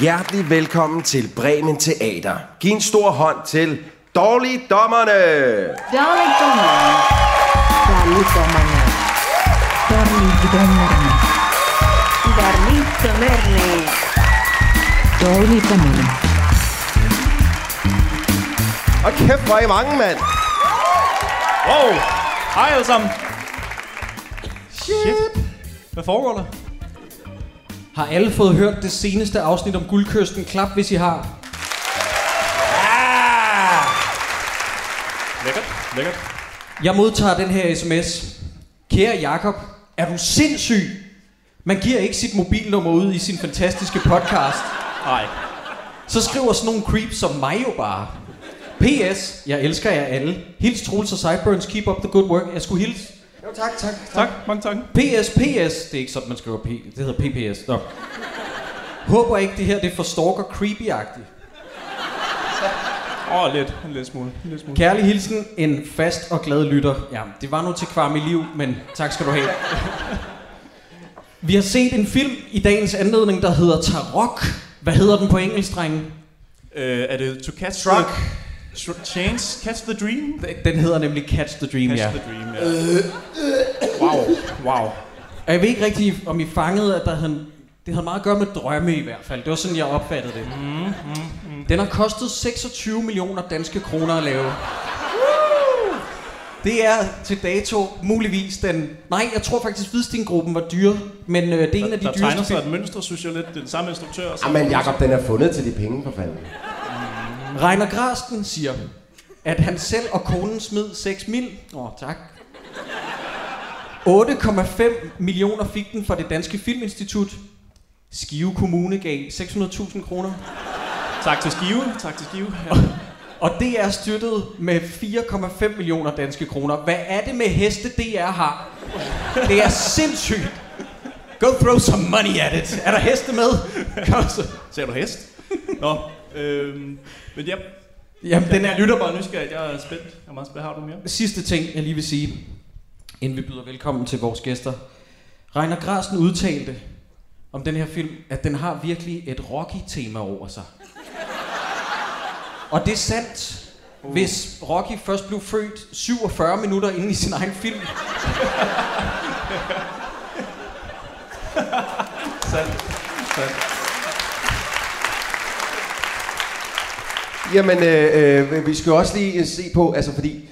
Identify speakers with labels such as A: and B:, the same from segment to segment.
A: Hjertelig velkommen til Bremen Teater. Giv en stor hånd til Dårligdommerne.
B: Dårligdommerne. Dårligdommerne. Dårligdommerne.
C: Dårligdommerne.
B: Dårligdommerne.
A: Og kæft, hvor er I mange, mand.
D: Wow! Hej alle sammen. Shit. Hvad foregår der?
E: Har alle fået hørt det seneste afsnit om guldkysten? Klap, hvis I har.
D: Lækkert, lækkert.
E: Jeg modtager den her sms. Kære Jakob, er du sindssyg? Man giver ikke sit mobilnummer ud i sin fantastiske podcast.
D: Nej.
E: Så skriver sådan nogle creeps som mig jo bare. P.S. Jeg elsker jer alle. Hils Troels og Sideburns. Keep up the good work. Jeg skulle hilse. Jo, tak, tak,
D: Tak, mange tak.
E: P.S. P.S. Det er ikke sådan, man skriver P. Det hedder P.P.S. Nå. Håber ikke, det her det er for stalker creepy-agtigt.
D: Åh, oh, lidt. En lille smule. En lille smule.
E: Kærlig hilsen, en fast og glad lytter. Ja, det var nu til kvar i liv, men tak skal du have. Vi har set en film i dagens anledning, der hedder Tarok. Hvad hedder den på engelsk, drenge?
D: Øh, er det To Catch
A: Shrug.
D: the... Shrug- Chance? Catch the Dream?
E: Den- Den hedder nemlig Catch the Dream,
D: Catch
E: ja.
D: the Dream, ja. Øh, Wow, wow.
E: Og jeg ved ikke rigtig, om I fangede, at der havde, det havde meget at gøre med drømme i hvert fald. Det var sådan, jeg opfattede det. Mm, mm, mm. Den har kostet 26 millioner danske kroner at lave. Det er til dato muligvis den... Nej, jeg tror faktisk, Hvidsten-gruppen var dyre, men øh, det er en af de
D: Der
E: dyreste
D: tegner sig et mønster, synes jeg lidt. Det er den samme instruktør. Så...
A: Jamen, Jakob, den er fundet til de penge, for fanden.
E: Reiner Grasten siger, at han selv og konen smed 6 mil. Åh, oh, tak. 8,5 millioner fik den fra det Danske Filminstitut. Skive Kommune gav 600.000 kroner.
D: Tak til Skive. Tak til Skive. Ja.
E: Og det er støttet med 4,5 millioner danske kroner. Hvad er det med heste, DR har? Det er sindssygt. Go throw some money at it. Er der heste med? Kom så.
D: Ser du hest? Nå. Øhm, men ja,
E: Jamen, den er
D: jeg lytter bare nysgerrig. Jeg er spændt. Jeg er meget spændt. Har du mere?
E: sidste ting, jeg lige vil sige, inden vi byder velkommen til vores gæster. Reiner Grasen udtalte om den her film, at den har virkelig et Rocky-tema over sig. Og det er sandt,
A: Uh.
E: hvis Rocky først blev født 47 minutter inden i sin egen film.
D: Sandt. Sandt.
A: Jamen, øh, øh, vi skal jo også lige øh, se på, altså fordi...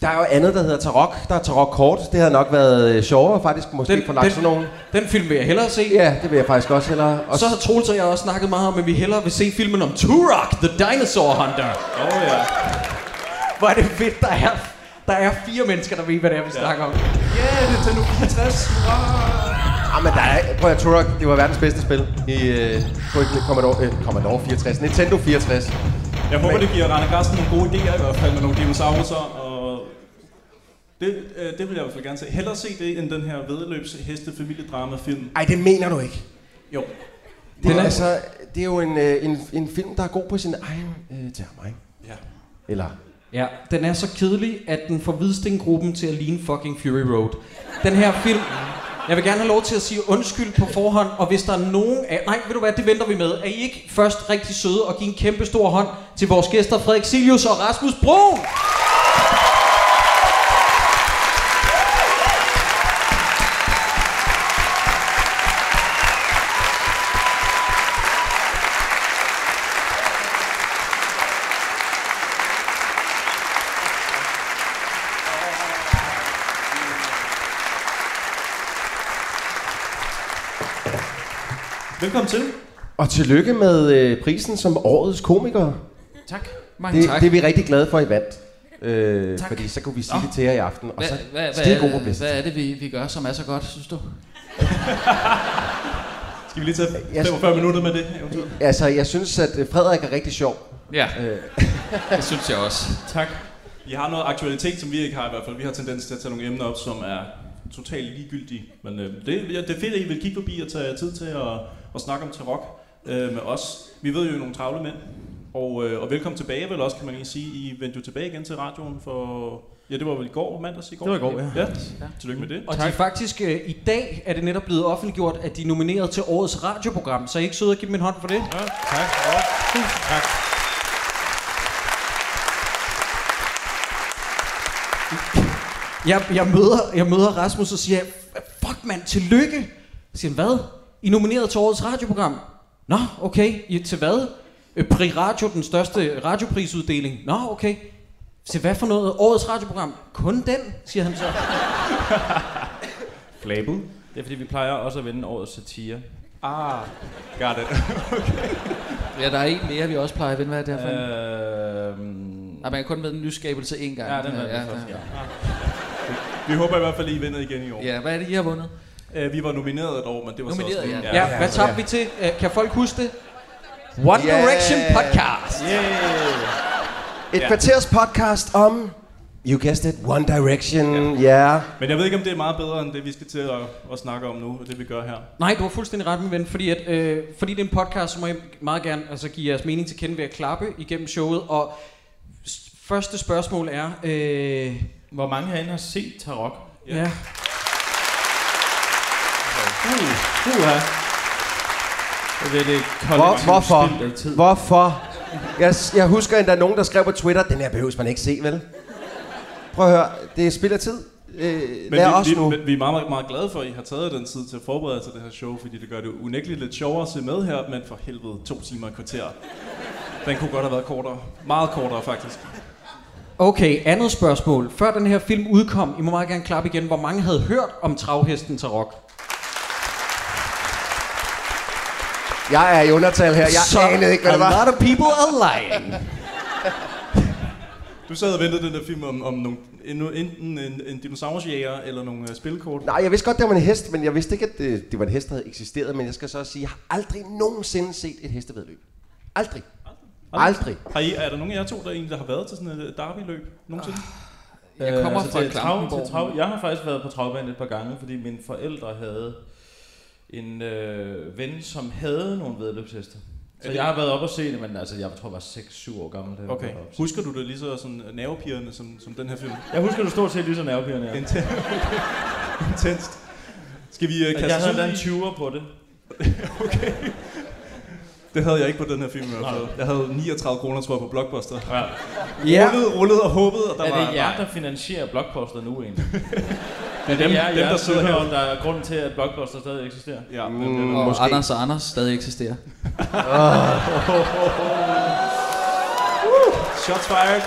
A: Der er jo andet, der hedder Tarok. Der er Tarok Kort. Det havde nok været øh, sjovere, faktisk. Måske den,
E: Den,
A: for lagt sådan
E: den,
A: nogen.
E: den film vil jeg hellere se.
A: Ja, det vil jeg faktisk også hellere.
E: Og så har Troels og jeg også snakket meget om, at vi hellere vil se filmen om Turok, The Dinosaur Hunter.
D: Åh oh, ja.
E: Hvor er det fedt, der er, der er fire mennesker, der ved, hvad det er, vi ja. snakker om.
D: Ja, yeah, det er Tanuki 60.
A: Ah, men der er, prøv at Turok, det var verdens bedste spil i øh, på et Commodore, øh, Commodore 64, Nintendo 64.
D: Jeg håber, det giver Rainer Carsten nogle gode idéer i hvert fald med nogle dinosaurer og... Det, øh, det vil jeg i hvert fald gerne se. Hellere se det, end den her vedløbs heste familiedrama film.
A: Ej, det mener du ikke.
D: Jo.
A: Det er,
E: Den er-
A: altså, det er jo en, øh, en, en film, der er god på sin egen øh, termer, ikke?
D: Ja.
A: Eller...
E: Ja, den er så kedelig, at den får Hvidsten-gruppen til at ligne fucking Fury Road. Den her film... Jeg vil gerne have lov til at sige undskyld på forhånd, og hvis der er nogen af... Nej, ved du hvad, det venter vi med. Er I ikke først rigtig søde og give en kæmpe stor hånd til vores gæster Frederik Silius og Rasmus Bro?
D: Velkommen til.
A: Og tillykke med øh, prisen som årets komiker.
F: Tak.
A: Det,
F: Mange
A: det er vi rigtig glade for, I vandt. Øh, fordi så kunne vi sige det til jer i aften. Og
F: Hva,
A: så
F: hva, hva,
A: skide god
F: er,
A: publicity.
F: hvad er det, vi, vi gør, som er så godt, synes du?
D: Skal vi lige tage
A: Jeg-
D: 45 minutter med det? eventuelt?
A: Altså, jeg synes, at øh, Frederik er rigtig sjov.
F: Ja,
A: Øh,
F: det synes jeg også.
D: Tak. I har noget aktualitet, som vi ikke har i hvert fald. Vi har tendens til at tage nogle emner op, som er totalt ligegyldige. Men øh, det, det er fedt, at I vil kigge forbi og tage jer tid til at, at snakke om tarok øh, med os. Vi ved jo I er nogle travle mænd. Og, øh, og velkommen tilbage vel også, kan man lige sige. I vendte jo tilbage igen til radioen for... Ja, det var vel i går, mandags i går?
E: Det var i går, ja.
D: ja. Tillykke med det.
E: Og de er faktisk, øh, i dag er det netop blevet offentliggjort, at de er nomineret til årets radioprogram, så er I ikke søde at give dem en hånd for det?
D: Ja, tak. Ja, tusind tak.
E: Jeg, jeg, møder, jeg møder Rasmus og siger, fuck mand, tillykke. Så siger han, hvad? I er nomineret til årets radioprogram. Nå, okay. I, til hvad? Øh, Pri Radio, den største radioprisuddeling. Nå, okay. Til hvad for noget? Årets radioprogram. Kun den, siger han så.
C: Flabel. Det er fordi, vi plejer også at vinde årets satire.
D: Ah, got it.
F: Ja, der er en mere, vi også plejer at vinde. Hvad er det her for en?
C: Øh,
F: Nej, man kan kun med en nyskabelse én gang.
C: ja, den er den første.
F: ja.
D: Vi håber i hvert fald, I vinder igen i år.
F: ja, hvad er det, I har vundet?
D: Øh, vi var nomineret et år, men det var så
F: Nomineret,
D: også...
F: ja.
E: Ja, hvad tabte vi til? Øh, Kan folk huske det? One yeah. Direction Podcast.
D: Yeah.
A: Et
D: Ja.
A: kvarters podcast om... You guessed it, One Direction, ja. Yeah.
D: Men jeg ved ikke, om det er meget bedre, end det, vi skal til at, at snakke om nu, og det vi gør her.
E: Nej, du har fuldstændig ret, min ven, fordi, at, øh, fordi det er en podcast, så må I meget gerne altså, give jeres mening til kende ved at klappe igennem showet. Og s- første spørgsmål er... Øh, ja.
C: Hvor mange herinde har set Tarok?
D: Ja.
E: ja.
C: Uh, uh, ja. Det er det
A: Hvor, hvorfor?
C: spild af tid.
A: Hvorfor? Jeg, s- jeg husker endda nogen, der skrev på Twitter, den her behøves man ikke se, vel? Prøv at høre, det er spild af tid. Øh,
D: Men
A: lad
D: vi,
A: os
D: vi,
A: nu.
D: men vi er meget, meget, meget glade for, at I har taget den tid til at forberede jer til det her show, fordi det gør det unægteligt lidt sjovere at se med her, men for helvede, to timer og et kvarter. Den kunne godt have været kortere. Meget kortere, faktisk.
E: Okay, andet spørgsmål. Før den her film udkom, I må meget gerne klappe igen, hvor mange havde hørt om travhesten Tarok?
A: Jeg er i undertal her. Jeg
E: Så
A: anede ikke, hvad det var.
E: A lot of people are lying.
D: Du sad og ventede den der film om, om nogle, endnu- enten en, en dinosaurjæger eller nogle øh, spilkort.
A: Nej, jeg vidste godt, det var en hest, men jeg vidste ikke, at det, det var en hest, der havde eksisteret. Men jeg skal så også sige, jeg har aldrig nogensinde set et hestevedløb. Aldrig. Aldrig.
D: Har I, er der nogen af jer to, der egentlig har været til sådan et øh, derby-løb nogensinde?
F: Jeg
C: Øh,
F: kommer
C: altså
F: fra
C: til trav-
F: Klampenborg.
C: til trav- Jeg har faktisk været på travbanen et par gange, fordi mine forældre havde en øh, ven, som havde nogle vedløbsheste. Så
D: det-
C: jeg har været op og se det, men altså, jeg tror, jeg var 6-7 år gammel, da jeg
D: Okay.
C: var op.
D: Husker du det lige så sådan øh, nervepirrende som, som den her film?
C: Jeg husker, du stort set lige så nervepirrende her.
D: Inten- Intenst. Skal vi uh, kaste
C: Jeg
D: os
C: havde
D: ud
C: endda en
D: i-
C: 20'er på det.
D: Det havde jeg ikke på den her film i hvert fald. Jeg havde 39 kroner, tror jeg, på Blockbuster.
C: Ja.
E: Ja.
D: Rullede, rullede og håbede, og der
C: Der er
D: var...
C: det jer, der finansierer Blockbuster nu egentlig?
D: Men
C: Det er jer,
D: dem,
C: jer,
D: der sidder her.
C: der er grunden til, at Blockbuster stadig eksisterer.
D: Ja, men det
A: Mm,
D: var-
F: Og
A: måske.
F: Anders og Anders stadig eksisterer.
D: Shots fired.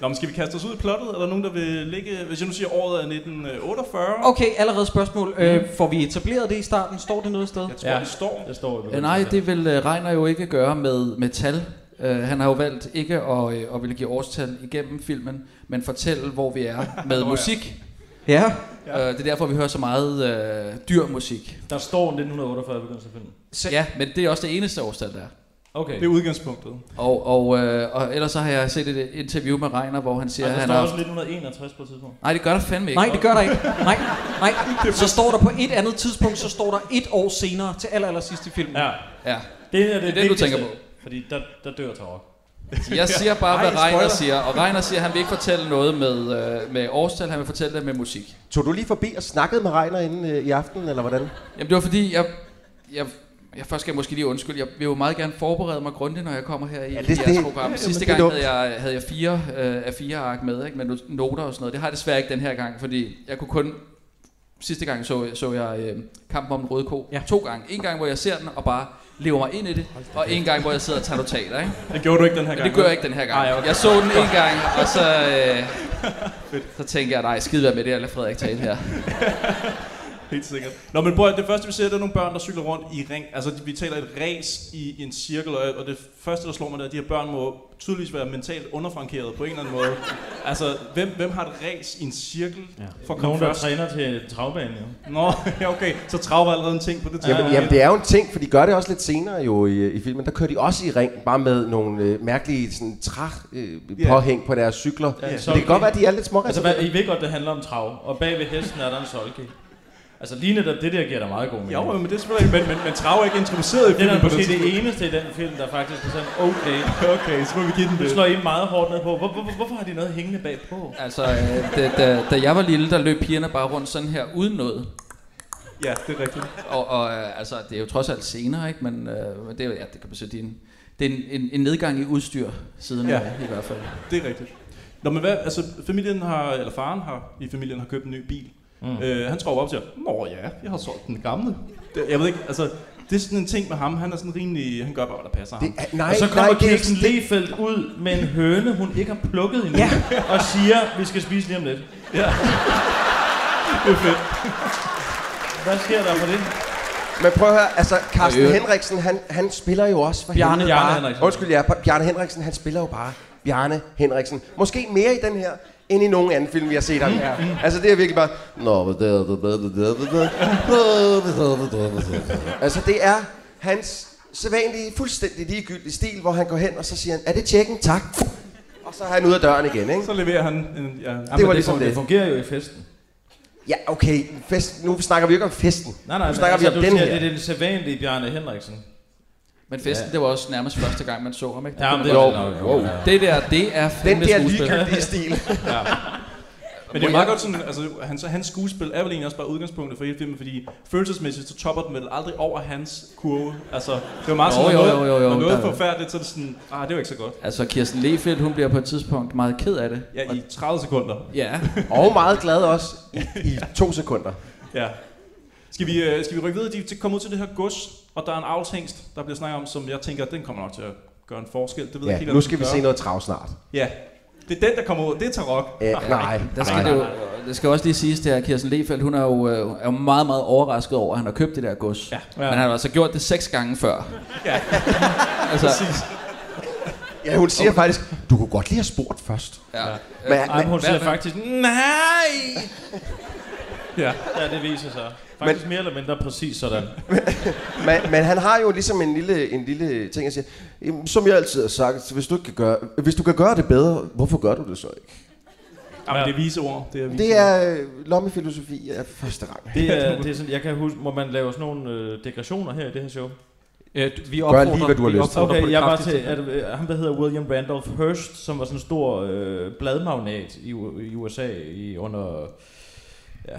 D: Nå, men skal vi kaste os ud i plottet? Er der nogen, der vil ligge... Hvis jeg nu siger, året er 1948...
E: Okay, allerede spørgsmål. Øh, får vi etableret det i starten? Står det noget sted?
D: Jeg tror,
C: Ja.
D: ja. det står.
C: Der står i
F: Øh,
C: begyndelsen
F: nej,
C: her.
F: det vil øh, Regner jo ikke gøre med, med tal. Øh, han har jo valgt ikke at, øh, at ville give årstal igennem filmen, men fortælle, hvor vi er med musik.
E: Ja.
F: Øh, det er derfor, vi hører så meget øh, dyr musik.
C: Der står 1948 i begyndelsen af filmen.
E: Så,
F: Ja, men det er også det eneste årstal, der er.
C: Okay.
D: Det er udgangspunktet.
F: Og, og, øh, og ellers så har jeg set et interview med Regner, hvor han siger,
C: Ej,
F: at
C: altså, der
F: han
C: står også
F: har...
C: 1961 på et tidspunkt.
F: Nej, det gør der fandme ikke.
E: Nej, det gør der ikke. Nej, nej. Så står der på et andet tidspunkt, så står der et år senere til aller, aller sidst i filmen.
C: Ja,
F: Ja.
C: det er det,
F: Det er den, du
C: vigtigste,
F: tænker på.
C: Fordi der, der dør Tarok.
F: Jeg siger bare, hvad
E: Ej,
F: Regner
E: spoiler.
F: siger. Og Regner siger, at han vil ikke fortælle noget med, øh, med årstal, han vil fortælle det med musik.
A: Tog du lige forbi og snakkede med Reiner inden øh, i aften, eller hvordan?
F: Jamen det var fordi, jeg, jeg, jeg først skal jeg måske lige undskylde. Jeg vil jo meget gerne forberede mig grundigt, når jeg kommer her i ja,
A: det-
F: det, jeres
A: det-
F: det, program.
A: det-
F: Sidste
A: det er
F: gang
A: dumt.
F: havde jeg, havde jeg fire øh, af fire ark med, ikke? med no- noter og sådan noget. Det har jeg desværre ikke den her gang, fordi jeg kunne kun... Sidste gang så, så jeg øh, Kampen om den røde ko
E: Ja.
F: ja. to gange. En gang, hvor jeg ser den og bare lever mig ind i det, og en gang, hvor jeg sidder og tager notater. Ikke?
D: Det gjorde du ikke den her
F: Men
D: gang.
F: det gør jeg ikke den her gang.
D: Ej, okay.
F: Jeg så den en gang, og så, øh, så tænkte jeg, nej, skide være med det, jeg lader Frederik tale her.
D: Helt sikkert. Nå, men prøv at, det første vi ser, det er nogle børn, der cykler rundt i ring. Altså, vi taler et ræs i en cirkel, og og det første, der slår mig, det er, at de her børn må tydeligvis være mentalt underfrankeret på en eller anden måde. Altså, hvem, hvem har et ræs i en cirkel ja. for at komme
C: Nogen, der
D: først?
C: træner til travbanen, jo.
D: Nå, ja, okay. Så trav var allerede en ting på det tidspunkt.
C: Ah.
A: Jamen, jamen, det er jo en ting, for de gør det også lidt senere jo i, i filmen. Der kører de også i ring, bare med nogle øh, mærkelige sådan, træ, øh,
D: Ja.
A: påhæng på deres cykler.
C: Ja,
A: Men
C: så-
A: det kan godt være, at de er lidt
C: Altså,
A: småreserveret.
C: hvad, I ved godt, det handler om trav, og bag ved hesten er der en solke. Altså lige netop det der giver dig meget god mening.
D: Jo, men det er selvfølgelig ikke, men, men, men Trav er ikke introduceret i
C: Det er
D: filmen
C: da
D: på det
C: måske det
D: tidspunkt.
C: eneste i den film, der faktisk er sådan, okay,
D: Okay, så må vi give den
C: nu
D: det.
C: slår I meget hårdt ned på. Hvor, hvor, hvor, hvorfor har de noget hængende bagpå?
F: Altså, øh, da, da, da jeg var lille, der løb pigerne bare rundt sådan her, uden noget.
D: Ja, det er rigtigt.
F: Og, og øh, altså, det er jo trods alt senere, ikke? Men øh, men det, er jo- ja, det kan man sige, det er en, det er en, en, en nedgang i udstyr siden
D: Ja.
F: ja. i hvert fald.
D: Det er rigtigt. Nå, men hvad, altså familien har, eller faren har, i familien har købt en ny bil. Mm. Øh, han tror op og siger, Nå ja, jeg har solgt den gamle. Det, jeg ved ikke, altså, det er sådan en ting med ham, han er sådan rimelig, han gør bare, hvad der passer
A: Det,
D: ham.
A: er- nej,
C: og så
A: nej,
C: kommer
A: det er
C: Kirsten
A: ikke det.
C: Lefeldt ud med en høne, hun ikke har plukket endnu, ja. og siger, vi skal spise lige om lidt.
D: Det er fedt.
C: Hvad sker der for det?
A: Men prøv at høre, altså Carsten
F: Og i øvrigt-
A: Henriksen, han, han spiller jo også for
E: Bjarne-
A: helvede
E: Bjarne
A: bare.
E: Henriksen.
A: Undskyld, ja, Bjarne Henriksen, han spiller jo bare Bjarne Henriksen. Måske mere i den her, end i nogen anden film, vi har set ham. Mm. Altså det er virkelig bare... Nå, men det er- det er- det er- det er- Altså det er hans sædvanlige, fuldstændig ligegyldige stil, hvor han går hen, og så siger han, er det tjekken? Tak. Og så er han ude af døren igen, ikke?
D: Så leverer han en, ja,
A: Det var
C: Men
A: ligesom
C: fun-
A: det.
C: det fungerer jo i festen.
A: Ja, okay, fest, nu snakker vi jo ikke om festen.
C: Nej, nej,
A: nu snakker vi om
C: du
A: den
C: siger,
A: her.
C: det er den sædvanlige Bjarne Henriksen.
F: Men festen, ja. det var også nærmest første gang, man så ham, ikke?
C: Ja,
F: kunne
C: men
F: man
C: det er
F: godt-
C: nok.
A: Wow.
F: det der, det er
A: Den
F: fandme
A: der
F: skuespil.
A: ligegyldige stil.
D: Men det er meget godt sådan, altså hans, hans skuespil er vel egentlig også bare udgangspunktet for hele filmen, fordi følelsesmæssigt, så topper den vel aldrig over hans kurve. Altså, det var meget
F: Jo,
D: sådan,
F: jo,
D: når
F: jo, jo, jo,
D: når noget
F: der-
D: er forfærdeligt, så er det sådan, ah, det var ikke så godt.
F: Altså, Kirsten Lefeldt, hun bliver på et tidspunkt meget ked af det.
D: Ja,
F: Og-
D: i 30 sekunder.
F: ja.
A: Og meget glad også i, i to sekunder.
D: Ja. Skal vi, øh, skal vi rykke videre? De er kommet ud til det her gods, og der er en aftængst, der bliver snakket om, som jeg tænker, den kommer nok til at gøre en forskel. Det ved jeg ikke
A: Ja,
D: helt,
A: nu
D: om
A: skal
D: den
A: vi
D: gør.
A: se noget trav snart.
D: Ja, det er den, der kommer ud. Det er Tarok.
A: Æ, nej,
F: Der skal
A: nej,
F: det,
A: nej.
F: jo, det skal også lige siges, det her Kirsten Lefeldt, hun er jo, øh, er jo meget, meget overrasket over, at han har købt det der gods.
D: Ja.
F: Men han har altså gjort det seks gange før.
D: Ja.
F: altså,
D: Præcis.
A: Ja, hun siger faktisk, du kunne godt lige have spurgt først.
F: ja.
A: Men,
C: Ej, men
A: men,
C: hun siger
F: hvad-
C: faktisk, nej!
D: Ja.
C: Ja, det viser sig. Faktisk mere eller mindre præcis sådan.
A: men, men han har jo ligesom en lille, en lille ting, jeg siger, "Jamen, som jeg altid har sagt, hvis du, ikke kan gøre, hvis du kan gøre det bedre, hvorfor gør du det så ikke?
D: Jamen, det er vise ord. Det er, vise
A: Det er øh, lommefilosofi af første rang.
C: Det er, det er sådan, jeg kan huske, må man lave sådan nogle øh, degressioner her i det her show?
E: Øh, vi
A: Gør
E: opfordrer,
A: lige, hvad du har
E: vi
A: lyst til.
E: opfordrer på
C: Okay,
E: det
C: jeg var til,
E: kraftigste.
C: at, øh, ham der hedder William Randolph Hearst, som var sådan en stor øh, bladmagnat i, U- i USA i under... Ja,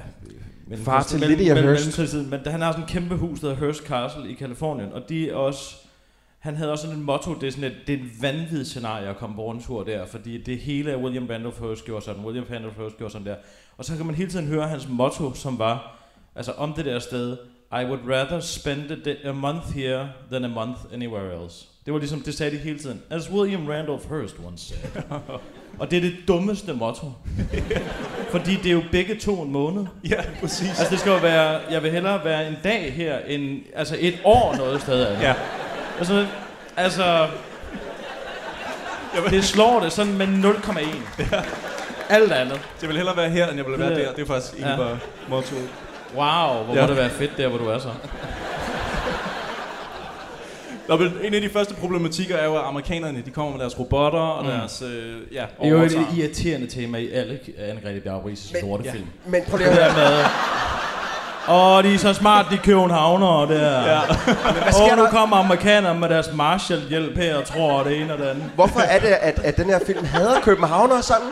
C: men
A: Far til Lydia Hearst.
C: Men han har sådan et kæmpe hus, der hedder Hearst Castle i Kalifornien, og de er også... Han havde også sådan et motto, det er sådan et, det er et vanvittigt scenarie at komme på rundtur der, fordi det hele af William Randolph Hearst gjorde sådan, William Randolph Hearst gjorde sådan der. Og så kan man hele tiden høre hans motto, som var, altså om det der sted, I would rather spend a, day, a month here than a month anywhere else. Det var ligesom, det sagde de hele tiden. As William Randolph Hearst once said. og det er det dummeste motto. fordi det er jo begge to en måned.
D: Ja, præcis.
C: Altså det skal jo være, jeg vil hellere være en dag her, end altså et år noget sted andet.
D: Ja.
C: Altså, altså det slår det sådan med 0,1. Alt andet.
D: Jeg vil hellere være her, end jeg vil være
C: Det er-
D: der. Det er faktisk ikke
C: Ja.
D: bare mottoet.
C: Wow, hvor
D: Ja.
C: ja. må det være fedt der, hvor du er så.
D: Nå, men en af de første problematikker er jo, at amerikanerne de kommer med deres robotter og mm. deres øh, ja,
C: Det er jo et
D: overtager.
C: irriterende tema i alle Anne-Grethe Bjarbris sorte
D: ja.
C: ja. film.
A: Men prøv lige
C: Det
A: at høre,
C: der med, Åh, de er så smart, de københavnere der. Ja.
A: hvad sker
C: Og nu
A: der?
C: kommer amerikanerne med deres Marshall-hjælp her og tror det ene og det andet.
A: Hvorfor er det, at, at den her film hader københavnere sådan?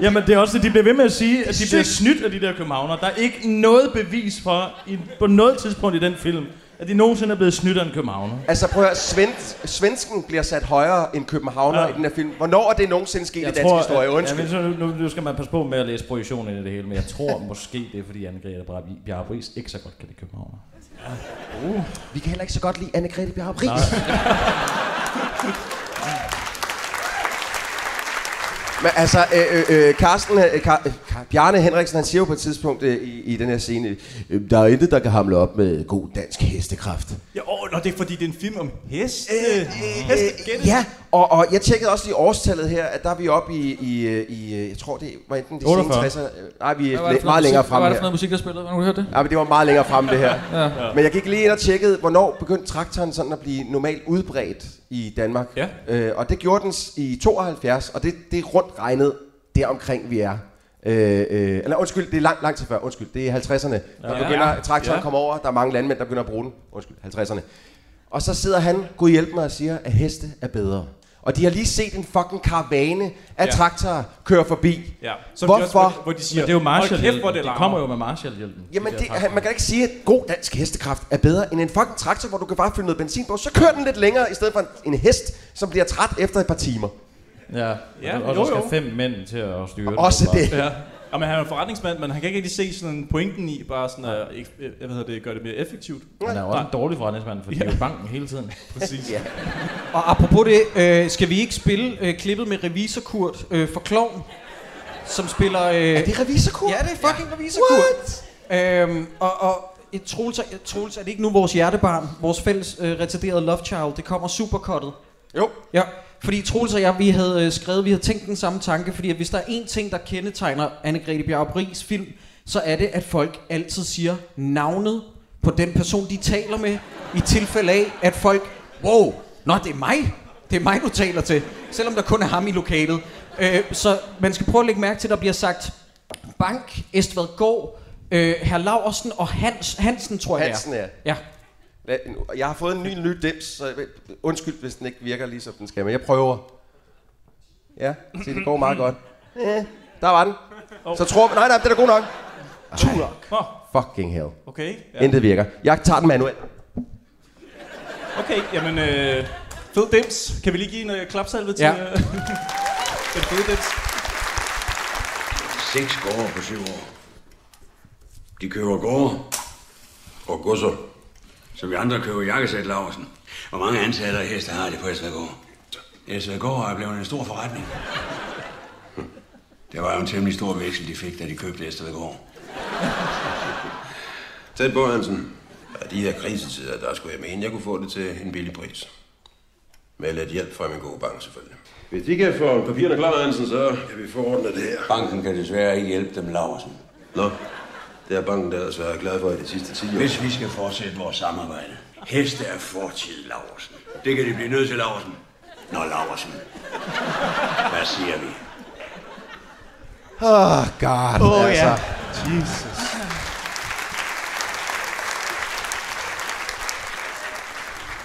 C: Jamen det er også det, de bliver ved med at sige, at de bliver snydt af de der københavnere. Der er ikke noget bevis for, i, på noget tidspunkt i den film, at de nogensinde er blevet snydt af en københavner.
A: Altså prøv at høre, svensk, svensken bliver sat højere end københavner ja.
C: Ja.
A: i den her film. Hvornår er det nogensinde sket i dansk tror, historie? Undskyld.
C: Ja, men så nu, nu, skal man passe på med at læse projektion ind i det hele, men jeg tror måske, det er fordi Anne-Grethe Bjarbris ikke så godt kan det københavner.
A: Vi kan heller ikke så godt lide Anne-Grethe Bjarup Ries. Men altså, øh, øh, øh, Carsten, øh, Car- øh, Car- Bjarne Henriksen, han siger jo på et tidspunkt øh, i, i den her scene, øh, der er intet, der kan hamle op med god dansk hestekraft.
F: Øh,
D: Ja, åh, nå, det er fordi, det er en film om heste.
A: Øh, ja, og, og jeg tjekkede også lige årstallet her, at der er vi oppe i, i, øh, i øh, jeg tror det var enten de
C: 48.
A: 60'er, øh, nej, vi er
F: hvad var det
A: læ-
F: for
A: meget
F: noget
A: længere
F: musik- Hvad
A: fremme
F: var det for
A: her.
F: noget musik, der spillede? Har du hørt det?
A: Ja, men det var meget længere fremme det her.
F: Ja.
A: Men jeg gik lige ind og tjekkede, hvornår begyndte traktoren sådan at blive normalt udbredt i Danmark.
D: Ja.
A: Øh, og det gjorde den s- i 72, og det, det er rundt regnet der omkring vi er. Øh, øh, eller undskyld, det er langt, langt til før. Undskyld, det er 50'erne. Der
C: Ja.
A: begynder traktoren
D: Ja.
A: kommer over, der er mange landmænd, der begynder at bruge den. Undskyld, 50'erne. Og så sidder han, gud hjælp mig, og siger, at heste er bedre. Og de har lige set en fucking karavane af
D: Ja.
A: ja. traktorer køre forbi.
D: Ja.
A: Så Hvorfor?
D: Også, hvor, de- hvor de siger,
C: Men det er jo
D: Hold kæft, hvor
C: Marshall-hjælpen.
D: det
C: Det
D: larmer.
C: kommer jo med Marshall-hjælpen.
A: Jamen,
C: de
A: det,
C: der
A: han, man kan ikke sige, at god dansk hestekraft er bedre end en fucking traktor, hvor du kan bare fylde noget benzin på. Så kører den lidt længere, i stedet for en, en hest, som bliver træt efter et par timer.
C: Ja,
D: Ja,
C: ja og så
D: jo,
C: skal
D: jo.
C: fem mænd til at styre den,
A: Også
C: åbenbart.
A: det.
D: Ja. Og men han er en forretningsmand, men han kan ikke rigtig se sådan pointen i bare sådan at øh, øh, hvad hedder det, gøre det mere effektivt.
C: Han er jo også en dårlig forretningsmand, fordi det er jo banken hele tiden.
D: Præcis.
A: Ja.
E: Og apropos det, øh, skal vi ikke spille øh, klippet med revisor Kurt øh, for Klovn, som spiller... Øh,
A: Er det revisorkur?
E: Ja, det er fucking ja. revisor Kurt. Øhm, og, og et Troels, er- Troels, er det ikke nu vores hjertebarn, vores fælles øh, retarderede love child, det kommer superkottet?
A: Jo.
E: Ja, fordi Troels og jeg, vi havde øh, skrevet, vi havde tænkt den samme tanke, fordi at hvis der er én ting, der kendetegner Anne-Grethe Bjarup Rigs film, så er det, at folk altid siger navnet på den person, de taler med, i tilfælde af, at folk, wow, nå, det er mig, det er mig, du taler til, selvom der kun er ham i lokalet. Øh, så man skal prøve at lægge mærke til, at der bliver sagt Bank, Estvadgård, øh, Herr Laursen og Hans, Hansen, tror jeg det er.
A: Hansen, ja.
E: Ja,
A: Lad- nu- Jeg har fået en ny, ny dims, så jeg ved- undskyld, hvis den ikke virker lige, som den skal, men jeg prøver. Ja, se, det går meget godt. Ja, der var den. Så tror man, nej, nej, den er god nok. Turok.
D: Åh,
A: Fucking hell.
D: Okay. Ja.
A: Intet virker. Jeg tager den manuelt.
D: Okay, jamen øh, fed dims. Kan vi lige give en øh, klapsalve til
E: Ja.
D: øh, den fede dims?
G: Seks gårde på syv år. De køber gårde og godser, som vi andre køber jakkesæt Larsen. Hvor mange ansatte og heste har de på Esvedgård? Esvedgård er blevet en stor forretning. Hm. Det var jo en temmelig stor vækst, de fik, da de købte Esvedgård. Tæt på, Hansen. Og de her krisetider, der skulle jeg mene, jeg kunne få det til en billig pris. Med lidt hjælp fra min gode bank, selvfølgelig. Hvis de kan få papirerne klar, Hansen, så kan vi få ordnet det her. Banken kan desværre ikke hjælpe dem, Larsen. Nå, det er banken, der ellers været glad for i de sidste 10 år. Hvis vi skal fortsætte vores samarbejde. Heste er fortid, Larsen. Det kan de blive nødt til, Larsen. Nå, Larsen. Hvad siger vi?
A: Åh, oh, god.
D: Åh,
A: altså.
D: ja. Jesus.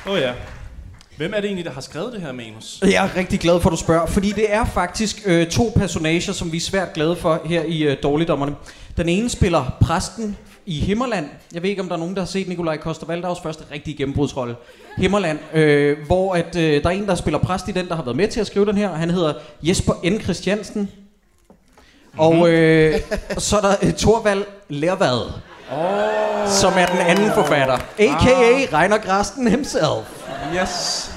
D: Åh oh, ja. Hvem er det egentlig, der har skrevet det her manus?
E: Jeg er rigtig glad for, at du spørger, fordi det er faktisk øh, to personager, som vi er svært glade for her i øh, Dårligdommerne. Den ene spiller præsten i Himmerland. Jeg ved ikke, om der er nogen, der har set Nikolaj Koster-Valdavs første rigtige gennembrudsrolle. Himmerland, øh, hvor at, øh, der er en, der spiller præst i den, der har været med til at skrive den her. Han hedder Jesper N. Christiansen. Og øh, så er der øh, Torvald Lervad, oh. som er den anden forfatter. A.k.a. Reiner Grasten himself.
D: Yes.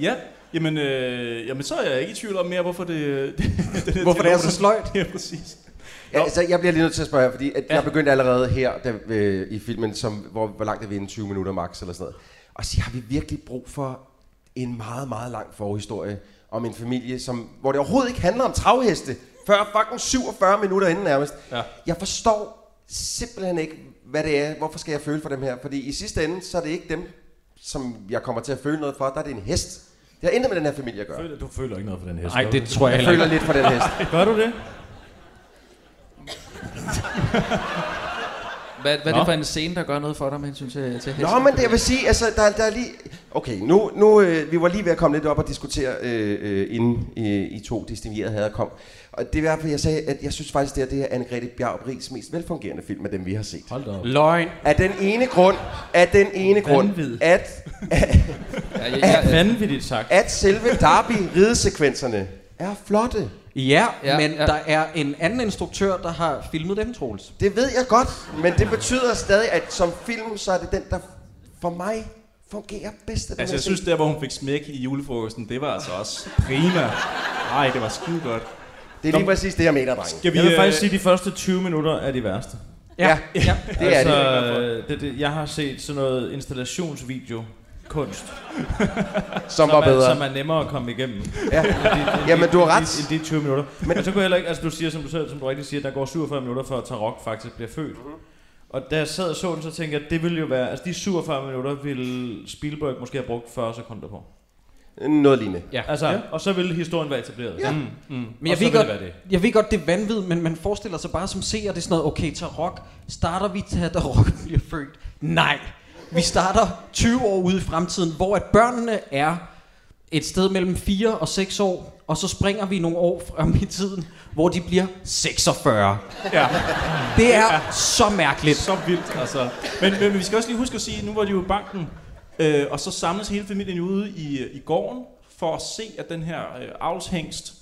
D: Ja. Jamen, øh, jamen, så er jeg ikke i tvivl om mere, hvorfor det... det, det
E: Hvorfor det er så sløjt.
D: Ja, præcis.
A: Ja, altså, jeg bliver lige nødt til at spørge her, fordi at jeg begyndte allerede her da, øh, i filmen, som, hvor, hvor langt er vi inden 20 minutter max eller sådan noget, og sige, har vi virkelig brug for en meget, meget lang forhistorie om en familie, som, hvor det overhovedet ikke handler om travheste, før fucking 47 minutter inden nærmest.
D: Ja.
A: Jeg forstår simpelthen ikke, hvad det er, hvorfor skal jeg føle for dem her, fordi i sidste ende, så er det ikke dem, som jeg kommer til at føle noget for, der er det en hest. Det har intet med den her familie at gøre.
C: Du føler ikke noget for den hest.
E: Nej, det tror jeg
A: Jeg
E: heller ikke.
A: føler lidt for den hest.
C: Gør du det?
F: Hvad, hvad er
C: Nå.
F: det for en scene, der gør noget for dig med hensyn til, til
A: Nå,
F: hesten?
A: men det, jeg vil sige, altså, der, der er lige... Okay, nu, nu øh, vi var lige ved at komme lidt op og diskutere, øh, øh, inden øh, I to distinguerede havde kom. Og det er i hvert fald, jeg sagde, at jeg synes faktisk, det, her, det er Anne-Grethe Bjarup Rigs mest velfungerende film af dem, vi har set.
C: Hold da op.
E: Løgn.
A: Af den ene grund, af den ene grund,
C: Vanvid.
A: at,
F: Ja, jeg, jeg, jeg,
C: Vanvittigt sagt.
A: at selve Derby-ridesekvenserne er flotte.
E: Ja, ja
F: Ja,
E: men ja.
F: ja.
E: der er en anden instruktør, der har filmet dem, Troels.
A: Det ved jeg godt, men det betyder stadig, at som film, så er det den, der for mig fungerer bedst. af den
D: Altså,
A: her
D: jeg synes,
A: film.
D: der hvor hun fik smæk i julefrokosten, det var altså også prima. Nej, det var skide godt.
A: det er lige præcis det, jeg mener, drenge.
D: Skal vi,
C: Jeg vil
D: øh,
C: faktisk sige, at de første 20 minutter er de værste.
A: Ja,
E: ja.
A: det er det.
C: altså, det, det, jeg har set sådan noget installationsvideo kunst, som,
A: Som var bedre.
C: Er, som er nemmere at komme igennem.
A: Ja. Jamen, du har ret.
C: I de 20 minutter.
A: Men-
C: Men og så kunne jeg heller ikke, altså du siger, som du, selv, som du rigtig siger, der går 47 minutter før Tarok faktisk bliver født.
A: Mhm.
C: Og da jeg sad og så den, så tænkte jeg, at det ville jo være, altså de 47 minutter ville Spielberg måske have brugt 40 sekunder på.
A: Noget lignende.
E: Ja.
C: Altså, ja. og så ville historien være etableret. Ja. Mm, mm.
E: Men
C: og
E: jeg
C: så
E: ved,
C: ville
E: godt,
C: det være det.
E: jeg ved godt, det er vanvid, men man forestiller sig bare som seer, det er sådan noget, okay, Tarok, starter vi til, at Tarok bliver født? Nej. Vi starter 20 år ude i fremtiden, hvor at børnene er et sted mellem 4 og 6 år, og så springer vi nogle år frem i tiden, hvor de bliver 46.
D: Ja.
E: Det er så mærkeligt.
D: Så vildt, altså. Men, men, men vi skal også lige huske at sige, nu var de jo i banken, øh, og så samles hele familien jo ude i, i gården, for at se, at den her øh, avlshængst,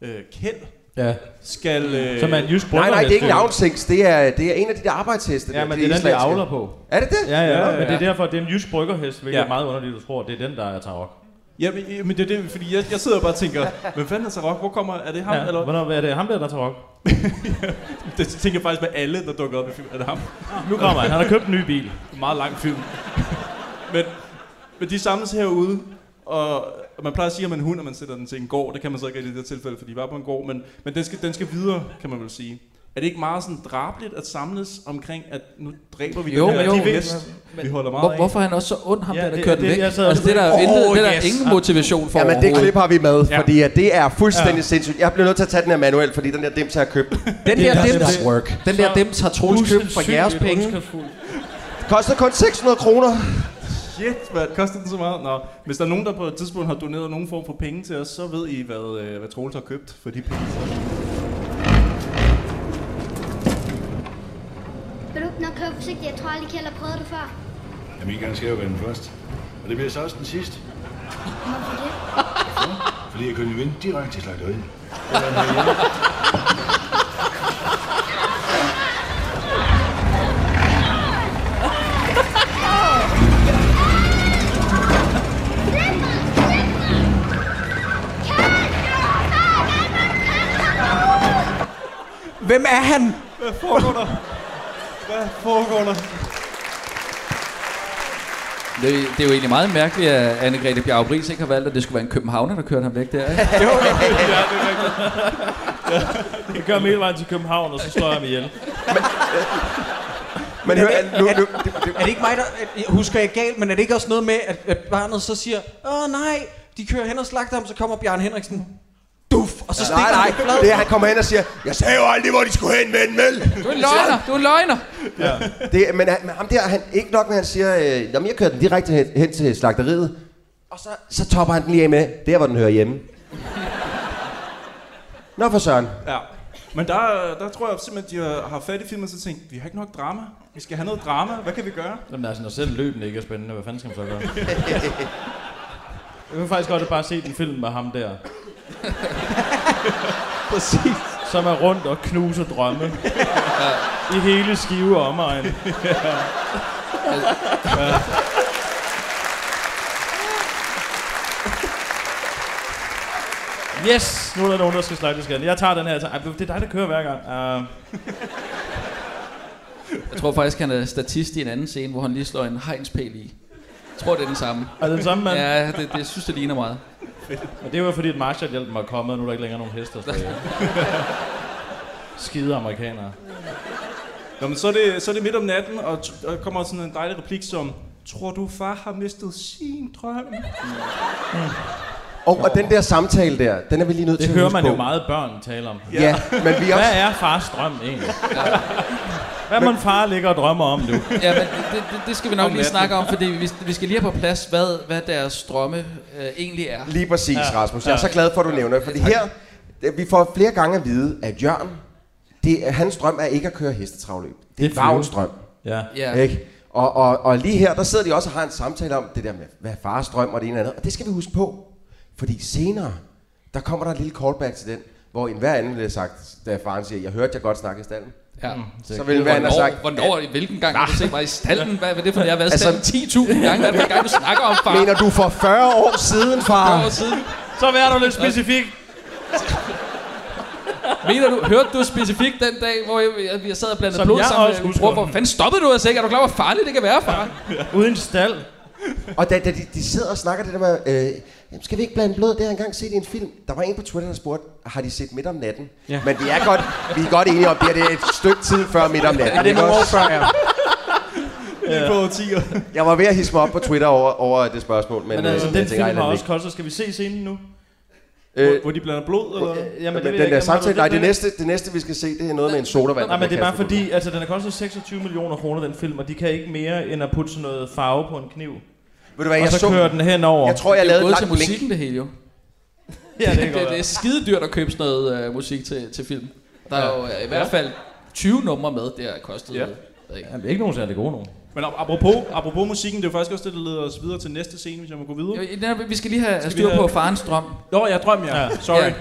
D: øh, Kjeld,
C: Ja.
D: skal... Øh,
C: Som er en jysk
A: Nej, nej, det er ikke en
C: brødrehest, jo.
A: avlsænks. Det er, det er en af de der arbejdsheste.
C: Ja, men det er den, der
A: islandske.
C: avler på.
A: Er det det?
C: Ja, ja, ja,
D: ja.
C: men det er derfor, det er en jysk bryggerhest, hvilket
D: Ja.
C: ja. er meget underligt, du tror. Det er den, der er tarok.
D: Ja, men, ja, men det er det, fordi jeg, jeg sidder og bare tænker, hvem fanden er Sarok? Hvor kommer, er det ham? Ja,
C: Ja.
D: eller,
C: Hvornår er det ham der, der er tarok?
D: det tænker jeg faktisk med alle, der dukker op i filmen. Er det ham?
C: Nu kommer han. Han har købt en ny bil.
D: Meget lang film. men, men de samles herude, og og man plejer at sige om en hund, at man sætter den til en gård. Det kan man så ikke rigtig i det her tilfælde, fordi de var på en gård. Men, men den, skal, den skal videre, kan man vel sige. Er det ikke meget sådan drabligt at samles omkring, at nu dræber vi
F: Jo,
D: den her
F: jo.
D: de hest, vi holder meget
F: Hvor,
D: af?
F: hvorfor er han også så ond, ham
C: Ja,
F: ja, der, der
C: det-
F: kørte
C: det-
F: væk?
C: jeg sad og-
F: Altså, det er der, oh,
E: Åh,
F: intet, det er der
E: yes.
F: ingen motivation for
A: Jamen, det
F: overhovedet.
A: klip har vi med,
D: Ja.
A: ja. fordi at det er fuldstændig ja. sindssygt. Jeg bliver nødt til at tage den her manuel, fordi den der dims har jeg købt.
E: Den der
C: doesn't
E: dem,
A: work.
E: den der dem tager Troels købt fra jeres penge.
A: Koster kun 600 kroner.
D: Shit, hvad koster den så meget? Nå, hvis der er nogen, der på et tidspunkt har doneret nogen form for penge til os, så ved I, hvad, øh, hvad Troels har købt for de penge.
H: Vil du ikke nok køre forsigtigt? Jeg tror aldrig, Kjeld har prøvet det før.
I: Jamen, I gang skal jo være den første. Og det bliver så også den sidste,
H: Hvorfor det?
I: fordi jeg kunne vinde direkte til slagteriet.
E: Hvem er han?
D: Hvad foregår der? Hvad foregår der?
F: Det, det er jo egentlig meget mærkeligt, at Anne-Grethe Bjarup Riis ikke har valgt, at det skulle være en københavner, der kørte ham væk der. Ikke?
C: Jeg kører mig hele vejen til København, og så slår jeg ham ihjel.
A: Men hør, nu, nu, det, det,
E: Er det ikke mig, der øh, husker jeg galt, men er det ikke også noget med, at, at barnet så siger, åh nej, de kører hen og slagter ham, så kommer Bjørn Henriksen, duf, og så stikker
A: nej, nej,
E: han flad.
A: det er, han kommer hen og siger, jeg sagde jo aldrig, hvor de skulle hen med en mel.
F: Du er en løgner, du er en løgner.
A: Det, men, han, men ham der, han, ikke nok med, han siger, øh, jamen jeg kører den direkte hen, hen til slagteriet. Og så, så topper han den lige af med, der hvor den hører hjemme. Nå for søren.
D: Ja. Men der, der tror jeg simpelthen, at de har- har fat i filmen, og så tænkt, vi har ikke nok drama. Vi skal have noget drama. Hvad kan vi gøre?
C: Jamen altså, når selv løbende ikke er spændende, hvad fanden skal man så gøre? Jeg vil faktisk godt bare se den film med ham der,
E: Præcis.
C: som er rundt og knuser drømme. I hele skive og omegn. Yes, nu er der nogen, der skal slagte skaden. Jeg tager den her. Jeg tager- Ej, det er dig, der kører hver gang. Uh,
F: Jeg tror faktisk, han er statist i en anden scene, hvor han lige slår en hegnspæl i. Jeg tror, det er den samme.
C: er det den samme mand?
F: Ja, det, det synes, det ligner meget.
C: Men det var fordi, at Marshall hjalp mig at komme, og nu er der ikke længere nogen hester. Så... Skide amerikanere.
D: Nå, men så er det, så er det midt om natten, og, t- og der kommer sådan en dejlig replik som, Tror du, far har mistet sin drøm?
A: Og, og den der samtale der, den er vi lige nødt
C: Det
A: til
C: hører
A: at huske
C: man
A: på.
C: jo meget børn tale om.
A: Ja, men vi er også...
C: Hvad er fars drøm egentlig? Hvad må en far ligger og drømmer om nu?
F: Ja, men det, det, det skal vi nok lige snakke om, fordi vi, vi skal lige have på plads, hvad, hvad deres drømme øh, egentlig er.
A: Lige præcis,
C: Ja.
A: ja. Rasmus. Jeg er så glad for, at du nævner det, fordi her, det- vi får flere gange at vide, at Jørgen, det, er- hans drøm er ikke at køre hestetravløb. Det
C: Det
A: er
C: er
A: Vagens drøm.
C: Ja.
F: Ja.
A: Ja. Ikke? Og, og, og lige her, der sidder de også og har en samtale om det der med, hvad er fars drøm og det ene og andet. Og det skal vi huske på. Fordi senere, der kommer der et lille callback til den, hvor en hver anden ville have sagt, da faren siger, jeg hørte jeg godt snakke i stallen.
F: Ja.
A: Så ville hver anden have sagt,
F: Mm. Hvornår, i hvilken gang har du set mig i stallen? Hvad er det for, jeg har været i
A: Altså-
F: stallen 10.000 gange? Hvad er det, gang, du snakker om, far?
A: mener du for 40 år siden,
F: For år
A: far?
F: siden.
C: Så vær du lidt specifik.
F: Mener du, hørte du specifikt den dag, hvor jeg, jeg, jeg sad og blandede
C: Som
F: blod
C: jeg
F: sammen
C: også
F: med min
C: husker
F: bror? Hvor
C: den.
F: fanden stoppede du os ikke? Er du klar, hvor farligt det kan være, far?
C: Uden stald.
A: Og da, da de, de sidder og snakker det der med, øh, "Jamen, skal vi ikke blande blod? Det har jeg engang set i en film. Der var en på Twitter, der spurgte, har de set midt om natten? Ja. Men vi er godt, vi er godt enige om, det her, det er et stykke tid før midt om natten.
E: Er det
A: ikke
E: nogle år
A: også?
E: før, ja.
D: lige på 10 år.
A: Jeg var ved at hisse mig op på Twitter over, over det spørgsmål, men,
C: Men altså,
A: øh,
C: den
A: jeg tænker,
C: film
A: ej,
C: har
A: lad det
C: også kostet. Skal vi se scenen nu?
A: ligge.
D: Hvor de blander blod, eller hvad?
C: Jamen,
A: øh, Jamen,
C: ved jeg
A: Øh, den
C: ikke,
A: der
C: om
A: samtale, nej,
C: har du-
A: det
C: den-
A: næste, det næste, vi skal se, det er noget med en sodavand.
C: Nej,
A: der
C: men det
A: bliver
C: er bare
A: kastet på
C: fordi, altså den har kostet 26 millioner kroner, den film, og de kan ikke mere end at putte sådan noget farve på en kniv.
A: den. Ved du hvad,
C: Og
A: jeg
C: så
A: så,
C: kører den henover.
A: jeg tror, jeg
F: det er jo
A: lavede et
F: gået til
A: langt blink.
F: musikken det hele jo.
C: ja, det,
F: det, det, det er
C: det,
F: skide dyrt at købe sådan noget øh, musik til, til film. Der er jo øh, i hvert fald 20 numre med, det har kostet.
D: Ja.
F: Ja. Ikke?
C: Jamen, ikke nogen særlig gode nogen.
D: Men ap- apropos, apropos musikken, det er jo faktisk også det, der leder os videre til næste scene, hvis jeg må gå videre.
F: Jo, netop, Vi skal lige have
D: Skal vi
F: styr på
D: have-
F: farens drøm.
D: Nå, jeg drømmer, ja. ja. Sorry.
F: Ja.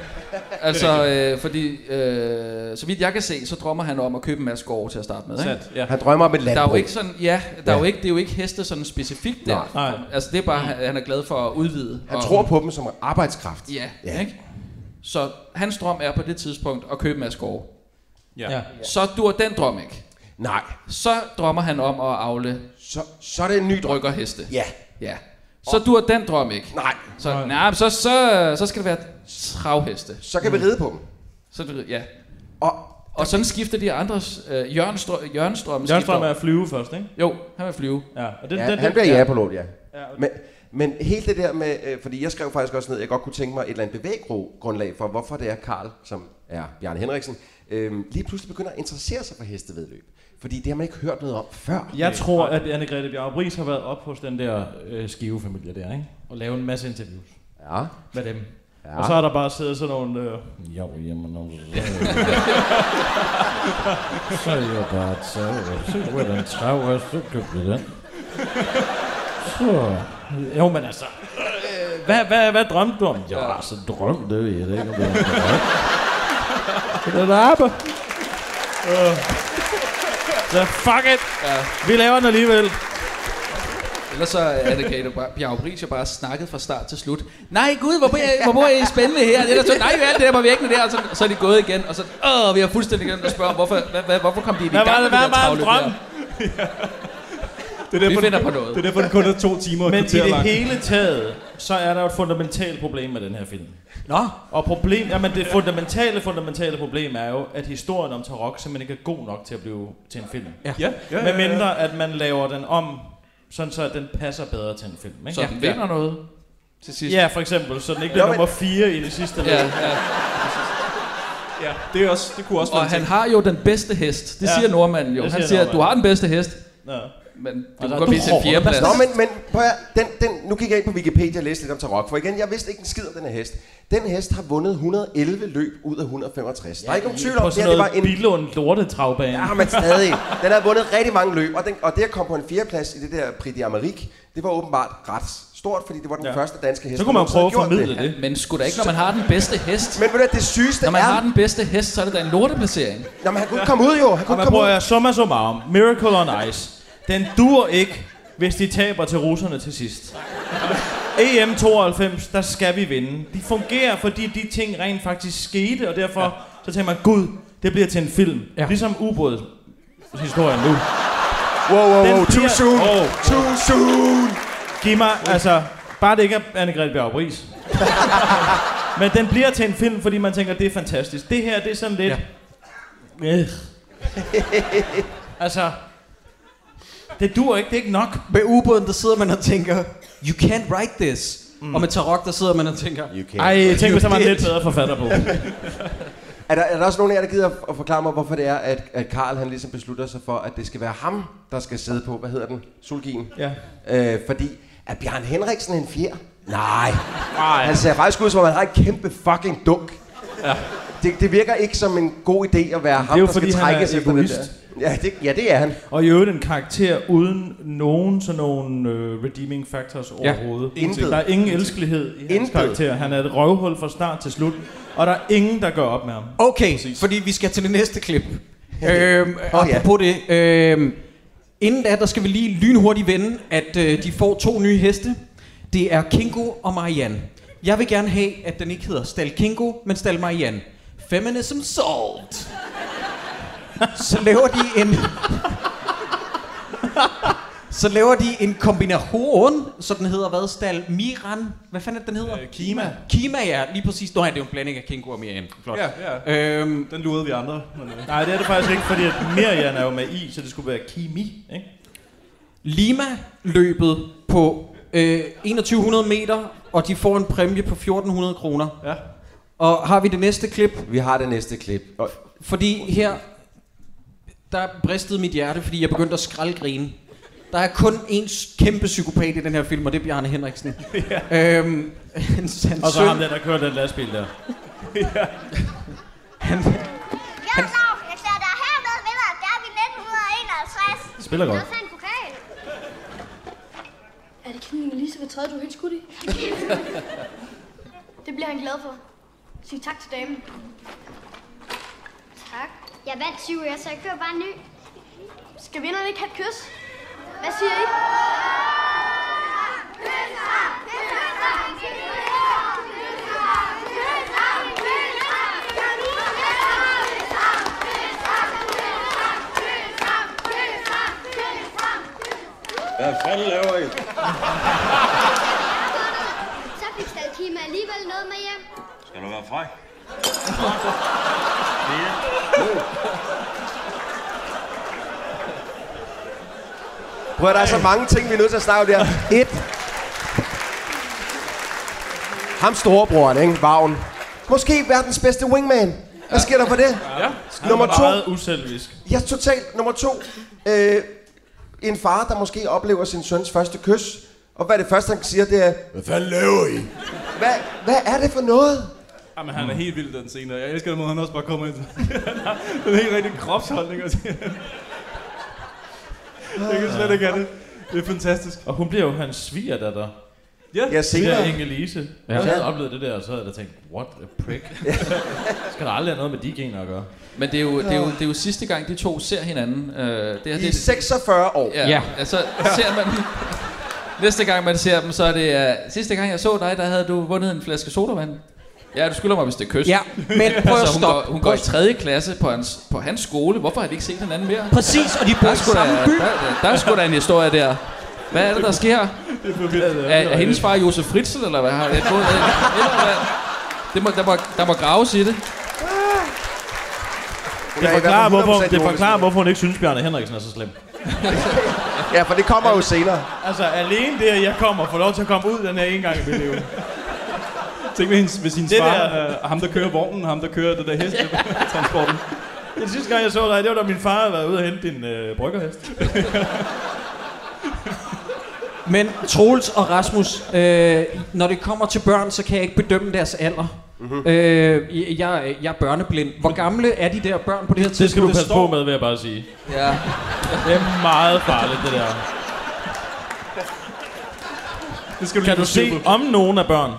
F: Altså, øh, fordi øh, så vidt jeg kan se, så drømmer han om at købe en masse gårde til at starte med. Ikke?
D: Sandt, ja.
A: Han drømmer om et
F: Der er jo
A: landbrug.
F: ikke sådan, ja, der er jo
A: Ja.
F: ikke, det er jo ikke heste sådan specifikt der.
C: Nej.
F: Altså det er bare, han han er glad for at udvide.
A: Han
F: og-
A: tror på dem som arbejdskraft.
F: Ja,
A: Ja.
F: ja. Ikke? Så hans drøm er på det tidspunkt at købe en masse gårde.
D: Ja.
C: Ja.
F: Så dur den drøm ikke.
A: Nej,
F: Så drømmer han om at afle
A: så, så er det en ny drøm.
F: bryggerheste.
A: Ja,
F: Ja. Så dur den drøm ikke.
A: nej,
F: Så, nej, men så, så, så skal det være travheste.
A: så kan vi ride på dem.
F: Så, du- ja.
A: Hmm. Og
F: Og sådan skifter de andres... Øh, Jørgen, Strøm, Jørgen Strøm
C: Jørgen
F: skifter-
C: Strøm er at flyve først, ikke?
F: Jo, han vil flyve.
C: Ja, og den,
A: ja,
C: den,
A: han
C: den,
A: bliver
F: ja.
A: ja på lån, ja.
C: Ja, og-
A: Men, men hele det der med, øh, fordi jeg skrev faktisk også ned, at jeg godt kunne tænke mig et eller andet bevæggrundlag for, hvorfor det er Karl, som er Bjarne Henriksen, øh, lige pludselig begynder at interessere sig for hestevedløb. Fordi det har man ikke hørt noget om før.
C: jeg tror, at Anne-Grethe Bjarre Bries har været op hos den der øh, skivefamilie der, ikke? Og lavet en masse interviews
A: Ja.
C: med dem.
A: Ja.
C: Og så har der bare siddet sådan nogle... Øh, jo, jamen, om så... så er jeg bare et så Så kunne den travhest, så købte den. Så... Jo, men altså... øh, Hvad, hvad, hvad drømte du om? Jo, altså drømte jeg det ikke, om det var en abe. Øh. Så fuck it. Vi laver den alligevel.
F: Ellers så er det Kate Bjarge Bries jo bare snakket fra start til slut. Nej, gud, hvor bor I, hvor bor I spændende her? Det er der, så, nej, alt det der var vækkende der. Og så, så er de gået igen, og så åh, vi har fuldstændig glemt at spørge, om, hvorfor, hvad, hvad, hvorfor kom de i gang
C: Hvad var
F: med
C: det, hvad
F: det der
C: var en drøm?
F: travløb der?
D: Det er derfor,
F: Vi finder på
D: Det er
F: noget.
D: derfor, den kun er to timer og
C: Men i
D: kvarter
C: det
D: lang.
C: hele taget, så er der jo et fundamentalt problem med den her film.
F: Nå,
C: Og problem, jamen det fundamentale, fundamentale problem er jo, at historien om Tarok simpelthen ikke er god nok til at blive til en film. Ja.
D: Ja, ja, ja,
C: Med
D: ja, ja.
C: mindre, at man laver den om, sådan så at den passer bedre til en film. Ikke?
F: så den vinder noget til sidst.
C: Ja, for eksempel, så den
A: Ja,
C: ikke bliver
A: men-
C: nummer 4 i det sidste
F: Ja,
C: løb.
F: ja.
D: Ja, det, er også, det kunne også
F: Og
D: være en
F: han
D: ting.
F: har jo den bedste hest. Det
C: Ja.
F: siger nordmanden jo.
C: Det
F: Han
C: siger
F: siger, at du
C: nordmanden.
F: har den bedste hest,
C: Ja.
F: men du
C: der
F: kan
C: er
F: godt blive til
C: dår,
F: en fjerdeplads.
A: Nå, men, men prøv at, høre, den, den, nu gik jeg ind på Wikipedia og læste lidt om Tarok, for igen, jeg vidste ikke en skid om den her hest. Den hest har vundet 111 løb ud af 165. Ja, der er ikke nogen tvivl om,
C: På
A: det, her,
C: sådan
A: det var
C: noget en...
A: en...
C: Billund lortetravbane.
A: Ja, men stadig. Den har vundet rigtig mange løb, og, den, og det at komme på en fjerdeplads i det der Prix d'Amérique, det var åbenbart ret stort, fordi det var den
C: Ja.
A: ja. første danske hest.
C: Så kunne man
A: der
C: prøve at
A: nogensinde havde
C: formidle
A: gjort
C: det.
F: Men sgu da ikke, når man har den bedste hest.
A: Men ved du hvad, det sygeste
F: Når man
A: er...
F: har den bedste hest, så er det da en lorteplacering.
A: Nå, men han kunne ikke komme ud jo. Han kunne
C: Og
A: ikke
C: man
A: komme
C: bruger
A: ud.
C: jeg summa summarum. Miracle on Ice. Den dur ikke, hvis de taber til russerne til sidst. EM92, der skal vi vinde. De fungerer, fordi de ting rent faktisk skete, og derfor ja. så tænker man, gud, det bliver til en film. Ja. Ligesom ubådshistorien nu.
A: Wow, wow, wow,
C: Den
A: too
C: bliver-
A: soon.
C: Wow.
A: Too soon.
C: Giv mig, altså, bare det ikke er Anne-Grethe Bjarup Riis. Men den bliver til en film, fordi man tænker, det er fantastisk. Det her, det er sådan lidt... Ja. Øh. altså, det dur ikke, det er ikke nok.
E: Med ubåden, der sidder man og tænker, you can't write this. Mm. Og med Tarok, der sidder man og tænker,
C: Ej, tænk hvis der var en lidt bedre forfatter på.
A: Er der, er der også nogen af jer, der gider at- at forklare mig, hvorfor det er, at, at Karl han ligesom beslutter sig for, at det skal være ham, der skal sidde på, hvad hedder den, Sulgien?
C: Ja.
A: Øh, fordi, er Bjørn Henriksen en fjer? Nej.
C: Nej.
A: Han ser faktisk ud som, om han har en kæmpe fucking dunk. Ja. Det, det virker ikke som en god idé at være ham,
C: jo
A: der skal
C: fordi, han
A: trækkes
C: er
A: efter det der.
C: egoist.
A: Ja det, ja, det er han.
C: Og i øvrigt en karakter uden nogen sådan nogle øh, redeeming factors overhovedet.
A: Intet.
C: Der er ingen elskelighed i hans
A: Intet.
C: karakter. Han er et røvhul fra start til slut. Og der er ingen, der gør op med ham.
E: Okay, Præcis. fordi vi skal til det næste klip. Øhm,
A: Åh,
E: oh,
A: ja.
E: apropos ja. det. Øhm, inden da, der skal vi lige lynhurtigt vende, at øh, de får to nye heste. Det er Kingo og Marianne. Jeg vil gerne have, at den ikke hedder Stal Kingo, men Stal Marianne. Feminism solved. Så laver de en... Så laver de en kombination, så den hedder hvad? Stal Miran? Hvad fanden er det, den hedder?
D: Øh, Kima.
E: Kima, ja. Lige præcis. Nå, ja, det er jo en blanding af Kingo og Marianne. Flot.
D: Ja, ja.
E: Øhm,
D: Den lurede vi andre. Men, øh.
C: Nej, det er det faktisk ikke, fordi at Miriam er jo med i, så det skulle være Kimi, ikke?
E: Lima-løbet på øh, 2100 meter, og de får en præmie på 1400 kroner.
D: Ja.
E: Og har vi det næste klip?
A: Vi har det næste klip. Og
E: Fordi her, der bristede mit hjerte, fordi jeg begyndte at skraldgrine. Der er kun en s- kæmpe psykopat i den her film, og det er Bjarne Henriksen. ja. øhm, hans, hans
C: Og så
E: søn,
C: ham der, der kører den lastbil der.
E: han,
H: Jeg er Claus, jeg klæder dig hermed vinder af Derby 1951.
C: Spiller godt.
H: Der en pokal.
J: Er det kniven Elisabeth tredje, du er helt skudt i? det bliver han glad for. Sig tak til damen.
H: Tak. Jeg vandt 7 år, så jeg kører bare en ny.
J: Skal vinderne ikke have et kys? Hvad siger I?
G: Hvad fanden laver I?
H: Så fik Stalkima alligevel noget med hjem.
G: Skal du være fræk?
A: prøv at, der er så mange ting, vi er nødt til at snakke om der. Et. Ham storebroren, ikke? Vagn. Måske verdens bedste wingman. Hvad sker der for det?
C: Ja.
A: Nummer
C: Han er
A: to.
C: meget uselvisk.
A: Ja, totalt. Nummer to. Øh, en far, der måske oplever sin søns første kys. Og hvad er det første, han siger, det er... Hvad fanden laver I? Hvad, hvad er det for noget?
D: Jamen, han er helt vild den scene, og jeg elsker den måde, han også bare kommer ind. han har den helt rigtig kropsholdning. Og siger. jeg kan slet ikke have det. Det er fantastisk.
C: Og hun bliver jo hans svigerdatter.
A: Jeg
C: Det
A: senere...
C: der Inge Lise. Ja. Hvis jeg havde oplevet det der, og så havde jeg da tænkt, what a prick. Skal der aldrig have noget med de gener at gøre?
F: Men det er, jo, det, er jo, det er jo sidste gang, de to ser hinanden. Øh, det her,
A: I
F: det,
A: 46 år.
F: ja,
E: Ja.
F: ja. Altså, ser man, næste gang man ser dem, så er det... Uh, sidste gang jeg så dig, der havde du vundet en flaske sodavand. Ja, du skylder mig, hvis det er kyst.
E: ja, men prøv at
F: altså, hun,
E: stoppe.
F: går, hun går i 3. klasse på hans, på hans skole. Hvorfor har de ikke set hinanden mere?
E: Præcis, og de bor
F: Der er
E: i
F: sgu da,
E: samme
F: der,
E: by.
F: der, der er sgu da en historie der. Hvad er det, der sker? Er, er hendes far Josef Fritzl, eller hvad? Har jeg troet, eller hvad? Det må, der, må, der må graves i det.
C: Det forklarer, hvorfor, det forklarer, hvorfor hun ikke synes, Bjarne Henriksen er så slem.
A: Ja, for det kommer jo senere.
C: Altså, alene det, at jeg kommer, får lov til at komme ud den her en gang i mit liv.
D: Tænk, hvis hendes, hvis hendes
C: Det
D: far,
C: der-
D: øh, og ham der kører vognen, og ham der kører det der hestetransporten.
C: Den sidste gang, jeg så dig, det var da min far havde været ude og hente din øh, bryggerhest.
E: Men Troels og Rasmus, øh, når det kommer til børn, så kan jeg ikke bedømme deres alder.
D: Mhm.
E: Mm-hmm. Øh, jeg, jeg er børneblind. Hvor gamle er de der børn på det her tidspunkt?
C: Det skal du passe
E: står-
C: på med, vil jeg bare sige.
F: Ja.
C: Det er meget farligt, det der.
D: Det skal du lige
C: Kan du se
D: se.
C: om nogen af børn?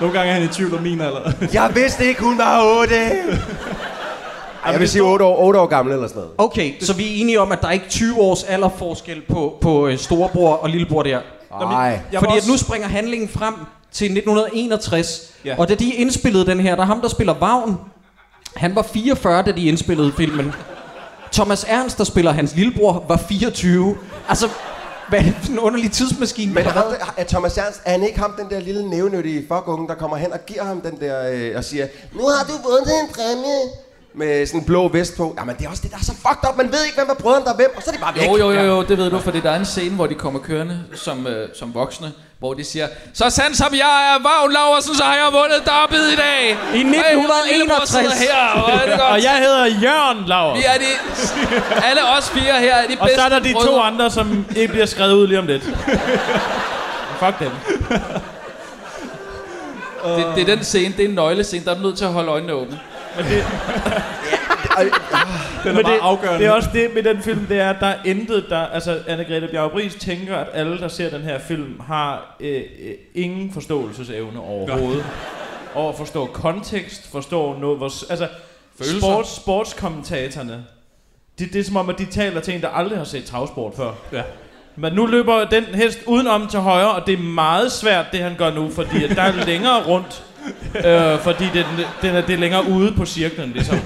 D: Nogle gange er han i tvivl om min alder.
A: Jeg vidste ikke, hun var 8. Ej, jeg vil sige 8 år, 8 år gammel eller sådan noget.
E: Okay, så vi er enige om, at der er ikke 20 års alderforskel på, på øh, storebror og lillebror der.
A: Nej.
D: Jeg var
E: Fordi at
D: også-
E: nu springer handlingen frem til 1961,
D: Ja.
E: og da de indspillede den her, der er ham, der spiller Vagn, han var 44, da de indspillede filmen. Thomas Ernst, der spiller hans lillebror, var 24. Altså, hvad er det for en underlig tidsmaskine?
A: Men
E: der
A: ham,
E: har været?
A: der- er Thomas Ernst, er han ikke ham, den der lille nævnyttige fuckunge, der kommer hen og giver ham den der, øh, og siger, nu har du vundet en præmie. Med sådan en blå vest på. Jamen, det er også det, der er så fucked up. Man ved ikke, hvem er brødrene, der er hvem, og så er det bare væk.
F: Jo, jo, jo, jo, det ved du, for der er en scene, hvor de kommer kørende som, øh, som voksne, hvor de siger, så sandt som jeg er Vagn Laversen, så har jeg vundet derbyet i dag.
E: I 1961.
F: Hey, her, hvor er det godt.
C: Og jeg hedder Jørgen Lauer.
F: Vi er de, alle os fire her er de bedste
C: Og så er der de to
F: brødre.
C: andre, som ikke bliver skrevet ud lige om lidt. Fuck dem.
F: Det, det er den scene, det er en nøglescene, der er du nødt til at holde øjnene åbne.
D: Den er
C: Men
D: meget afgørende.
C: det er også det med den film, det er, at der er intet, der... Altså, Anne-Grethe Bjaubris tænker, at alle, der ser den her film, har øh, øh, ingen forståelsesevne overhovedet. Over at forstå kontekst, forstå noget... Hvor, s- altså,
F: Følelser.
C: sports, sportskommentatorerne, det, det er som om, at de taler til en, der aldrig har set travsport før.
D: Ja.
C: Men nu løber den hest udenom til højre, og det er meget svært, det han gør nu, fordi at der er længere rundt. Øh, fordi den, den er, det er længere ude på cirklen, ligesom. Øh,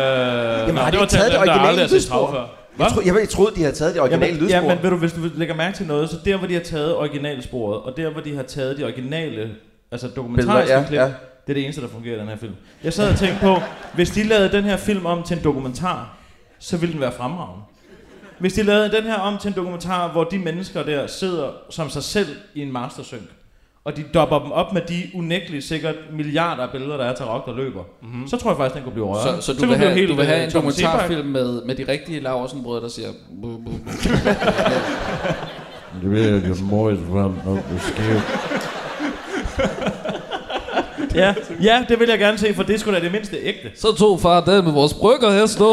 C: Jamen,
A: har de ikke taget det originale lydspor?
C: Hvad?
A: Jeg, tro, jeg, jeg troede, de havde taget det originale
C: Jamen,
A: lydspor.
C: jamen, ved du, hvis du lægger mærke til noget, så der, hvor de har taget originalsporet, og der, hvor de har taget de originale, altså dokumentariske
A: Billeder, ja,
C: klip,
A: ja.
C: det er det eneste, der fungerer i den her film. Jeg sad og tænkte på, hvis de lavede den her film om til en dokumentar, så ville den være fremragende. Hvis de lavede den her om til en dokumentar, hvor de mennesker der sidder som sig selv i en mastersynk, og de dopper dem op med de unægteligt sikkert milliarder af billeder, der er til rock, der løber, mm-hmm. så tror jeg faktisk, den kunne blive rørt.
F: Mhm. Så, så du, vil have, du vil
C: øh,
F: have en dokumentarfilm med, med de rigtige Laursen-brødre, der siger... "Bu, bu, bu."
K: Det bliver jo møjt frem op på skæv.
C: Ja, ja, det vil jeg gerne se, for det skulle sgu da det mindste ægte.
F: Så tog far den med vores brygger her stå.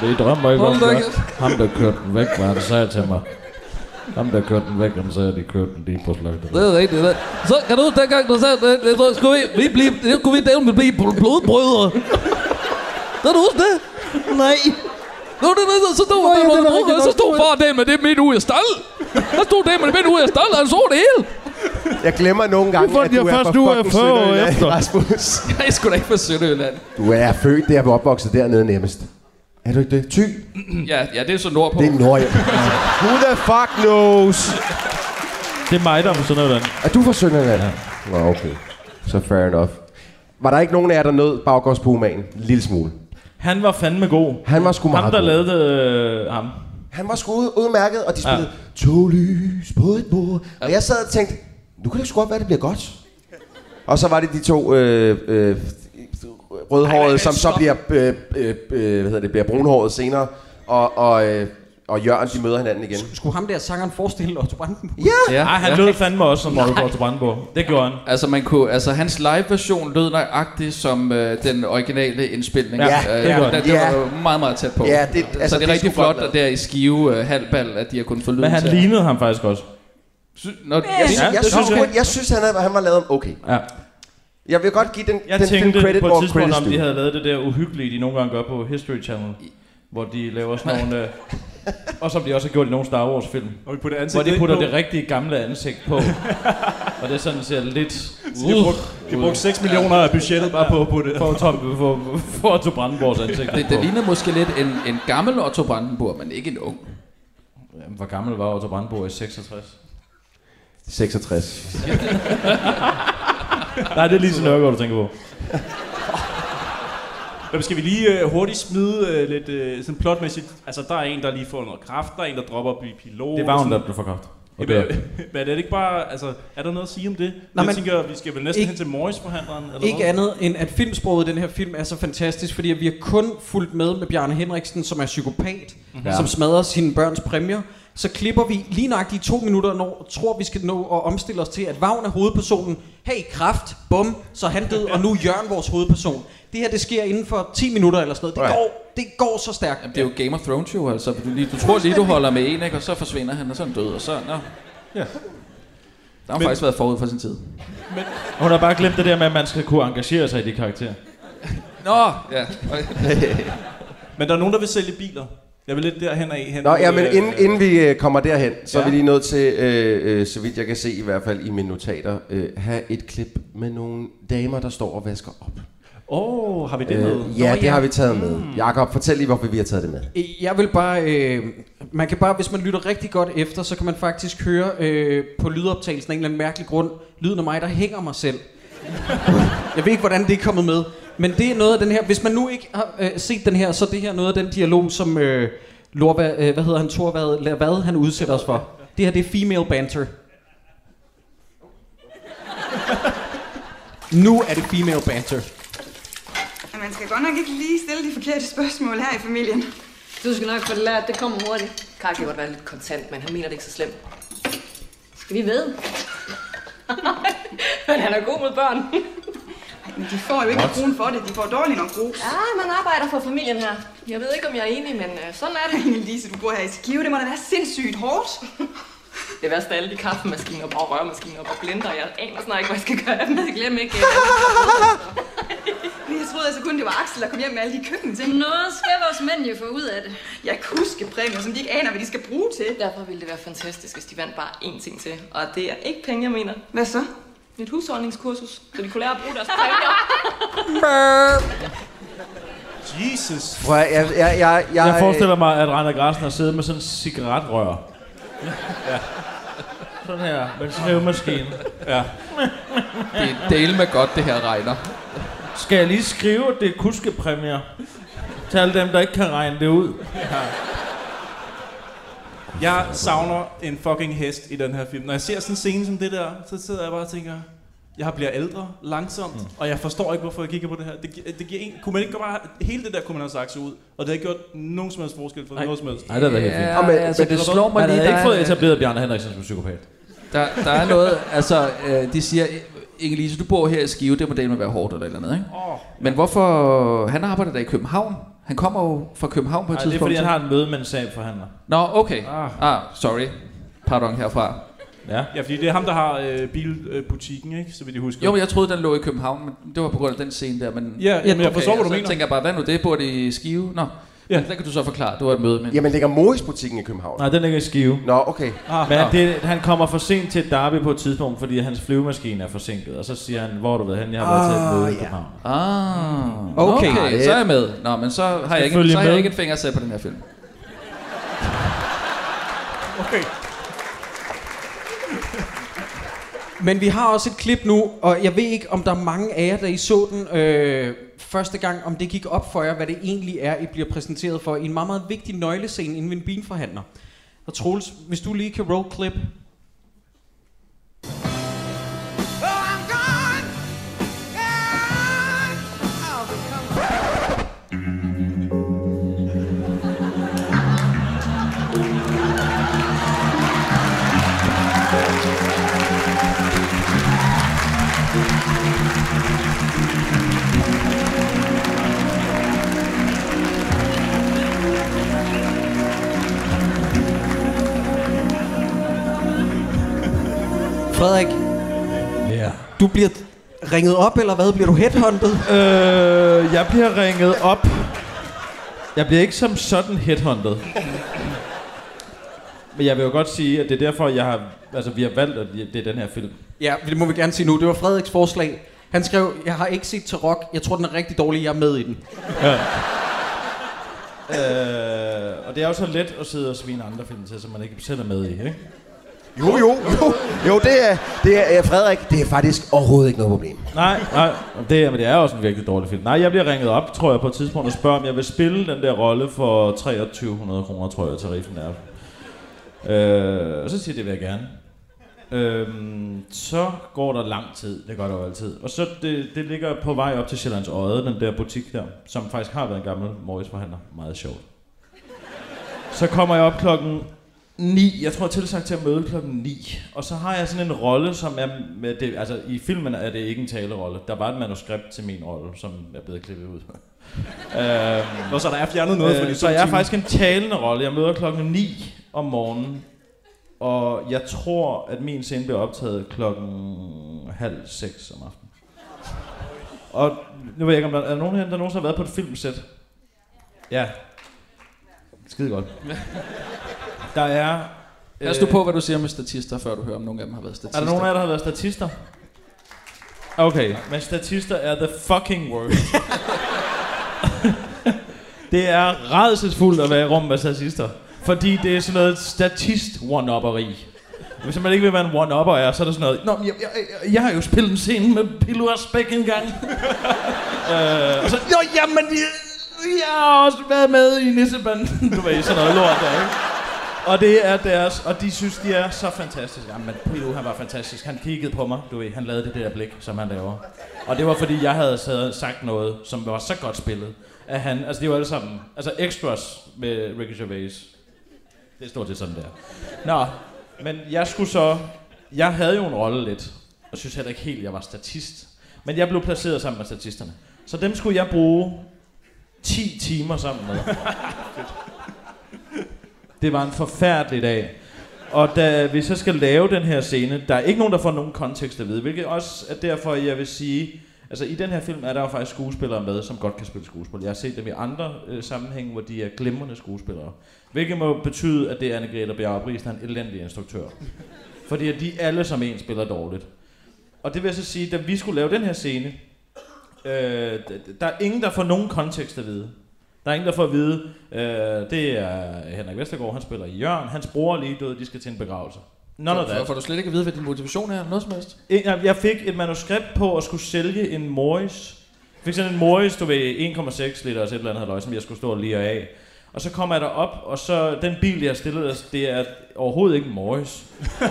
K: Det drømmer ikke om,
F: Hold da
K: der,
F: kæft.
K: ham der kørte den væk, hvad han sagde til mig. Ham der kørte den væk, han sagde, at de kørte den lige på slagteriet.
F: Det er rigtigt. Det. Så kan du dengang, du sagde, det, det, det, skulle vi, vi blive, det kunne vi dævne blive bl- blodbrødre. Kan du huske det? Nej. Nå, det, det, så stod
K: Nå,
F: der,
K: ja,
F: ja,
K: det var rigtigt,
F: der, så
K: der
F: stod
K: stod-
F: far det med det midt ud af stald. Der stod det med det midt ud af stald, og han så det hele.
A: Jeg glemmer nogle
K: Det
A: gange,
K: fandt
A: at du
K: jeg
A: er
K: først
A: fra
K: nu, jeg
A: fucking
K: er 40 år
A: Sønderjylland,
K: efter.
A: Rasmus.
F: Jeg er sgu da ikke fra Sønderjylland.
A: Du er født der og opvokset dernede nemmest. Er du ikke det? Ty?
F: Ja, ja det er så nordpå.
A: Det er Norge. Who the fuck knows?
C: Det er mig, der er på Sønderjylland.
A: Er du fra Sønderjylland? Ja. Nå, okay. Så fair enough. Var der ikke nogen af jer, der nød baggårdspumanen? En lille smule.
C: Han var fandme god.
A: Han var sgu meget
C: Ham, der
A: god.
C: lavede øh, ham.
A: Han var sgu ud- udmærket, og de spillede ja. to lys på et bord. Og jeg sad og tænkte, nu kan det sgu godt være, det bliver godt. Og så var det de to øh, øh, rødhårede, som så bliver, øh, øh, øh, hvad hedder det, bliver brunhåret senere. Og, og, øh, og Jørgen, de møder hinanden igen.
E: Skulle ham der sangeren forestille Otto Brandenburg?
A: Ja!
F: Ja.
C: Ej, han lød fandme også som Rolf til Brandenborg. Det gjorde han.
F: Altså, man kunne, altså hans live-version lød nøjagtigt som øh, den originale indspilning.
A: Ja,
F: øh,
A: det
F: ja,
C: gjorde
F: det,
C: den.
F: det var
A: Ja.
F: jo meget, meget tæt på.
A: Ja, det-
F: det,
A: altså, det
F: så det er
A: er
F: rigtig
A: sgu
F: flot,
A: godt lavet.
F: at der i Skive øh, halvbal, at de har kunnet få lyden
C: Men han
F: til.
C: lignede ham faktisk også.
F: Sy- Nå, jeg
A: Jeg, jeg,
C: det
A: synes,
C: synes jeg.
A: jeg. jeg synes, han, havde, han var lavet okay.
C: Ja.
A: Jeg vil godt give den,
C: Jeg
A: den film
C: tænkte
A: credit,
C: på
A: hvor
C: et tidspunkt,
A: credit's
C: om de
A: due.
C: havde lavet det der uhyggelige, de nogle gange gør på History Channel. Hvor de laver sådan nogle... Øh, og som de også har gjort i nogle Star Wars-film.
D: Og vi putter
C: Hvor
D: ansigtet
C: de putter
D: ind på.
C: Altså, det rigtige gamle ansigt på. og det sådan ser lidt... uh,
D: De har brugt, de har brugt 6 millioner af budgettet bare på at putte
C: For Tom, for, for Otto Brandenborgs ansigt
F: Det, det ligner måske lidt en, en gammel Otto Brandenburg, men ikke en ung.
C: Jamen, hvor gammel var Otto Brandenborg i 66?
A: 66.
C: Nej, det er lige så Nørgaard, du tænker på.
D: Jamen, skal vi lige øh, hurtigt smide øh, lidt øh, sådan plotmæssigt? Altså, der er en, der lige får noget kraft, der er en, der dropper at blive pilot.
C: Det var hun,
D: sådan-
C: der blev for kraft.
D: Jamen, Men er det ikke bare, altså, er der noget at sige om det?
E: Nå,
D: Nej,
E: men-
D: jeg tænker, vi skal vel næsten
E: Ikke-
D: hen til Morris-forhandleren, eller
E: Ikke
D: hvad?
E: andet end, at filmsproget i den her film er så fantastisk, fordi at vi har kun fulgt med med Bjarne Henriksen, som er psykopat,
F: Mhm.
E: mm-hmm. som smadrer sine børns præmier. Så klipper vi lige nøjagtigt i to minutter, når tror vi skal nå at omstille os til, at Vagn er hovedpersonen. Hey, kraft, bum, så er han død, og nu er Jørgen vores hovedperson. Det her, det sker inden for 10 minutter eller sådan noget. Det
A: Ja.
E: går, det går så stærkt.
F: Jamen, det er jo Game of Thrones jo, altså. Du, lige, du tror lige, du holder med en, ikke? og så forsvinder han, og så er han død, og så... Nå. Ja. Der har men, faktisk været forud for sin tid.
C: Og Hun har bare glemt det der med, at man skal kunne engagere sig i de karakterer.
F: Nå, ja.
D: Men der er nogen, der vil sælge biler. Jeg vil lidt derhen af. Hen
A: Nå,
D: mod,
A: ja, men
D: øh,
A: inden, inden vi øh, kommer derhen, så ja. er
D: Ja.
A: vi lige nødt til, øh, øh, så vidt jeg kan se i hvert fald i mine notater, øh, have et klip med nogle damer, der står og vasker op.
D: Åh, oh, har vi det med?
A: Øh, ja, det har vi taget med. Jakob, fortæl lige, hvorfor vi har taget det med.
E: Øh, Jeg vil bare, øh, man kan bare, hvis man lytter rigtig godt efter, så kan man faktisk høre øh, på lydoptagelsen af en eller anden mærkelig grund, lyden af mig, der hænger mig selv. Jeg ved ikke, hvordan det er kommet med. Men det er noget af den her, hvis man nu ikke har øh, set den her, så er det her noget af den dialog, som øh, Lorva, øh, hvad hedder han, Thorvad, hvad han udsætter os for. Det her, det er female banter. Nu er det female banter.
L: Ja, man skal godt nok ikke lige stille de forkerte spørgsmål her i familien.
M: Du skal nok få det lært, det kommer hurtigt. Karl kan godt være lidt kontant, men han mener det ikke så slemt. Skal vi ved? men han er god mod børn.
L: Ej, men de får jo ikke kronen for det. De får dårligt nok grus.
M: ja, man arbejder for familien her. Jeg ved ikke, om jeg er enig, men øh, sådan er det.
L: Men Lise, du bor her i Skive. Det må da være sindssygt hårdt.
M: Det værste er alle de kaffemaskiner op og rørmaskiner op og blender. Jeg aner snart ikke, hvad jeg skal gøre af dem. Jeg glemmer ikke. øh, alle de kapitler.
L: Jeg troede altså kun, det var Axel, der kom hjem med alle de køkkenting.
M: Noget skal vores mænd jo få ud af det.
L: Jeg kan huske præmier, som de ikke aner, hvad de skal bruge til.
M: Derfor ville det være fantastisk, hvis de vandt bare én ting til. Og det er ikke penge, jeg mener.
L: Hvad så?
M: Et husholdningskursus, så de kunne lære at bruge deres præmier.
D: Jesus.
A: Prøv, at- jeg, jeg, jeg, jeg,
C: Jeg forestiller mig, at Rainer Grassen har siddet med sådan en cigaretrør. ja. Sådan her, med en skrivemaskine.
F: Det er en del med godt, det her regner.
C: Skal jeg lige skrive, at det er kuskepræmier? Til alle dem, der ikke kan regne det ud.
D: Jeg savner en fucking hest i den her film. Når jeg ser sådan en scene som det der, så sidder jeg bare og tænker, jeg bliver ældre langsomt, mm. og jeg forstår ikke, hvorfor jeg kigger på det her. Det, gi- det giver en, kunne man ikke bare, hele det der kunne man have sagt sig ud, og det har ikke gjort nogen som helst forskel for
C: Nej.
D: noget som helst.
C: Nej, det var helt fint. Ja, altså, det slår mig lige, der er- Bjarne Henriksen som psykopat.
F: Der, der er noget, altså, øh, de siger, Inge-Lise, du bor her i Skive, det må delen være hårdt eller et eller andet, ikke?
D: Oh.
F: Men hvorfor, han arbejder da i København. Han kommer jo fra København på et
C: Nej, det er
F: tidspunkt.
C: fordi, han
F: så-
C: har et møde med en sagforhandler.
F: Nå, okay.
C: Ah.
F: Ah. ah, sorry. Pardon herfra.
C: Ja.
D: Ja, fordi det er ham, der har øh, bilbutikken, ikke? Så vidt jeg husker.
F: Jo, men jeg troede, den lå i København, men det var på grund af den scene der. Men
D: Ja, jamen, jeg forstår, hvad du
A: altså,
F: og så
D: mener.
F: tænker jeg bare, hvad nu det? Bor de i Skive? Nå, ja. men der kan du så forklare. Du har et møde med
A: Øh, Jamen, ligger Moris-butikken i København?
C: Nej, den ligger i Skive.
A: Nå, okay.
C: Ah, Men
F: ah.
C: det, han kommer for sent til et derby på et tidspunkt, fordi hans flyvemaskine er forsinket. Og så siger han, hvor har du været hen? Jeg har været til et
F: Ah,
C: møde i
F: ja.
C: København.
F: Ah, okay. okay. Så er jeg med. Nå, men så har
C: Skal
F: jeg ikke,
C: følge
F: så har jeg
C: med.
F: ikke et fingersæt på den her film.
D: Okay.
E: Men vi har også et klip nu, og jeg ved ikke, om der er mange af jer, der I så den øh, første gang, om det gik op for jer, hvad det egentlig er, I bliver præsenteret for i en meget, meget vigtig nøglescene inden ved en bilforhandler. Og Troels, hvis du lige kan roll clip. Frederik,
C: Ja.
E: du bliver ringet op, eller hvad? Bliver du headhunted?
C: Øh, jeg bliver ringet op. Jeg bliver ikke som sådan headhunted. Men jeg vil jo godt sige, at det er derfor, jeg har, altså, vi har valgt, at det er den her film.
E: Ja, det må vi gerne sige nu. Det var Frederiks forslag. Han skrev, jeg har ikke set Tarok. Jeg tror, den er rigtig dårlig. Jeg er med i den.
C: Ja. Øh, og det er jo så let at sidde og svine andre film til, som man ikke selv er med i, ikke?
A: Jo, jo, jo, jo, det er, det er Frederik, det er faktisk overhovedet ikke noget problem.
C: Nej, nej, det, er- men det er også en virkelig dårlig film. Nej, jeg bliver ringet op, tror jeg, på et tidspunkt og spørger, om jeg vil spille den der rolle for 2300 kroner, tror jeg, tariffen er. Øh, og så siger jeg, det vil jeg gerne. Øhm, så går der lang tid, det gør der jo altid. Og så det, det ligger på vej op til Sjællands Øje, den der butik der, som faktisk har været en gammel Morris forhandler. Meget sjovt. Så kommer jeg op klokken 9. Jeg tror, jeg er tilsagt til at møde klokken 9. Og så har jeg sådan en rolle, som er... Med det, altså, i filmen er det ikke en talerolle. Der var et manuskript til min rolle, som er blevet klippet ud. øhm,
D: Nå, så der er fjernet noget fra de to
C: Så jeg er
D: timer.
C: faktisk en talende rolle. Jeg møder klokken 9 om morgenen. Og jeg tror, at min scene bliver optaget klokken halv seks om aftenen. Og nu ved jeg ikke, om der er der nogen her, der nogensinde har været på et filmsæt. Ja. Skide godt. Der er...
F: Pas nu på, hvad du siger med statister, før du hører, om nogen af dem har været statister.
C: Øh. Er der nogen af jer, der har været statister? Okay, men statister er the fucking worst. det er redselsfuldt at være i rum med statister. Fordi det er sådan noget statist one-upperi. Hvis man ikke vil være en one-upper er, så er der sådan noget... Nå, men jeg, jeg, jeg, jeg har jo spillet en scene med Pilou og Spæk engang. øh, og så... Nå, jamen... Jeg, jeg har også været med i Nissebanden. du ved, sådan noget lort der, ikke? Og det er deres, og de synes, de er så fantastiske. Jamen, Pio, han var fantastisk. Han kiggede på mig, du ved, han lavede det der blik, som han laver. Og det var, fordi jeg havde sad- sagt noget, som var så godt spillet, at han, altså det var alle sammen, altså extras med Ricky Gervais. Det er stort set sådan der. Nå, men jeg skulle så, jeg havde jo en rolle lidt, og synes heller ikke helt, jeg var statist. Men jeg blev placeret sammen med statisterne. Så dem skulle jeg bruge 10 timer sammen med. Det var en forfærdelig dag. Og da vi så skal lave den her scene, der er ikke nogen, der får nogen kontekst at vide, hvilket også er derfor, jeg vil sige, altså i den her film er der jo faktisk skuespillere med, som godt kan spille skuespil. Jeg har set dem i andre øh, sammenhænge, hvor de er glimrende skuespillere. Hvilket må betyde, at det er Anne-Grethe Bjarup Riis, der er en elendig instruktør. Fordi at de alle som en spiller dårligt. Og det vil jeg så sige, da vi skulle lave den her scene, øh, d- d- der er ingen, der får nogen kontekst at vide. Der er ingen, der får at vide, øh, det er Henrik Vestergaard, han spiller Jørgen, hans bror er lige død, de skal til en begravelse. None of
F: for,
C: that.
F: for, får du slet ikke at vide, hvad din motivation er, eller noget som helst?
C: En- Jeg jeg fik et manuskript på at skulle sælge en Morris. Jeg fik sådan en Morris, du ved, 1,6 liter og et eller andet halvøj, som jeg skulle stå og lire af. Og så kommer jeg derop, og så den bil, jeg har stillet, det er overhovedet ikke Morris. det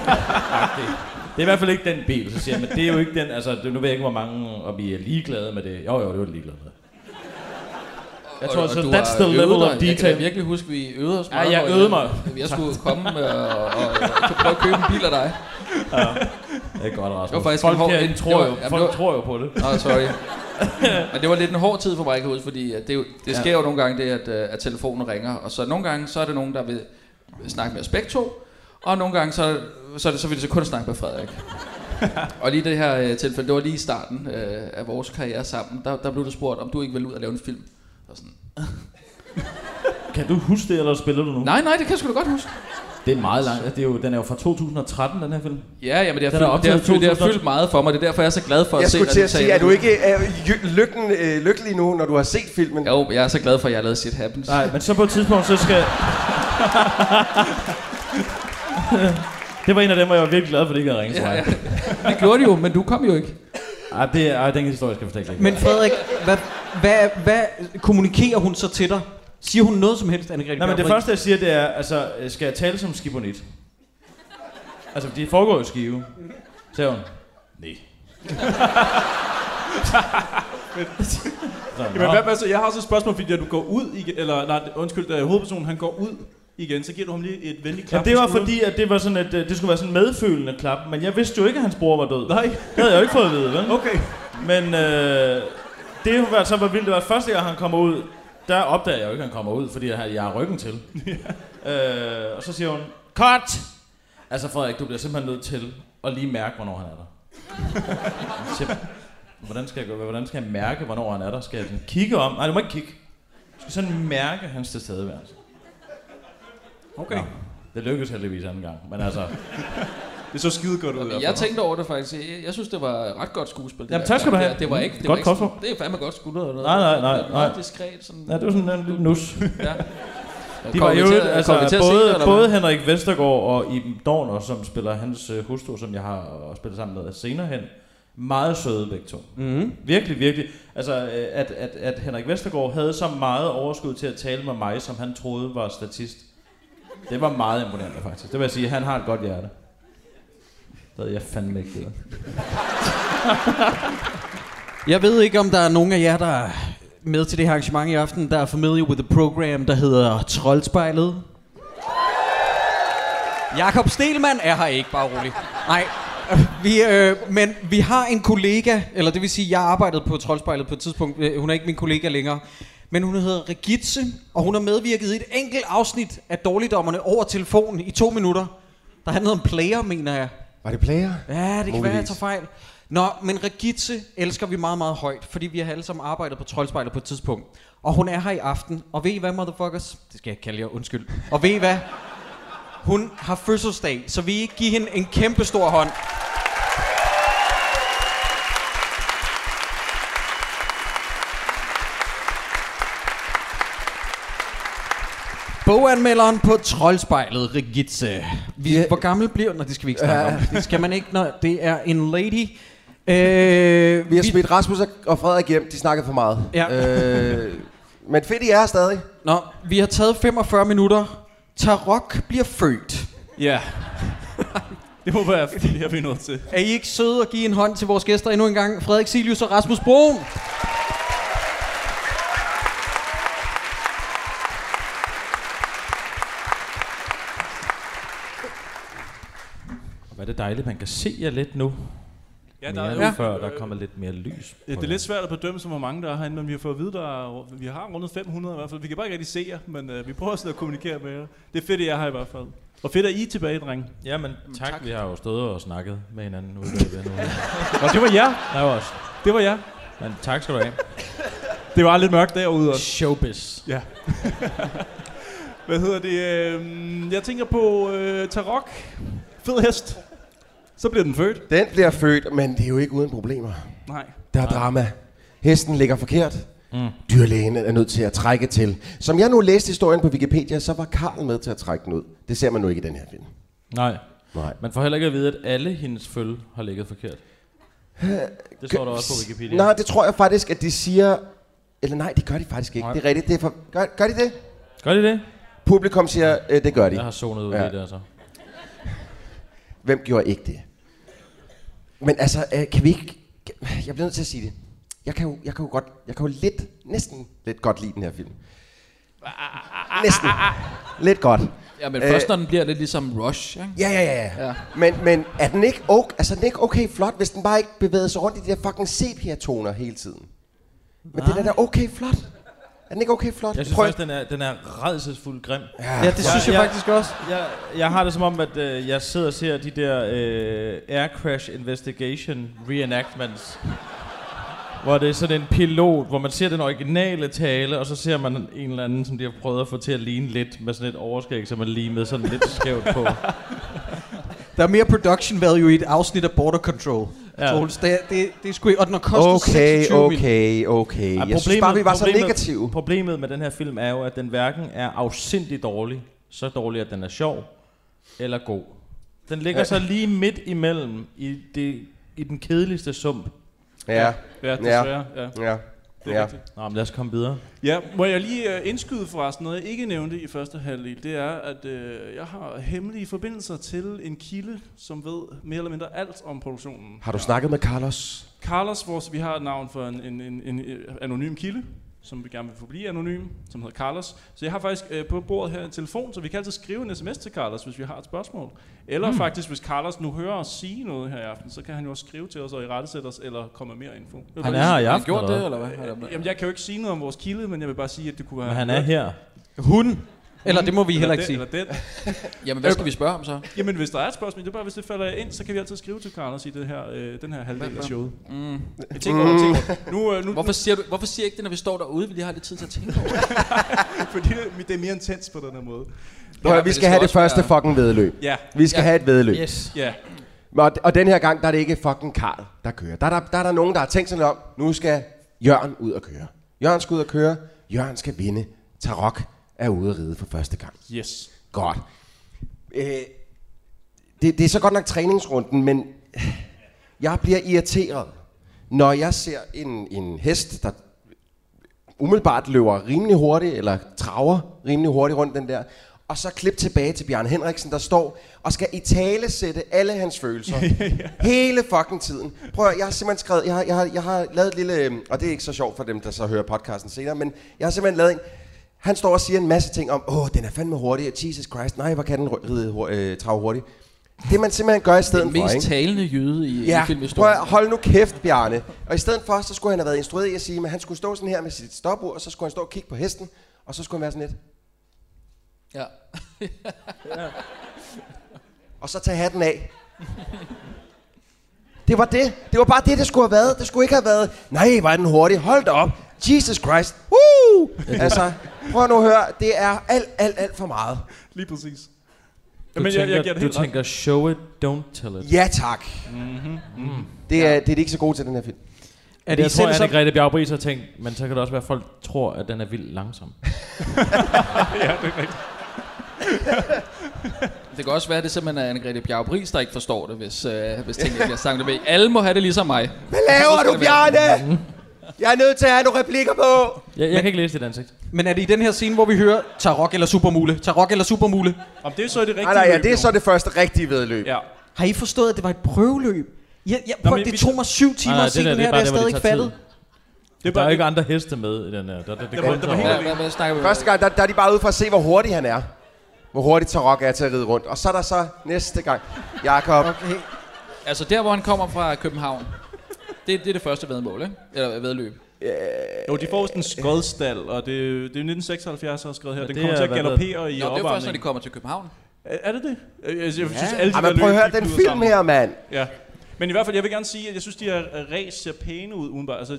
C: er i hvert fald ikke den bil, så siger jeg, men det er jo ikke den, altså det- nu ved jeg ikke, hvor mange, og vi er ligeglade med det. Jo, jo, det var de ligeglade med. Jeg tror,
F: og
C: så
F: du
C: that's
F: har
C: the
F: øvet
C: level
F: dig.
C: of
F: Jeg
C: detail.
F: kan da virkelig huske, vi øvede os
C: Ja,
F: meget,
C: jeg
F: hvor
C: øvede mig.
F: Jeg skulle komme øh, og, og, og prøve at købe en bil af dig.
C: Ja, det er godt, Rasmus.
F: Det var faktisk
C: Folk
F: en hård,
C: herinde
F: det
C: tror jo-
F: var- jamen, det
C: folk
F: var-
C: tror jo på det.
F: Nå, sorry. Men det var lidt en hård tid for mig, jeg kan huske, fordi at det, er jo- det sker
C: Ja.
F: jo nogle gange det, at, øh, at telefonen ringer, og så nogle gange, så er det nogen, der vil snakke med os begge to, og nogle gange, så, så, er det, så vil det så kun snakke med Frederik. og lige det her øh, tilfælde, det var lige i starten øh, af vores karriere sammen, der, der blev du spurgt, om du ikke ville ud og lave en film. Og sådan,
C: Kan du huske det, eller spiller du nu?
F: nej, nej, det kan jeg sgu da godt huske.
C: Det er meget langt. Det er jo, den er jo fra 2013, den her film.
F: Ja, ja, men det har,
C: Den er
F: fyldt, det, har
C: optaget i
F: fyldt, det har
C: 2012.
F: fyldt meget for mig. Det er derfor, jeg er så glad for at
A: Jeg
F: se
A: skulle til at
F: resultatet.
A: sige, er du ikke er jy- lykken, øh, lykkelig nu, når du har set filmen?
F: Jo, jeg er så glad for, at jeg har lavet Shit Happens.
C: Nej, men så på et tidspunkt, så skal... det var en af dem, hvor jeg var virkelig glad for, at det ikke havde ringet til
F: Ja,
C: mig.
F: ja. Det gjorde de jo, men du kom jo ikke.
C: Ej, det er, ej, den historie skal jeg fortælle ikke.
E: Men Frederik, hvad, hvad, hvad kommunikerer hun så til dig? Siger hun noget som helst, Anne-Grethe
C: Nej, men det
E: Bjarup?
C: første, jeg siger, det er, altså, øh, skal jeg tale som skibonit? Altså, det foregår jo i skive. Sagde hun, nej. Sådan,
D: Jamen,
C: nå.
D: hvad, hvad, så, jeg har også et spørgsmål, fordi at du går ud igen, eller nej, undskyld, da hovedpersonen han går ud igen, så giver du ham lige et venligt
C: Ja,
D: klap.
C: det
D: på
C: var
D: skulderen.
C: fordi, at det, var sådan, at øh, det skulle være sådan en medfølende klap, men jeg vidste jo ikke, at hans bror var død.
D: Nej.
C: Det havde jeg jo ikke fået at vide, vel?
D: Okay.
C: Men øh, det, var, så var vildt, det var at første gang, han kommer ud, der opdager jeg jo ikke, at han kommer ud, fordi jeg har, jeg har ryggen til. øh, og så siger hun, cut! Altså Frederik, du bliver simpelthen nødt til at lige mærke, hvornår han er der. Simp- hvordan skal jeg gøre? Hvordan skal jeg mærke, hvornår han er der? Skal jeg sådan kigge om? Nej, du må ikke kigge. Du skal sådan mærke hans tilstedeværelse. Okay. Det lykkedes heldigvis anden gang, men altså...
D: det så skide godt ud.
F: Men Jeg tænkte over det faktisk. Jeg, jeg synes, det var ret godt skuespil. Det
C: Jamen,
F: der
C: tak skal du
F: klap
C: have.
F: der. Det var ikke, det
C: Godt
F: var ikke,
C: kostfor.
F: sådan- Det er fandme godt skuldret. eller
C: Nej, nej,
F: noget.
C: nej,
F: Det var
C: nej.
F: meget diskret. Sådan,
C: Ja, det var sådan en lille nus.
F: Ja.
C: De
F: Kommer
C: var
F: vi
C: jo,
F: til- kommer vi til
C: altså,
F: at se det,
C: både,
F: eller
C: både
F: hvad?
C: Henrik Vestergaard og Iben Dorner, som spiller hans øh, hustru, som jeg har øh, spillet sammen med senere hen, meget søde begge to.
E: Mhm.
C: Virkelig, virkelig. Altså, øh, at, at, at Henrik Vestergaard havde så meget overskud til at tale med mig, som han troede var statist. Det var meget imponerende, faktisk. Det vil jeg sige, han har et godt hjerte. Det havde jeg fandme ikke det.
E: Jeg ved ikke, om der er nogen af jer, der er med til det her arrangement i aften, der er familiar with the program, der hedder Troldspejlet. Jakob Stelmann er her ikke, bare rolig. Nej, vi, øh, men vi har en kollega, eller det vil sige, jeg arbejdede på Troldspejlet på et tidspunkt. Øh, Hun er ikke min kollega længere. Men hun hedder Regitze, og hun har medvirket i et enkelt afsnit af Dårligdommerne over telefonen i to minutter. Der handlede om player, mener jeg.
A: Var det player?
E: Ja, det kan være, jeg
A: Muligvis.
E: tager fejl. Nå, men Regitze elsker vi meget, meget højt, fordi vi har alle sammen arbejdet på Troldspejlet på et tidspunkt. Og hun er her i aften, og ved I hvad, motherfuckers? Det skal jeg ikke kalde jer, undskyld. Og ved I hvad? Hun har fødselsdag, så vi ikke give hende en kæmpe stor hånd. Boganmelderen på Troldspejlet, Rigitze. Vi, Hvor gammel bliver hun? Nå, det skal vi ikke snakke om. Det skal man ikke, når det er en lady. Øh,
A: Vi har smidt Rasmus og- og Frederik hjem. De snakkede for meget.
E: Ja.
A: Øh, men fedt, I er her stadig.
E: Nå, vi har taget 45 minutter. Tarok bliver født.
D: Ja. det håber jeg, fordi det her vi er nået til.
E: Er I ikke søde at give en hånd til vores gæster endnu en gang? Frederik Silius og Rasmus Broen.
C: Hvor er det dejligt, man kan se jer lidt nu.
D: Ja, der
C: mere
D: er
C: end
D: jo-
C: før, der kommer lidt mere lys.
D: Ja,
C: på
D: det er
C: jer.
D: lidt svært at bedømme, så hvor mange der er herinde, men vi har fået at vide, der er, vi har rundet 500 i hvert fald. Vi kan bare ikke rigtig se jer, men øh, vi prøver sådan at kommunikere med jer. Det er fedt, at jeg er her i hvert fald. Og fedt, at I er tilbage, dreng.
C: Jamen, tak. tak. Vi har jo stået og snakket med hinanden ude i den uge.
D: Og det var jer.
C: Der var også.
D: Det var jer.
C: Men tak skal du have.
D: Det var lidt mørkt derude også.
E: Showbiz.
D: Ja. Hvad hedder det? Øh, jeg tænker på øh, Tarok. Fed hest. Så bliver den født.
A: Den bliver født, men det er jo ikke uden problemer.
D: Nej.
A: Der er drama. Hesten ligger forkert. Mm. Dyrlægen er nødt til at trække til. Som jeg nu læste historien på Wikipedia, så var Karl med til at trække den ud. Det ser man nu ikke i den her film.
C: Nej.
A: Nej.
C: Man får heller ikke at vide, at alle hendes følge har ligget forkert. Det står der også på Wikipedia.
A: Nej, det tror jeg faktisk, at de siger... Eller nej, det gør de faktisk ikke.
C: Nej.
A: Nej. Det er rigtigt. Det er for... gør, gør de det?
C: Gør de det?
A: Publikum siger, øh, det gør de.
C: Jeg har zonet ud ja. i det, altså.
A: Hvem gjorde ikke det? Men altså, øh, kan vi ikke... Jeg bliver nødt til at sige det. Jeg kan jo, jeg kan jo godt... Jeg kan jo lidt, næsten lidt godt lide den her film. Næsten. Lidt godt.
F: Ja, men først når den bliver lidt ligesom Rush, ikke?
A: Ja, ja, ja. ja. ja. Men, men er den, ikke okay, altså, er den ikke okay flot, hvis den bare ikke bevæger sig rundt i de der fucking sepia-toner hele tiden? Men den er da okay flot. Er den ikke okay flot?
C: Jeg synes Prøv. faktisk, den er, den er redselsfuldt grim.
A: Ja, Ja, det synes jeg faktisk også.
C: Jeg, jeg har det som om, at øh, jeg sidder og ser de der øh, Air Crash Investigation reenactments. Hvor det er sådan en pilot, hvor man ser den originale tale, og så ser man en eller anden, som de har prøvet at få til at ligne lidt, med sådan et overskæg, som man limede sådan lidt skævt på.
E: Der er mere production value i et afsnit af Border Control.
C: Ja.
E: Ja. Troels, det, er- det, det er sgu ikke, og den har kostet
A: Okay,
E: 26 mil.
A: okay, okay. Jeg synes bare, vi var så negative.
C: Problemet med den her film er jo, at den hverken er afsindig dårlig, så dårlig, at den er sjov, eller god. Den ligger
A: Ja.
C: ja. så lige midt imellem i, det, i den kedeligste sump.
A: Ja.
D: Ja, desværre. Ja.
A: Ja.
D: Det er
A: ja.
D: rigtigt.
C: Nå, men lad os komme videre.
D: Ja, må jeg lige øh, indskyde forresten noget, jeg ikke nævnte i første halvdel, det er, at øh, jeg har hemmelige forbindelser til en kilde, som ved mere eller mindre alt om produktionen.
A: Har du snakket med Carlos?
D: Carlos, vores, vi har et navn for en, en, en, en øh, anonym kilde, som vi gerne vil forblive anonym, som hedder Carlos. Så jeg har faktisk øh, på bordet her en telefon, så vi kan altid skrive en sms til Carlos, hvis vi har et spørgsmål. Eller
C: Hmm.
D: mm. faktisk, hvis Carlos nu hører os sige noget her i aften, så kan han jo også skrive til os og i rettesætte os, eller komme med mere info.
C: Han er her i Har han aften, gjort eller det,
F: hvad? eller hvad?
D: Øh, Jamen, jeg kan jo ikke sige noget om vores kilde, men jeg vil bare sige, at det kunne være...
C: Men han er her.
E: Hun. Eller det må vi
D: Eller
E: heller
D: den,
E: ikke sige.
D: Eller den.
F: Jamen, hvad skal vi spørge om så?
D: Jamen, hvis der er et spørgsmål, det er bare, hvis det falder ind, så kan vi altid skrive til Carlos i det her, øh, den her halvdel
F: Hvad
D: af
F: for?
D: showet.
F: Mm.
D: Jeg tænker over, jeg tænker over. Nu, øh, nu,
F: hvorfor, siger du, hvorfor siger jeg ikke det, når vi står derude? Vi lige har lidt tid til at tænke over det.
D: Fordi det er mere intens på den her måde.
A: Prøv, at høre, vi skal have det første være... fucking vedløb.
D: Ja.
A: Vi skal
D: Ja.
A: have et vedløb.
D: Yes. Ja.
A: Og, og den her gang, der er det ikke fucking Karl, der kører. Der er der, der er der nogen, der har tænkt sig lidt om, nu skal Jørgen ud og køre. Jørgen skal ud og køre. Jørgen skal vinde. Tarok er ude at ride for første gang.
D: Yes.
A: Godt. Øh, det, det er så godt nok træningsrunden, men jeg bliver irriteret, når jeg ser en, en hest, der umiddelbart løber rimelig hurtigt, eller traver rimelig hurtigt rundt den der, og så klip tilbage til Bjørn Henriksen, der står og skal i tale sætte alle hans følelser. Hele fucking tiden. Prøv at, høre, jeg har simpelthen skrevet, jeg har, jeg, har, jeg har lavet et lille, øhm, og det er ikke så sjovt for dem, der så hører podcasten senere, men jeg har simpelthen lavet en, han står og siger en masse ting om, åh, den er fandme hurtig, og Jesus Christ, nej, hvor kan den ru- ride, hur- øh, trave hurtigt. Det man simpelthen gør i stedet
F: Den
A: for,
F: mest
A: ikke?
F: talende jøde i,
A: Ja,
F: i
A: prøv
F: filmhistorien.
A: at hold nu kæft, Bjarne. Og i stedet for, så skulle han have været instrueret i at sige, at han skulle stå sådan her med sit stopur, og så skulle han stå og kigge på hesten, og så skulle han være sådan lidt.
F: Ja.
A: Og så tage hatten af. Det var det. Det var bare det, det skulle have været. Det skulle ikke have været, nej, var den hurtig. Hold da op. Jesus Christ. Woo! Altså, prøv nu at høre. Det er alt, alt, alt for meget.
D: Lige præcis.
C: Du
D: Jamen, jeg- jeg
C: tænker,
D: giver det
C: du
D: helt ret.
C: tænker show it, don't tell it.
A: Ja, tak.
D: Mm-hmm. Mm.
A: Det er, det er de ikke så gode til, den her film.
C: Er det jeg tror, at Anne-Grethe Bjagbris har tænkt, men så kan det også være, at folk tror, at den er vildt langsom.
D: ja, det er rigtigt.
F: Det kan også være, at det simpelthen er Anne-Grethe Bjarup Riis, der ikke forstår det, hvis, øh, hvis tingene bliver samlet med. Alle må have det ligesom mig.
A: Hvad laver du, Bjarne? Mm-hmm. Jeg er nødt til at have nogle replikker på.
C: Jeg, jeg kan ikke læse dit ansigt.
E: Men er det i den her scene, hvor vi hører Tarok eller Supermule? Tarok eller Supermule?
D: Om det er så det rigtige
A: Nej, nej, ja,
D: løb
A: det er
D: nu.
A: så det første rigtige vedløb.
D: Ja.
E: Har I forstået, at det var et prøveløb? Ja, ja, prøv,
D: men
E: det
D: vi-
E: tog mig syv timer at se den her, der er stadig ikke fattet.
C: Det er bare der er jo ikke andre heste med i den her. Der, der, der, der, der, der, der,
A: Første gang, der, der er de bare ude for at se, hvor hurtig han er. Hvor hurtigt Tarok er til at ride rundt. Og så er der så næste gang. Jakob. Okay.
F: Altså der, hvor han kommer fra København, det, det er det første vedmål, ikke? Eller øh, vedløb.
D: Jo, de får jo sådan en skodstal, og det, det er jo 1976, jeg har skrevet her.
F: Men
D: Den
F: det
D: kommer
F: er-
D: til at
F: hvad
D: galoppere
F: ved-
D: i
F: Nå, det er jo først,
D: opvarmningen.
F: når de kommer til København.
D: Er, er det det? Jeg, jeg synes,
F: Ja.
D: alle de
F: Ej,
D: der
F: men prøv at
D: løb,
F: høre
D: de
A: den
D: flyder
A: film
D: sammen.
A: her, mand.
D: Ja. Men i hvert fald, jeg vil gerne sige, at jeg synes, de her øh, ræs ser pæne ud udenbart. Altså,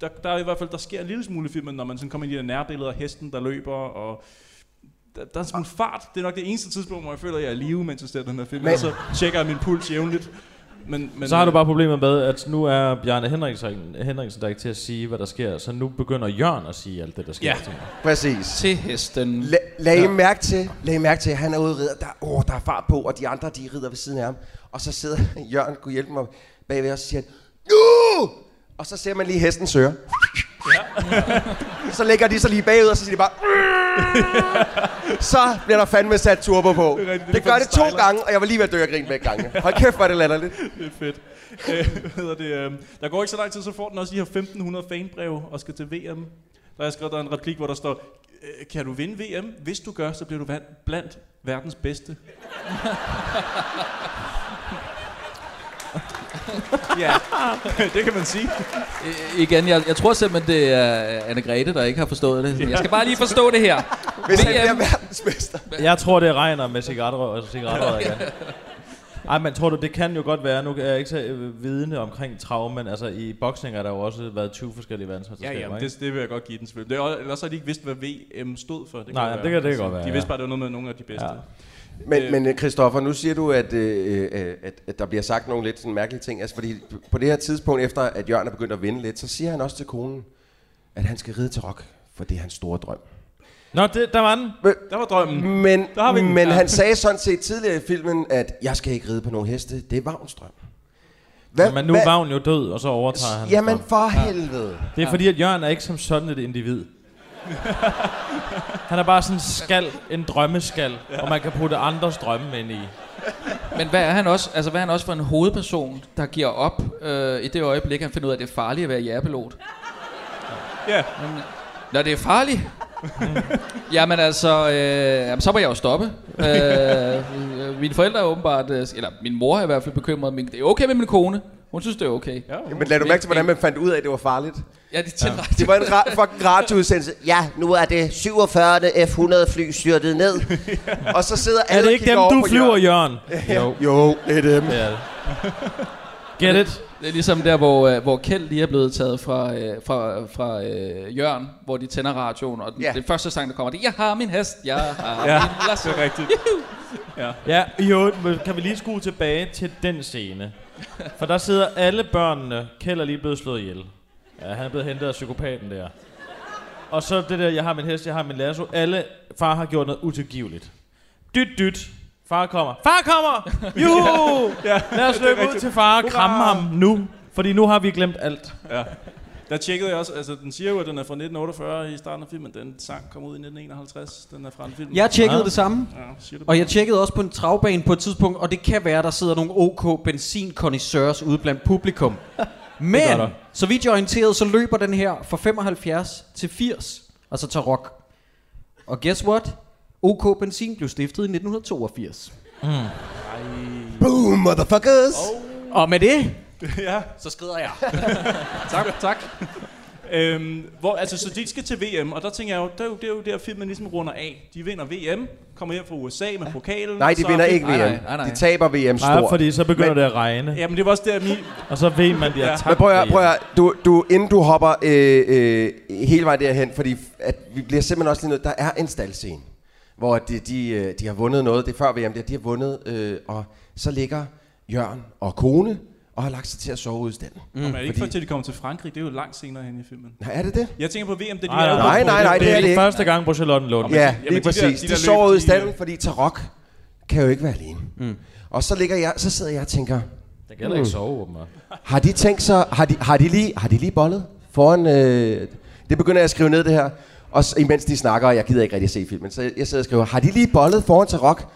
D: der, der er i hvert fald, der sker en lille smule i filmen, når man sådan kommer ind i de der nærbilleder af hesten, der løber, og der, der er sådan en fart. Det er nok det eneste tidspunkt, hvor jeg føler, at jeg er i live, mens jeg ser den her film.
C: Men-
D: Men. Så tjekker jeg min puls jævnligt. Men, men,
C: så har du bare problemer med, at nu er Bjarne Henriksen, Henriksen der ikke til at sige, hvad der sker. Så nu begynder Jørgen at sige alt det, der sker.
A: Ja. Præcis.
F: Til hesten.
A: La- lad, I mærke til, lad I mærke til, at han er ude og rider. Der, åh, der er fart på, og de andre, de rider ved siden af ham. Og så sidder Jørgen, kunne hjælpe mig bagved, og så siger han, nu! Og så ser man lige hesten søre. Ja. så lægger de sig lige bagud, og så siger de bare... så bliver der fandme sat turbo på. Det, rigtigt, det, det gør det to gange, og jeg var lige ved at dø af grin begge gange. Hold kæft, hvor er det latterligt.
D: Det er fedt. Øh, hvad hedder det, øh, der går ikke så lang tid, så får den også de her 1500 fanbreve og skal til VM. Der er skrevet, der er en replik, hvor der står, "Øh, kan du vinde VM? Hvis du gør, så bliver du van- blandt verdens bedste. ja, det kan man sige.
F: I- igen, jeg, jeg tror simpelthen, det er Anne-Grethe, der ikke har forstået det. Sådan, Jeg skal bare lige forstå det her.
A: Hvis han
F: VM.
A: bliver verdensmester.
C: Jeg tror, det regner med cigaretrøg og cigaretrøg igen. Ej, men tror du, det kan jo godt være, nu er jeg ikke så øh, vidende omkring traum, men altså i boksning har der jo også været 20 forskellige
D: Ja,
C: verdensmesterskaber,
D: ja, men det, det vil jeg godt give den selvfølgelig. Det er, også- ellers har de ikke vidst, hvad VM stod for. kan
C: Nej,
D: jo
C: det kan- det kan godt være,
D: De
C: ja.
D: vidste bare, det var noget med nogle af de bedste. Ja.
A: Men, men øh, Christoffer, nu siger du, at, øh, øh, at, at der bliver sagt nogle lidt sådan mærkelige ting. Altså, fordi på det her tidspunkt, efter at Jørgen er begyndt at vinde lidt, så siger han også til konen, at han skal ride til rock, for det er hans store drøm.
C: Nå, det, der var den.
D: Der var drømmen.
A: Men,
D: Der har vi den.
A: men
D: Ja.
A: han sagde sådan set tidligere i filmen, at jeg skal ikke ride på nogen heste. Det er Vagns drøm.
C: Hvad, men nu er Vagn jo død, og så overtager han.
A: Jamen
C: Vagn.
A: for helvede.
C: Det er fordi, at Jørgen er ikke som sådan et individ. Han er bare sådan en skal, en drømmeskal, ja. og man kan putte andres drømme ind i.
F: Men hvad er han også, altså hvad er han også for en hovedperson, der giver op øh, i det øjeblik, han finder ud af, at det er farligt at være jægerpilot?
D: Ja.
F: Når det er farligt? Jamen altså, øh, jamen, så må jeg jo stoppe. Øh, øh, mine forældre er åbenbart, øh, eller min mor er i hvert fald bekymret. Min, det er okay med min kone. Hun synes, det er okay.
D: Ja,
A: Men lad du mærke til, hvordan man fandt ud af, at det var farligt?
F: Ja, det er
A: Det var en ra- fucking radioudsendelse. Ja, nu er det 47. F-100 fly styrtet ned. Og så sidder alle
C: Er det
A: og
C: ikke dem,
A: kigger over
C: du
A: på
C: flyver, Jørgen?
A: Jo. jo, det er dem.
C: Det er det. Get it?
F: Det er ligesom der, hvor, øh, hvor Kjeld lige er blevet taget fra, øh, fra, fra øh, Jørn, hvor de tænder radioen, og den,
C: Ja.
F: den første sang, der kommer, det er, jeg har min hest, jeg har
C: Ja,
F: min lasso.
D: det er rigtigt. Ja.
C: Ja, jo, men kan vi lige skue tilbage til den scene? For der sidder alle børnene. Kjeld er lige blevet slået ihjel. Ja, han er blevet hentet af psykopaten der. Og så det der, jeg har min hest, jeg har min lasso. Alle, far har gjort noget utilgiveligt. Dyt, dyt. Far kommer. Far kommer! Juhu!
D: Ja,
C: Lad os
D: det er
C: løbe ud
D: rigtigt.
C: til far og
D: Hurra!
C: kramme ham nu. Fordi nu har vi glemt alt.
D: Ja. Der tjekkede jeg også, altså den siger jo, at den er fra 1948 i starten af filmen. Den sang kom ud i 1951, den er fra en film.
E: Jeg tjekkede ja. det samme,
D: Ja, siger det
E: og jeg tjekkede også på en travbane på et tidspunkt, og det kan være, der sidder nogle OK benzinkonnoisseurs ude blandt publikum. Men,
C: gør der.
E: så vidt jeg er orienteret, så løber den her fra 75 til 80, altså til rock. Og guess what? OK Benzin blev stiftet i 1982. Mm.
A: Boom, motherfuckers!
E: Oh. Og med det,
D: ja.
F: Så skrider jeg.
D: tak, tak. Øhm, hvor, altså, så de skal til VM, og der tænker jeg jo, det er jo, det er jo der filmen ligesom runder af. De vinder VM, kommer hjem fra USA med pokalen.
A: Nej, de
D: så-
A: vinder ikke VM. De taber VM stort.
C: Nej, fordi så begynder
A: Men-
C: det at regne.
D: Jamen, det var også der, min...
C: Og så ved man, at de har
D: Ja.
C: tabt
A: Men prøv at, høre,
C: VM.
A: prøv at, høre, du, du, inden du hopper øh, øh, hele vejen derhen, fordi f- at vi bliver simpelthen også lige nødt, der er en staldscene, hvor de, de, øh, de har vundet noget, det er før VM, det er, de har vundet, øh, og så ligger Jørgen og kone og har lagt sig til at sove ude i stallen.
D: Mm, Jamen, er det ikke før, til de kommer til Frankrig? Det er jo langt senere hen i filmen.
A: Nej, er det det?
D: Jeg tænker på VM, det er de
C: Nej,
D: der-
A: nej, nej, nej, det er det ikke.
C: Første gang Bruxelles Lund.
A: Ja, lige præcis. De,
D: der
A: sover
D: løb,
A: ude i
D: de-
A: stallen, fordi Tarok kan jo ikke være alene. Mm. Og så, ligger jeg, så sidder jeg og tænker,
C: Den kan heller ikke sove, åbenbart.
A: Har de tænkt sig, har de, har de, lige, har de lige bollet foran, øh, det begynder jeg at skrive ned det her, og s- imens de snakker, og jeg gider ikke rigtig se filmen, så jeg, jeg sidder og skriver, har de lige bollet foran til rock?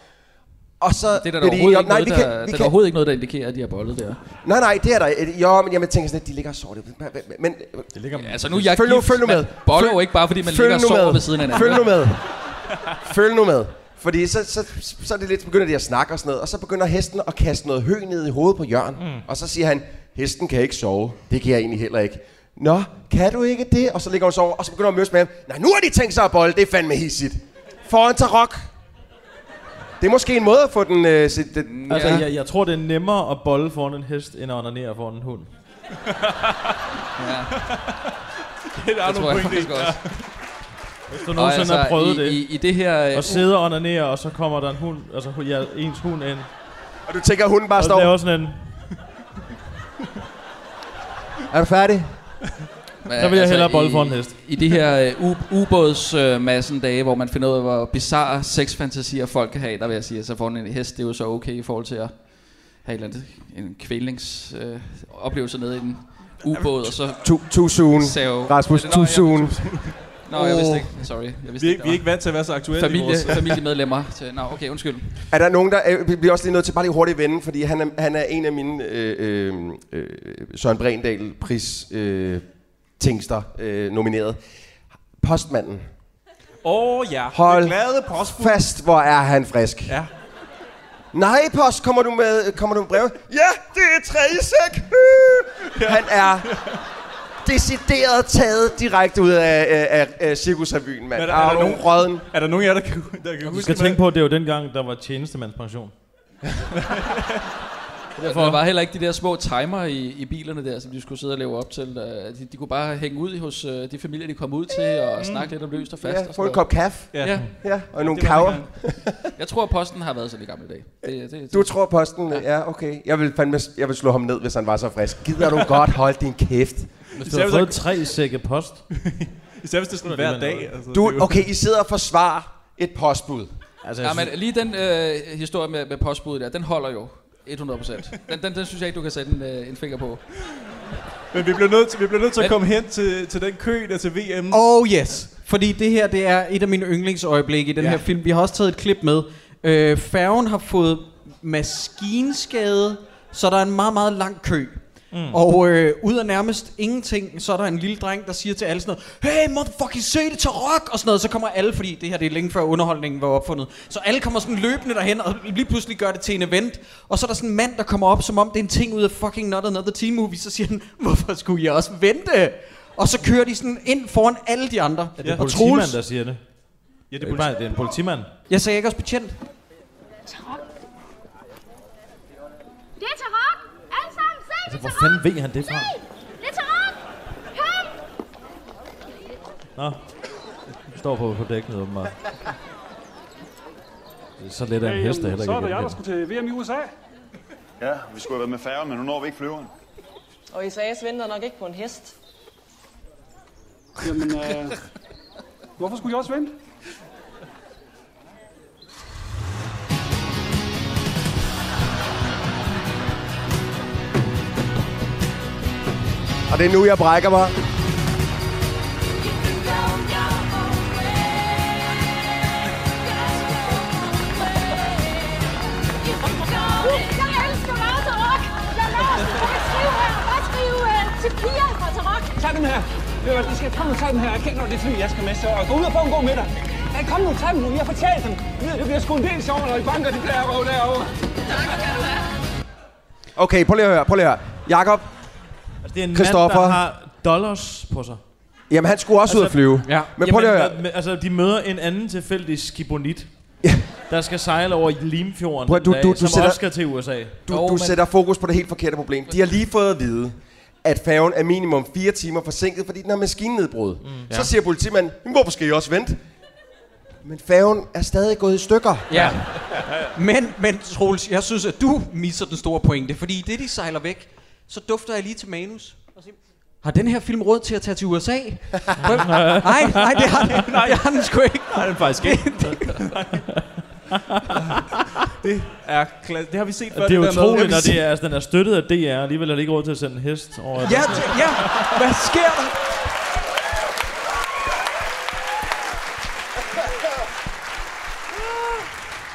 A: Og så
F: Det er der,
A: bliver
F: da
A: de
F: overhovedet,
A: enige om,
F: ikke noget,
A: vi
F: der, der,
A: vi
F: er der overhovedet ikke noget, der indikerer, at de har boldet der.
A: Nej, nej, det er der. Jo, men jeg tænker sådan, at de ligger og sover. Det- Men, det
C: ligger,
F: altså, nu er jeg
A: følg nu,
F: gift.
A: følg nu
F: Man
A: med.
F: boller
A: Følg-
F: jo ikke bare, fordi man
A: følg
F: ligger og
A: nu
F: sover
A: med.
F: ved siden af hinanden.
A: Følg nu med. følg nu med. Fordi så, så, så er det lidt, begynder de at snakke og sådan noget, og så begynder hesten at kaste noget hø ned i hovedet på Jørgen. Mm. Og så siger han, hesten kan ikke sove. Det kan jeg egentlig heller ikke. Nå, kan du ikke det? Og så ligger hun og sover, og så begynder hun at mødes med ham. Nej, nu har de tænkt sig at bolle. Det er fandme hissigt. Foran Tarok. Det er måske en måde at få den... Øh, sit, den
C: Altså, jeg, jeg tror, det er nemmere at bolle foran en hest, end at onanere foran en hund.
D: Det er
F: Det tror
D: nogle point,
F: jeg faktisk
D: det.
F: også.
C: Hvis du
F: Og
C: nogensinde
F: altså,
C: har prøvet
F: i-
C: det.
F: i- i det her, øh,
C: Og sidder og onanerer, og så kommer der en hund, altså hu- ja, ens hund ind.
A: Og du tænker, at hunden bare
C: og
A: står-
C: Og laver sådan en...
A: Er du færdig?
F: Men,
C: Der vil jeg hellere bolle for en hest.
F: øh, altså, I de her uh, ubådsmassen uh, dage, hvor man finder ud af, hvor bizarre sexfantasier folk kan have, der vil jeg sige, at så får en hest, det er jo så okay i forhold til at have en, en kvælningsoplevelse uh, nede i den ubåd, og så...
A: Too, too soon.
F: Save.
A: Rasmus,
F: Nå,
A: too
F: ja.
A: soon.
F: Nå, jeg vidste
A: Åh.
F: ikke. Sorry. Jeg vidste
D: Vi er
F: ikke,
D: ikke- vi er ikke vant til at være så aktuelle i
F: Familie,
D: vores-
F: familiemedlemmer. Til, nå, okay, undskyld.
A: Er der nogen, der... øh, Vi bliver også lige nødt til bare lige hurtigt at vende, fordi han er, han er en af mine øh, øh, Søren Brendal pris øh, tingster øh, nomineret. Postmanden.
D: Åh oh, ja,
A: Hold
D: Den glade postbud.
A: Fast, hvor er han frisk.
D: Ja.
A: Nej, post, kommer du med, kommer du med brev? Ja, det er tredje sæk. Øh. Han er decideret taget direkte ud af, af, af, af cirkusrevyen, mand.
D: Men
A: Er, der nogen råden?
D: Er der nogen af jer, der kan, der kan
C: Du
D: huske
C: skal tænke på, at det er jo dengang, der var tjenestemandspension.
F: Derfor. Der var heller ikke de der små timer i, i bilerne der, som de skulle sidde og leve op til. Øh, De, de kunne bare hænge ud hos øh, de familier, de kom ud til, og
A: Mm.
F: snakke lidt om løst og fast.
A: Ja,
F: og sådan
A: få en
F: noget.
A: kop kaffe. Ja. Ja, og nogle
F: Det var
A: kager.
F: dengang. Jeg tror, posten har været sådan i gamle dage. Det, det,
A: Du tror posten, ja. ja, okay. Jeg vil, fandme, jeg vil slå ham ned, hvis han var så frisk. Gider du godt holde din kæft?
C: Hvis du har fået tre sække post.
D: Især hvis det er sådan hver dag. Altså,
A: Du, okay, I sidder og forsvarer et postbud.
F: Altså, ja, men lige den øh, historie med, med postbuddet der, den holder jo 100%. Den, den, den synes jeg ikke, du kan sætte en, øh, en finger på.
D: Men vi bliver nødt til, vi bliver nødt til at
F: Men-
D: komme hen til, til den kø der til VM.
E: Oh yes. Fordi det her, det er et af mine yndlingsøjeblikke i den
D: Ja.
E: ja. her film. Vi har også taget et klip med. Øh, færgen har fået maskinskade, så der er en meget, meget lang kø.
B: Mm.
E: Mm. Og øh, ud af nærmest ingenting, så er der en lille dreng, der siger til alle sådan noget, hey, motherfucking se det til rock, og sådan noget. Så kommer alle, fordi det her det er længe før underholdningen var opfundet. Så alle kommer sådan løbende derhen, og lige pludselig gør det til en event. Og så er der sådan en mand, der kommer op, som om det er en ting ud af fucking Not Another Teen Movie. Så siger han, hvorfor skulle jeg også vente? Og så kører de sådan ind foran alle de andre.
C: Er det ja.
E: og
C: politimand,
E: Troels-
C: der siger det?
D: Ja,
C: det er, bare, det er en politimand.
E: Jeg sagde ikke også betjent.
H: Det er Tarok! Alle sammen, se!
C: Altså, hvor fanden ved han det fra?
H: Det er Tarok! Kom!
C: Nå. Du står på, på dækket, åbenbart. Det er Så lidt af en hest, der heller ikke
N: så er det jeg, der
C: er
N: skulle til VM i USA. Ja, vi skulle have været med færgen, men nu når vi ikke flyveren.
M: Og SAS venter nok ikke på en hest.
N: Jamen, øh, hvorfor skulle jeg også vente?
A: Og det er nu, jeg brækker mig.
H: Jeg elsker meget Tarok! Lad os bare skrive her! Bare skrive øh, til piger fra Tarok!
N: Tag dem her. Ved du hvad, de skal komme og tage dem her. Jeg kender det fly, jeg skal med, så og gå ud og få en god middag. Ja, kom nu, tag dem nu. Jeg fortalt dem. Ved, Det bliver sgu en del sjovere, når I banker de der røv derovre. Tak skal du have.
A: Okay, prøv lige at høre, prøv lige at høre. Jakob,
C: altså, det er en
A: Christoffer.
C: mand, der har dollars på sig.
A: jamen han skulle også ud at flyve.
C: Altså, Ja.
A: Men prøv lige at høre.
C: Jamen, høre. Altså, de møder en anden tilfældig skibonit, der skal sejle over Limfjorden
A: Prøv, du-
C: Prøv, du, dag,
A: du- du
C: som
A: sætter-
C: også skal til USA.
A: Du, du sætter fokus på det helt forkerte problem. De har lige fået at vide, at færgen er minimum 4 timer forsinket, fordi den har maskinedbrud. Mm. Så
C: Ja.
A: siger politimanden, "Men hvorfor skal I også vente? Men færgen er stadig gået i stykker.
E: Ja. Men, men Troels, jeg synes, at du misser den store pointe, fordi i det, de sejler væk, så dufter jeg lige til manus. og siger, Har den her film råd til at tage til USA? Hvem- nej, nej, det har den, nej. Det har den sgu ikke.
D: Nej, den faktisk ikke. det, er klasse. det har vi set før.
C: Og det er
D: der med-
C: utroligt, når
D: Ja, vi-
C: det er, altså, den er støttet af DR, og alligevel er det ikke råd til at sende en hest over.
E: Ja, t- ja, hvad sker der?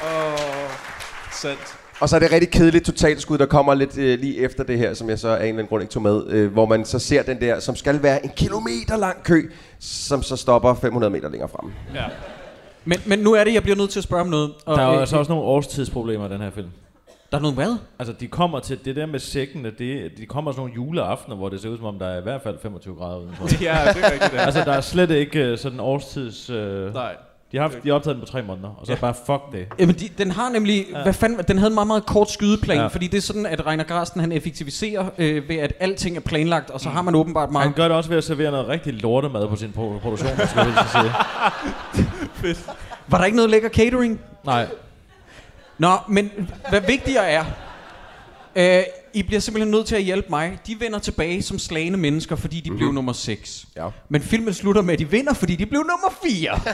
D: Åh, sandt.
A: Og så er det rigtig kedeligt totalskud, der kommer lidt øh, lige efter det her, som jeg så af en eller anden grund ikke tog med, øh, hvor man så ser den der, som skal være en kilometer lang kø, som så stopper 500 meter længere fremme.
D: Ja.
E: Men, men nu er det, jeg bliver nødt til at spørge om noget.
C: Der er jo altså også nogle årstidsproblemer i den her film.
E: Der er nogle hvad?
C: Altså, de kommer til det der med sækkene, det, de kommer sådan nogle juleaftener, hvor det ser ud som om, der er i hvert fald 25 grader udenfor.
D: Ja, det er rigtigt, ja.
C: Altså, der er slet ikke øh, sådan årstids... Øh,
D: Nej.
C: De har, haft, de har optaget den på tre måneder, og så ja. bare fuck det.
E: Jamen, de, den har nemlig, ja. hvad fanden, den havde en meget, meget kort skydeplan,
C: Ja.
E: ja. fordi det er sådan, at Reiner Grasten, han effektiviserer øh, ved, at alting er planlagt, og så har man åbenbart meget...
C: Han gør det også ved at servere noget rigtig lortemad på sin pro- produktion, skal jeg helst sige.
E: Var der ikke noget lækker catering?
C: Nej.
E: Nå, men hvad vigtigere er, øh, I bliver simpelthen nødt til at hjælpe mig. De vender tilbage som slagende mennesker, fordi de mm-hmm. blev nummer 6.
A: Ja.
E: Men filmen slutter med, at de vinder, fordi de blev nummer 4.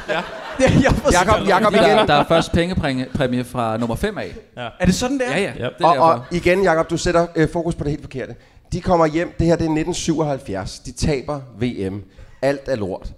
E: Ja. Jeg forstår-
F: Fordi der, der er først pengepræmie fra nummer 5 af.
C: Ja.
E: Er det sådan, det
F: er? Ja, ja. Det er
A: og,
F: derfor.
A: og igen, Jakob, du sætter øh, fokus på det helt forkerte. De kommer hjem. Det her det er 1977. De taber VM. Alt er lort.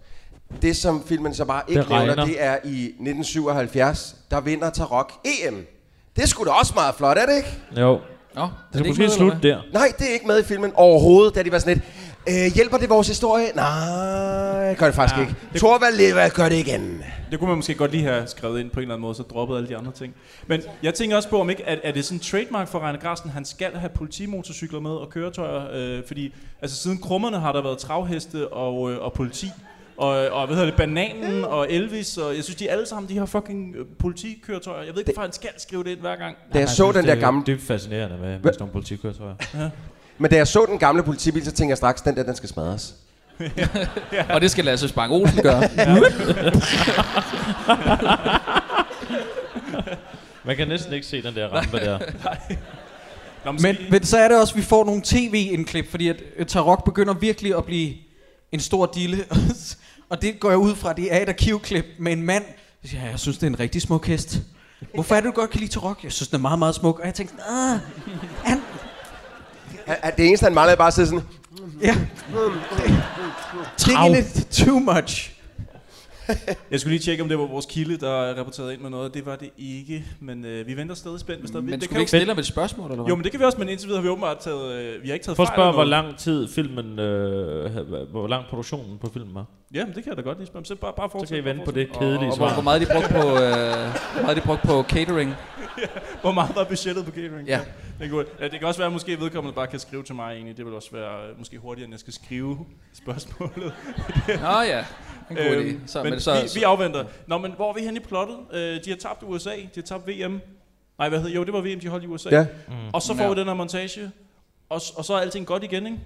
A: Det, som filmen så bare ikke
K: Det
A: det
K: regner.
A: nævner, det er i 1977, der vinder Tarok EM. Det er sgu da også meget flot, er det ikke?
K: Jo.
F: Nå,
K: det skal måske slutte der.
A: Nej, det er ikke med i filmen overhovedet, da de var sådan lidt, øh, hjælper det vores historie? Nej, gør det faktisk ja, ikke. Det... Thorvald Leva gør det igen.
D: Det kunne man måske godt lige have skrevet ind på en eller anden måde, så droppet alle de andre ting. Men jeg tænker også på, om ikke, at, er det sådan en trademark for Reiner Grasten, han skal have politimotorcykler med og køretøjer, øh, fordi altså, siden krummerne har der været travheste og, øh, og politi, og, og hvad hedder det, Bananen og Elvis, og jeg synes, de alle sammen, de har fucking øh, politikøretøjer. Jeg ved ikke, hvorfor han skal skrive det ind hver gang.
A: Da jeg så den der gamle...
C: Altså, Det er dybt fascinerende med, med sådan nogle politikøretøjer.
A: Men da jeg så den gamle politibil, så tænkte jeg straks, den der, den skal smadres.
F: Og det skal Lasse Spang Olsen gøre.
A: Ja.
C: Man kan næsten ikke se den der rampe der.
D: Nå,
E: Men, men så er det også, at vi får nogle tv-indklip, fordi at øh, Tarok begynder virkelig at blive en stor dille. og det går jeg ud fra, det er et arkivklip med en mand, der siger, "Ja, jeg synes, det er en rigtig smuk hest. Hvorfor er det, du godt kan lide Tarok? Jeg synes, den er meget, meget smuk. Og jeg tænkte, sådan, ah,
A: Er, er det eneste, han manglede, bare at sidde sådan...
E: Ja.
A: Trav.
E: lidt too much.
D: Jeg skulle lige tjekke, om det var vores kilde, der rapporterede ind med noget. Det var det ikke, men øh, vi venter stadig spændt. Hvis der,
F: Men
D: det
F: skulle
D: kan
F: vi
D: jo-
F: ikke stille ham et spørgsmål, eller hvad?
D: Jo, men det kan vi også, men indtil videre har vi åbenbart taget, øh, vi har ikke taget
C: Prøv at
D: fejl
C: spørge,
D: af
C: hvor
D: noget.
C: lang tid filmen, øh, havde- hvor lang produktionen på filmen var.
D: Ja, men det kan jeg da godt lige spørge. om. Så bare, bare fortsæt.
C: kan I
D: bare
C: vente på
D: fortsæt.
C: det kedelige
F: Og hvor, hvor meget de brugte på, øh, hvor meget de brugte på catering.
D: Hvor meget var budgettet på catering?
F: Ja.
D: Det, er godt. ja, det kan også være, at måske vedkommende bare kan skrive til mig egentlig. Det vil også være øh, måske hurtigere, end jeg skal skrive spørgsmålet.
F: Nå ja, en god idé. Så-
D: Øhm, men så,
F: men så-
D: vi, vi afventer. Nå, men hvor er vi henne i plottet? Øh, de har tabt USA, de har tabt VM. Nej, hvad hedder Jo, det var VM, de holdt i USA.
A: Ja.
F: Mm.
D: Og så får ja.
F: Ja.
D: vi den her montage. Og, s- og så er alting godt igen, ikke?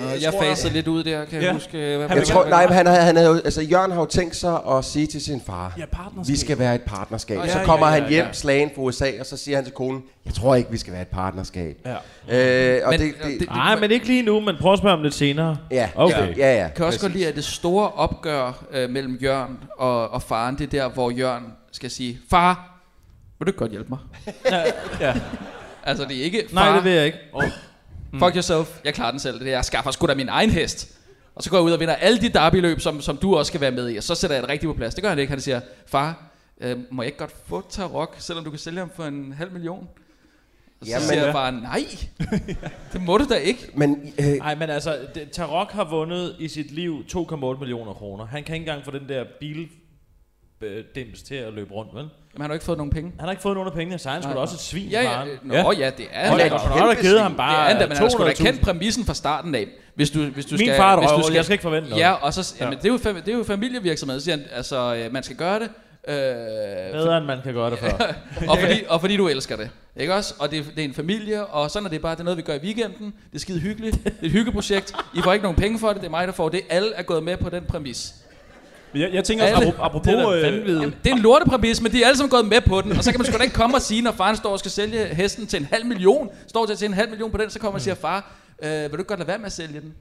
F: Nå, jeg fasede lidt ud der, kan jeg huske, øh, hvad-
D: Han
A: Jeg
D: vil
A: tror,
D: gerne-
A: nej, men han, havde, han havde, jo- altså Jørgen har jo tænkt sig at sige til sin far,
D: Ja, partnerskab.
A: vi skal være et partnerskab.
D: Nå,
A: så
D: ja,
A: kommer
D: ja, ja,
A: han hjem,
D: ja.
A: slagen fra USA, og så siger han til konen, jeg tror ikke, vi skal være et partnerskab.
D: Ja.
A: Øh, og
F: Men-
A: men, det, det, det,
C: Nej, men ikke lige nu, men prøv at spørge om lidt senere.
A: Ja,
C: okay.
A: ja, ja.
F: Jeg kan også godt lide, at det store opgør øh, mellem Jørgen og, og faren, det er der, hvor Jørgen skal sige, far, vil du ikke godt hjælpe mig?
D: ja.
F: Altså, det er ikke, far,
C: Nej, det vil jeg ikke.
F: Oh. Fuck yourself, jeg klarer den selv. Det er, jeg skaffer sgu da min egen hest. Og så går jeg ud og vinder alle de derbyløb, som, som du også skal være med i. Og så sætter jeg det rigtigt på plads. Det gør han ikke. Han siger, far, øh, må jeg ikke godt få Tarok, selvom du kan sælge ham for en halv million? Og så
A: Jamen,
F: siger
A: ja.
F: jeg bare, nej, det må du da ikke.
A: Men, øh,
C: Nej, men altså, det, Tarok har vundet i sit liv 2,8 millioner kroner. Han kan ikke engang få den der bil øh, dims til at løbe rundt, vel?
F: Men han har ikke fået nogen penge.
C: Han har ikke fået nogen af pengene, så han skulle
F: Nej.
C: også et svin.
F: Ja, ja,
C: faren.
F: øh, nå, ja, det er
C: Og
F: han.
C: der- og der har givet ham bare
F: det er andet, men han skulle da
C: 200.000.
F: kendt præmissen fra starten af. Hvis du, hvis du
C: Min
F: skal,
C: far er et
F: hvis
C: røvhul, jeg skal ikke forvente noget.
F: Ja, og så,
C: Ja.
F: jamen, det, er jo, fam- det er jo familievirksomhed, siger han. Altså, øh, man skal gøre det. Øh,
C: Bedre, end man kan gøre det for.
F: og, fordi, og fordi du elsker det. Ikke også? Og det, det er en familie, og sådan er det bare. Det er noget, vi gør i weekenden. Det er skide hyggeligt. Det er et hyggeprojekt. I får ikke nogen penge for det. Det er mig, der får det. Alle er gået med på den præmis.
D: Men jeg, jeg tænker også,
F: Alle-
D: apro- apropos...
F: Det er da
D: øh,
F: Jamen, det er en lortepræmis, men de er alle sammen gået med på den. Og så kan man sgu da ikke komme og sige, når faren står og skal sælge hesten til en halv million, står til at tjene en halv million på den, så kommer man og siger, far, øh, vil du ikke godt lade være med at sælge den?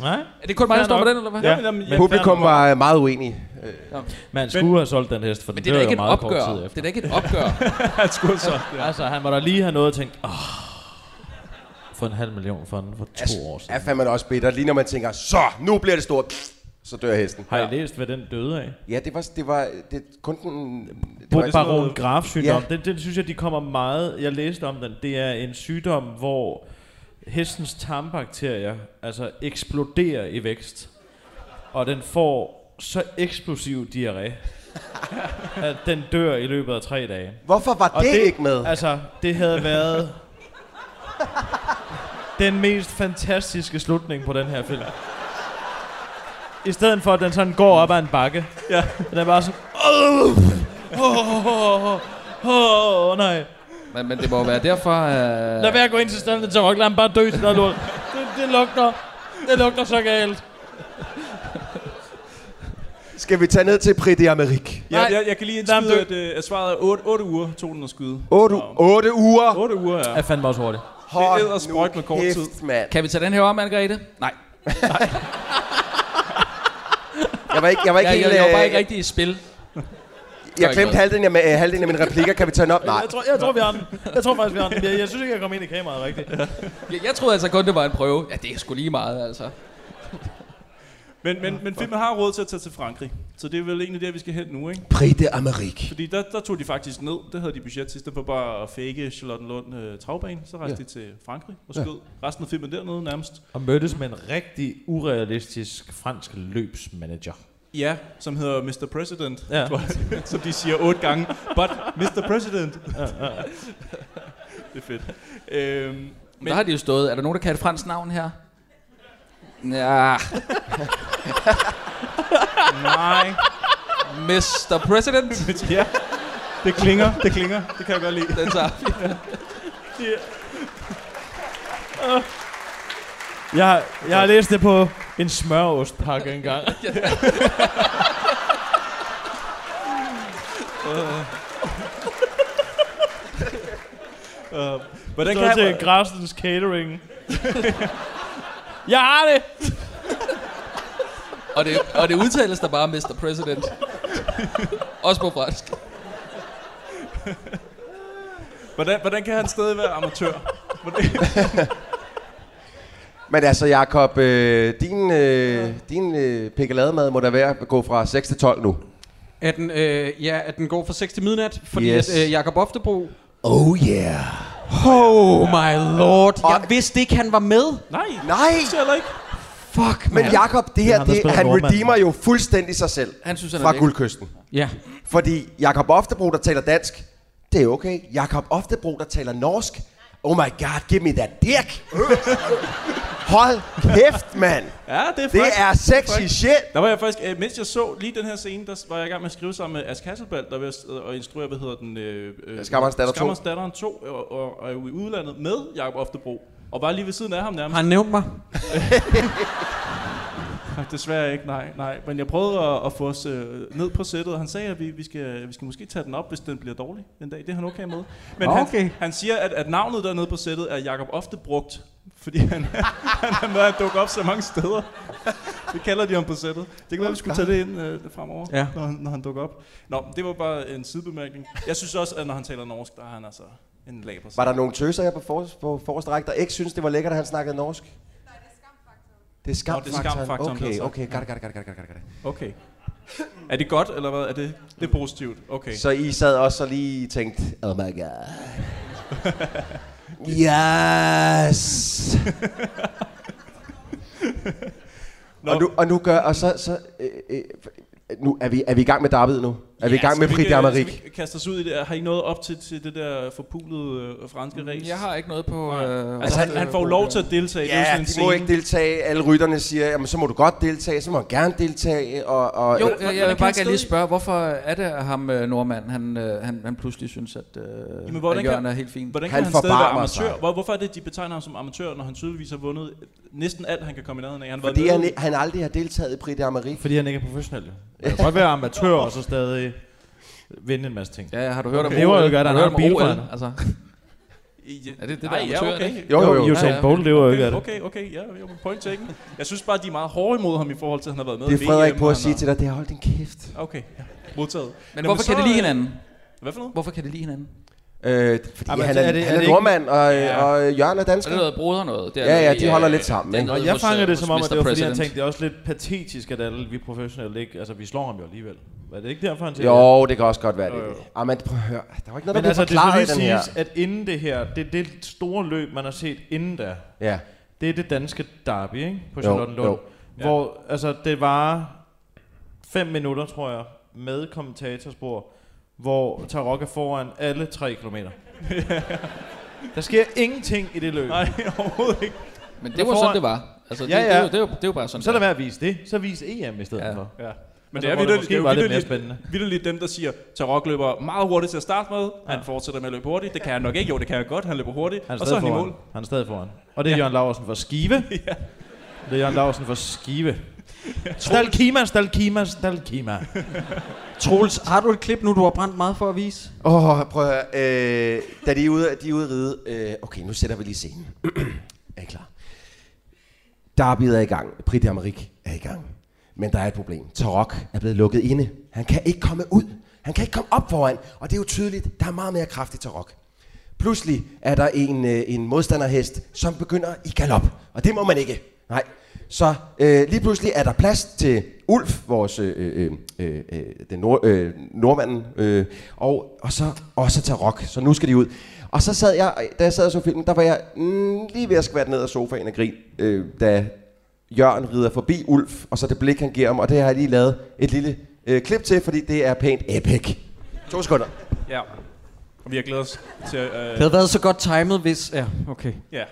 C: Nej.
F: Er det kun mig, der
C: Fair
F: står
C: nok.
F: på den, eller hvad?
C: Ja,
F: Jamen,
C: men
A: Publikum
C: fair nok.
A: var øh, meget uenige. Øh,
C: Man skulle have solgt den hest, for
F: Men
C: den
F: det er da
C: dør
F: ikke
C: jo
F: et
C: meget kort
F: opgør.
C: tid
F: Det er
C: efter.
F: da ikke et opgør.
D: Han skulle have solgt, ja.
C: Altså, han må da lige have noget og tænkt, åh, for en halv million for den for to
F: Altså,
C: år siden.
A: er fandme da også bitter. Lige når man tænker, så, nu bliver det stort. Pff, Så dør hesten.
C: Har I læst, hvad den døde af?
A: Ja, det var, det var det, kun den... det var-
C: Baron Graf sygdom,
A: Ja.
C: ja. den, den synes jeg, de kommer meget... Jeg læste om den. Det er en sygdom, hvor hestens tarmbakterier altså eksploderer i vækst. Og den får så eksplosiv diarré, at den dør i løbet af tre dage.
A: Hvorfor var
C: Og
A: det ikke med?
C: Altså, det havde været den mest fantastiske slutning på den her film. I stedet for, at den sådan går op ad en bakke.
D: Ja.
C: Den er bare sådan... Åh, åh, åh, åh, åh, nej.
F: Men, men det må jo være derfor... Øh...
C: Lad være at gå ind til stedet til Rock, lad ham bare dø til noget lort. Det, det lugter, det lugter så galt.
A: Skal vi tage ned til Prix de Amerique?
D: Ja, jeg, jeg kan lige indskyde,
C: Nej,
D: at, øh, at svaret er 8, 8 uger, tog den at skyde.
A: 8, 8 uger?
D: 8 uger, ja.
C: Jeg fandt mig også hurtigt.
A: Hold
D: det er sprøjt med kort tid.
A: mand.
F: Kan vi tage den her om, Margrethe? Nej.
A: Jeg var ikke, jeg var ikke
F: jeg,
A: helt...
F: jeg, jeg var
A: øh,
F: bare ikke rigtig i spil.
A: Jeg glemte halvdelen af, øh, halvdelen af mine replikker. Kan vi tage den op? Nej.
C: Jeg tror, jeg tror, vi har den. Jeg tror faktisk, vi har den. Jeg, jeg synes ikke, jeg kom ind i kameraet rigtigt.
F: Jeg, jeg troede altså kun, det var en prøve. Ja, det er sgu lige meget, altså.
D: Men, men, men filmen har råd til at tage til Frankrig, så det er vel egentlig der, vi skal hen nu, ikke?
A: Prix de Amérique.
D: Fordi der, der tog de faktisk ned, der havde de budget sidste på bare at fake Charlottenlund øh, travbane, så rejste
C: Ja.
D: ja. de til Frankrig og
C: Ja.
D: skød ja. resten af filmen dernede nærmest.
C: Og mødtes med en rigtig urealistisk fransk løbsmanager.
D: Ja, som hedder Mr. President,
C: Ja.
D: ja. tror jeg, som de siger otte gange. But Mr. President.
C: Ja, ja, ja.
D: det er fedt. Øhm, men,
F: Men der har de jo stået. Er der nogen, der kan et fransk navn her? Ja.
D: Nej.
F: Mr. President?
D: ja. Det klinger, det klinger. Det kan jeg godt lide.
F: Den tager vi.
D: Øh,
C: Jeg, har- jeg har læst det på en smørostpakke engang.
D: øh,
C: Hvordan
D: hvordan
C: så
D: kan
C: kan til
D: jeg...
C: jeg... Græstens Catering. jeg har det!
F: og, det, og det udtales der bare Mr. President. Også på fransk.
D: Hvordan, hvordan kan han stadig være amatør? Hvordan,
A: Men altså, Jacob, øh, din, øh, din øh, pikkelademad må da være at gå fra 6 til 12 nu.
E: At den, øh, ja, at den går fra 6 til midnat, fordi
A: Yes.
E: yes. at øh, Jakob Oftebro...
A: Oh yeah.
E: Oh my lord. Jeg vidste ikke, han var med.
D: Nej,
A: Nej.
D: det heller ikke.
E: Fuck,
A: Men
E: mand.
A: Jakob, det her, det, han redeemer jo fuldstændig sig selv
F: Han synes, han er
A: fra
F: lækker.
A: guldkysten.
E: Ja.
A: Fordi Jakob Oftebro, der taler dansk, det er okay. Jakob Oftebro, der taler norsk, oh my god, give me that dick. Hold kæft, mand.
D: Ja, det er
A: Det er sexy shit.
D: Der var jeg faktisk, øh, mens jeg så lige den her scene, der var jeg i gang med at skrive sammen med Ask Hasselbalg, der var jeg sidde og instruere, hvad hedder den? Øh, øh,
A: Skammerens datter 2.
D: Skammerens datteren 2, og, og, og er jo i udlandet med Jakob Oftebro. Og var lige ved siden af ham nærmest.
E: Har han nævnt mig?
D: Nej, Desværre ikke, nej, nej. Men jeg prøvede at, at få os øh, ned på sættet, og han sagde, at vi, vi, skal, vi skal måske tage den op, hvis den bliver dårlig en dag. Det er han okay med. Men
E: Okay.
D: han, han siger, at, at navnet dernede på sættet er Jakob ofte brugt, fordi han, han er med at dukke op så mange steder. Det kalder de ham på sættet. Det kan være, vi skulle tage det ind øh, fremover,
E: Ja.
D: ja. når, han- når han dukker op. Nå, det var bare en sidebemærkning. Jeg synes også, at når han taler norsk, der er han altså en laber.
A: Var der nogle tøser her på, for, på forreste række, der ikke synes det var lækkert, at han snakkede norsk? Det er
D: Nå, det er
A: skamfaktoren.
D: skamfaktoren, det er
A: Okay,
D: så.
A: okay, got it, got it, got it, got it, got it, got it.
D: Okay. Er det godt, eller hvad? Er det, det er positivt? Okay.
A: Så I sad også og lige tænkte, oh my god. yes! og, nu, og nu gør, og så, så øh, øh, nu er vi, er vi i gang med David nu? Er vi i gang med
D: skal
A: Prix
D: ikke,
A: de
D: øh,
A: Amérique?
D: skal vi ikke kaste os ud i det? Har I noget op til, til det der forpulede øh, franske race?
F: Jeg har ikke noget på... Øh,
D: Altså, han, han får jo lov til at deltage.
A: Ja,
D: det er jo sådan en
A: de må
D: scene.
A: ikke deltage. Alle rytterne siger, jamen så må du godt deltage, så må han gerne deltage. Og, og,
F: Jo,
A: øh,
F: jeg, jeg vil bare gerne lige spørge, hvorfor er det at ham øh, nordmanden, han, øh, han, han pludselig synes, at, øh,
D: Jamen,
F: at Jørgen er helt fin?
D: Hvordan kan han, han stadig være amatør? Hvor, hvorfor er det, de betegner ham som amatør, når han tydeligvis har vundet næsten alt, han kan komme i nærheden af? Han har været
A: Fordi
D: med-
A: han, han aldrig har deltaget i Prix de Amérique.
C: Fordi han ikke er professionel. jo. Man kan godt være amatør og så stadig vinde en masse ting.
F: Ja, har du hørt om
C: Det var jo
F: OL?
C: ikke, at
F: Har
C: han
F: du
C: har
F: hørt
C: en
F: om OL?
C: bilbrænder.
F: Altså, er det det, der
D: Nej,
F: er
D: ja,
F: amatør?
D: okay.
F: er det?
C: Jo, jo, jo. Usain
F: Ja, ja.
C: Bolt lever jo ikke af det.
D: Okay, okay, ja, jeg point taken. Jeg synes bare, de er meget hårde imod ham i forhold til, at han har været med
A: Det er
D: i
A: Frederik
D: VM,
A: på
D: og
A: at
D: han
A: sige
D: har-
A: til dig, det er hold din kæft.
D: Okay, ja. modtaget.
F: Men hvorfor kan de lide
D: øh,
F: hinanden?
D: Hvad for noget?
F: Hvorfor kan det lide hinanden?
A: Øh, fordi
F: Jamen,
A: han
F: er
A: er,
F: det- er
A: han
F: det
A: er
F: ikke-
A: nordmand, og, ja.
F: Ja.
A: og Jørgen er dansker.
F: Er det noget broder noget? Det er
A: ja, ja,
F: noget i,
A: de holder
F: øh,
A: lidt sammen.
F: det er
A: ikke?
F: noget
C: Og jeg
F: hos,
C: fanger
F: øh,
C: det som om,
F: hos
C: at det var
F: Mr.
C: fordi, han
F: President.
C: tænkte, det er også lidt patetisk, at alle vi professionelle ikke... Altså, vi slår ham jo alligevel. Var det ikke derfor, han tænkte?
A: Jo, det kan også godt være det. Ah, men prøv at høre. Der var ikke noget, der
C: Men
A: blev
C: altså, det
A: forklaret
C: skal
A: i den her.
C: lige siges, at inden det her, det er det store løb, man har set inden da.
A: Ja.
C: Det er det danske derby, ikke? På
A: Jo,
C: Charlottenlund.
A: jo.
C: Hvor, altså, det var fem minutter, tror jeg, med kommentatorspor, hvor Tarok er foran alle tre kilometer. Der sker ingenting i det løb.
D: Nej, overhovedet ikke.
F: Men det var sådan, det var. Altså, det-
C: ja, ja.
F: det er jo- det er jo- det er jo bare sådan,
C: Så lad
F: det er.
C: være at vise det. Så vis EM i stedet
F: Ja.
C: for.
D: Ja. Men det
C: Altså,
D: er
C: hvor
D: vitterligt,
C: måske
D: det er jo
C: var lidt mere
D: vitterligt-
C: spændende.
D: vitterligt dem, der siger, Tarok løber meget hurtigt til at starte med, han fortsætter med at løbe hurtigt, det kan han nok ikke, jo det kan jeg godt, han løber hurtigt,
C: Han er
D: og så er
C: stadig
D: han i
C: foran.
D: mål.
C: Han er stadig foran. Og det er ja. Jørgen Laursen for Skive. ja. Det er Jørgen Laursen for Skive. Stalkima, Stalkima, Stalkima.
E: Troels, har du et klip nu, du har brændt meget for at vise?
A: Åh, oh, prøv at høre. Øh, da de er ude, de er ude at ride... Øh, okay, nu sætter vi lige scenen. er I klar? Derbyet er i gang. Prix de Amérique er i gang. Men der er et problem. Tarok er blevet lukket inde. Han kan ikke komme ud. Han kan ikke komme op foran, og det er jo tydeligt, der er meget mere kraftigt til rock. Pludselig er der en, øh, en modstanderhest, som begynder i galop, og det må man ikke. Nej. Så øh, lige pludselig er der plads til Ulf, vores øh, øh, øh, øh, den nord, øh, nordmanden, øh, og, og så også til Rock, så nu skal de ud. Og så sad jeg, da jeg sad og så filmen, der var jeg mm, lige ved at skvatte ned af sofaen og grin, øh, da Jørgen rider forbi Ulf, og så det blik, han giver ham, og det har jeg lige lavet et lille øh, klip til, fordi det er pænt epic. To sekunder.
D: Ja. Og vi har glædet os til... Øh,
E: Det havde været så godt timet, hvis... Ja, okay.
D: Ja.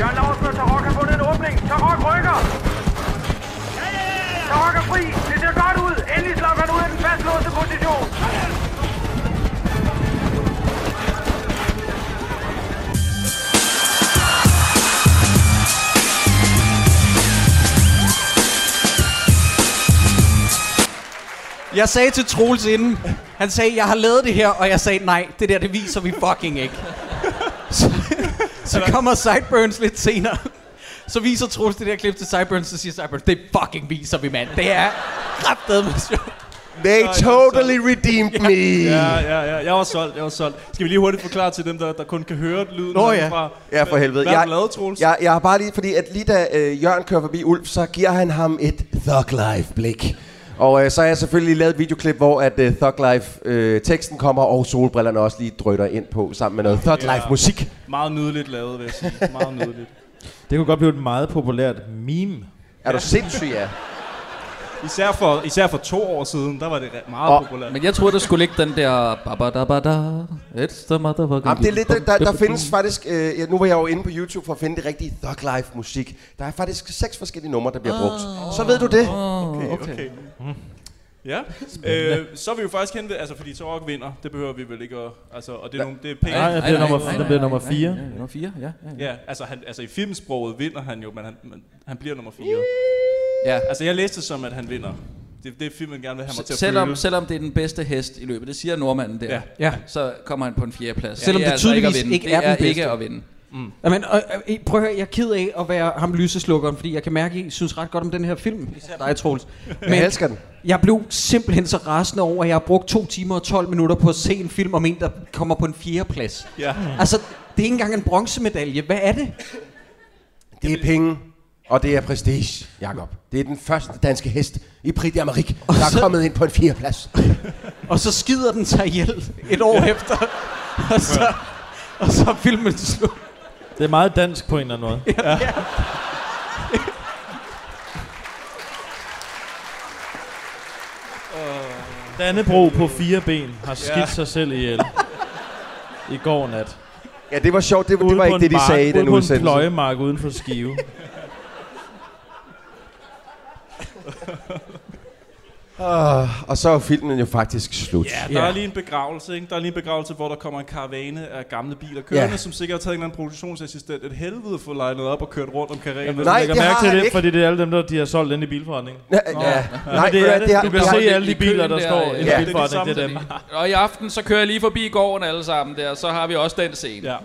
N: Jørgen Laursen og Tarok har fundet en åbning. Tarok rykker. Tarok er fri. Det ser godt ud. Endelig slap han ud af den fastlåste position.
E: Jeg sagde til Troels inden, han sagde, jeg har lavet det her, og jeg sagde, nej, det der, det viser vi fucking ikke. Så, så kommer Sideburns lidt senere. Så viser Troels det der klip til Sideburns, så siger Sideburns, det fucking viser vi, mand. Det er kraftedeme sjovt.
A: They totally redeemed me.
D: Ja, ja, ja. Jeg var solgt, jeg var solgt. Skal vi lige hurtigt forklare til dem, der, der kun kan høre lyden
A: Nå ja.
D: herfra?
A: Ja, for helvede.
D: Hvad har du lavet, Troels?
A: Jeg, jeg har bare lige, fordi at lige da øh, Jørgen kører forbi Ulf, så giver han ham et Thug Life-blik. Og øh, så har jeg selvfølgelig lavet et videoklip, hvor at øh, Thug Life-teksten kommer, og solbrillerne også lige drøtter ind på, sammen med noget Thug
D: Ja.
A: Life-musik.
D: Meget nydeligt lavet, vil jeg sige. Meget nydeligt.
C: Det kunne godt blive et meget populært meme.
A: Er du sindssyg, ja?
D: Især for, især for to år siden, der var det re- meget populært.
F: Men jeg troede, der skulle ligge den der... Babadabada, it's the motherfucking...
A: Jamen, det er lidt, der, der, der findes faktisk, øh, ja, nu var jeg jo inde på YouTube for at finde det rigtige Thug Life-musik. Der er faktisk seks forskellige numre, der bliver brugt.
D: Ah.
A: Så ved du det.
D: Okay, okay. okay. Ja, øh, så er vi jo faktisk hen ved, altså fordi Torok vinder, det behøver vi vel ikke at, altså, og det er, nogle, det er pænt.
C: Nej, det bliver nummer- det bliver nummer fire.
F: Ja, nummer 4, ja.
D: Ja, altså, han, altså i filmsproget vinder han jo, men han, men han bliver nummer 4.
F: Ja.
D: Altså jeg læste det som, at han vinder. Det, det er filmen gerne vil have mig til at
F: Selvom,
D: føle.
F: selvom det er den bedste hest i løbet, det siger nordmanden der,
D: Ja.
E: Ja.
F: så kommer han på en fjerde plads.
E: Selvom det
F: altså
E: tydeligvis
F: at vinde.
E: ikke
F: det
E: er den bedste.
F: ikke at vinde.
E: Mm. Jamen, og, og, øh, prøv at høre, jeg er ked af at være ham lyseslukkeren, fordi jeg kan mærke, at I synes ret godt om den her film. Især dig, Troels.
A: Jeg elsker den.
E: Jeg blev simpelthen så rasende over, at jeg har brugt to timer og 12 minutter på at se en film om en, der kommer på en fjerdeplads.
D: Ja.
E: Mm. Altså, det er ikke engang en bronzemedalje. Hvad er det?
A: Det er penge, og det er prestige, Jakob. Det er den første danske hest i Prix d'Amérique, der er kommet ind på en fjerdeplads.
E: Og så skider den sig ihjel et år ja. efter. Og så, og så er filmen slut.
C: Det er meget dansk på en eller anden måde.
E: Ja.
C: Dannebro på fire ben har skidt
A: Ja.
C: sig selv ihjel i går nat.
A: Ja, det var sjovt. Det,
C: Ude
A: det var
C: på
A: ikke
C: en
A: det, de
C: mark-
A: sagde i
C: ude
A: den
C: på en
A: udsendelse.
C: pløjemark uden for Skive.
A: Uh, og så er filmen jo faktisk slut.
D: Ja, der er lige en begravelse, ikke? Der er lige en begravelse, hvor der kommer en karavane af gamle biler kørende,
A: Ja.
D: som sikkert har taget en eller anden produktionsassistent et helvede for legnet op og kørt rundt om karanen.
C: Hvis Nej, lægger mærke til det, fordi det er alle dem, der de har solgt inde i bilforretningen.
A: Ja,
C: Nå.
A: ja.
C: Men
A: Nej,
C: det
A: ja,
C: er
A: det
C: det.
A: har-
C: Du kan
A: det har-
C: se alle
A: i
C: de biler, der
A: køen
C: står
A: der,
C: inde
A: ja.
C: i bilforretningen. Det er dem.
F: Og i aften, så kører jeg lige forbi gården alle sammen der, så har vi også den scene.
D: Ja.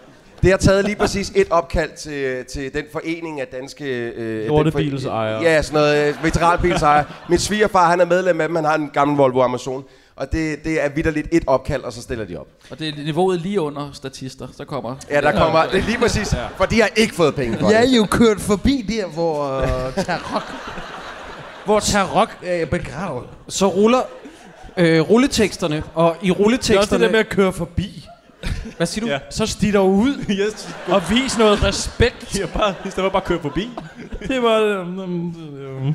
A: Det har taget lige præcis et opkald til, til den forening af danske... Øh, den
C: Lortebilsejere.
A: Ja, sådan noget øh, veteranbilsejere. Min svigerfar, han er medlem af dem. Han har en gammel Volvo Amazon. Og det, det er vidderligt et opkald, og så stiller de op.
F: Og det er niveauet lige under statister, så kommer...
A: Ja, der kommer... Det er lige præcis, for de har ikke fået penge for det.
O: Jeg er jo kørt forbi der, hvor øh, Tarok,
E: hvor Tarok
O: er begravet.
E: Så ruller øh, rulleteksterne, og i
C: Det er også det
E: rulleteksterne...
C: der med at køre forbi.
E: Hvad siger du?
C: Ja. Så stig dog ud
D: yes.
C: og vis noget respekt.
D: Ja, bare, i stedet for bare at køre forbi.
C: det var... øhm, øhm, øhm.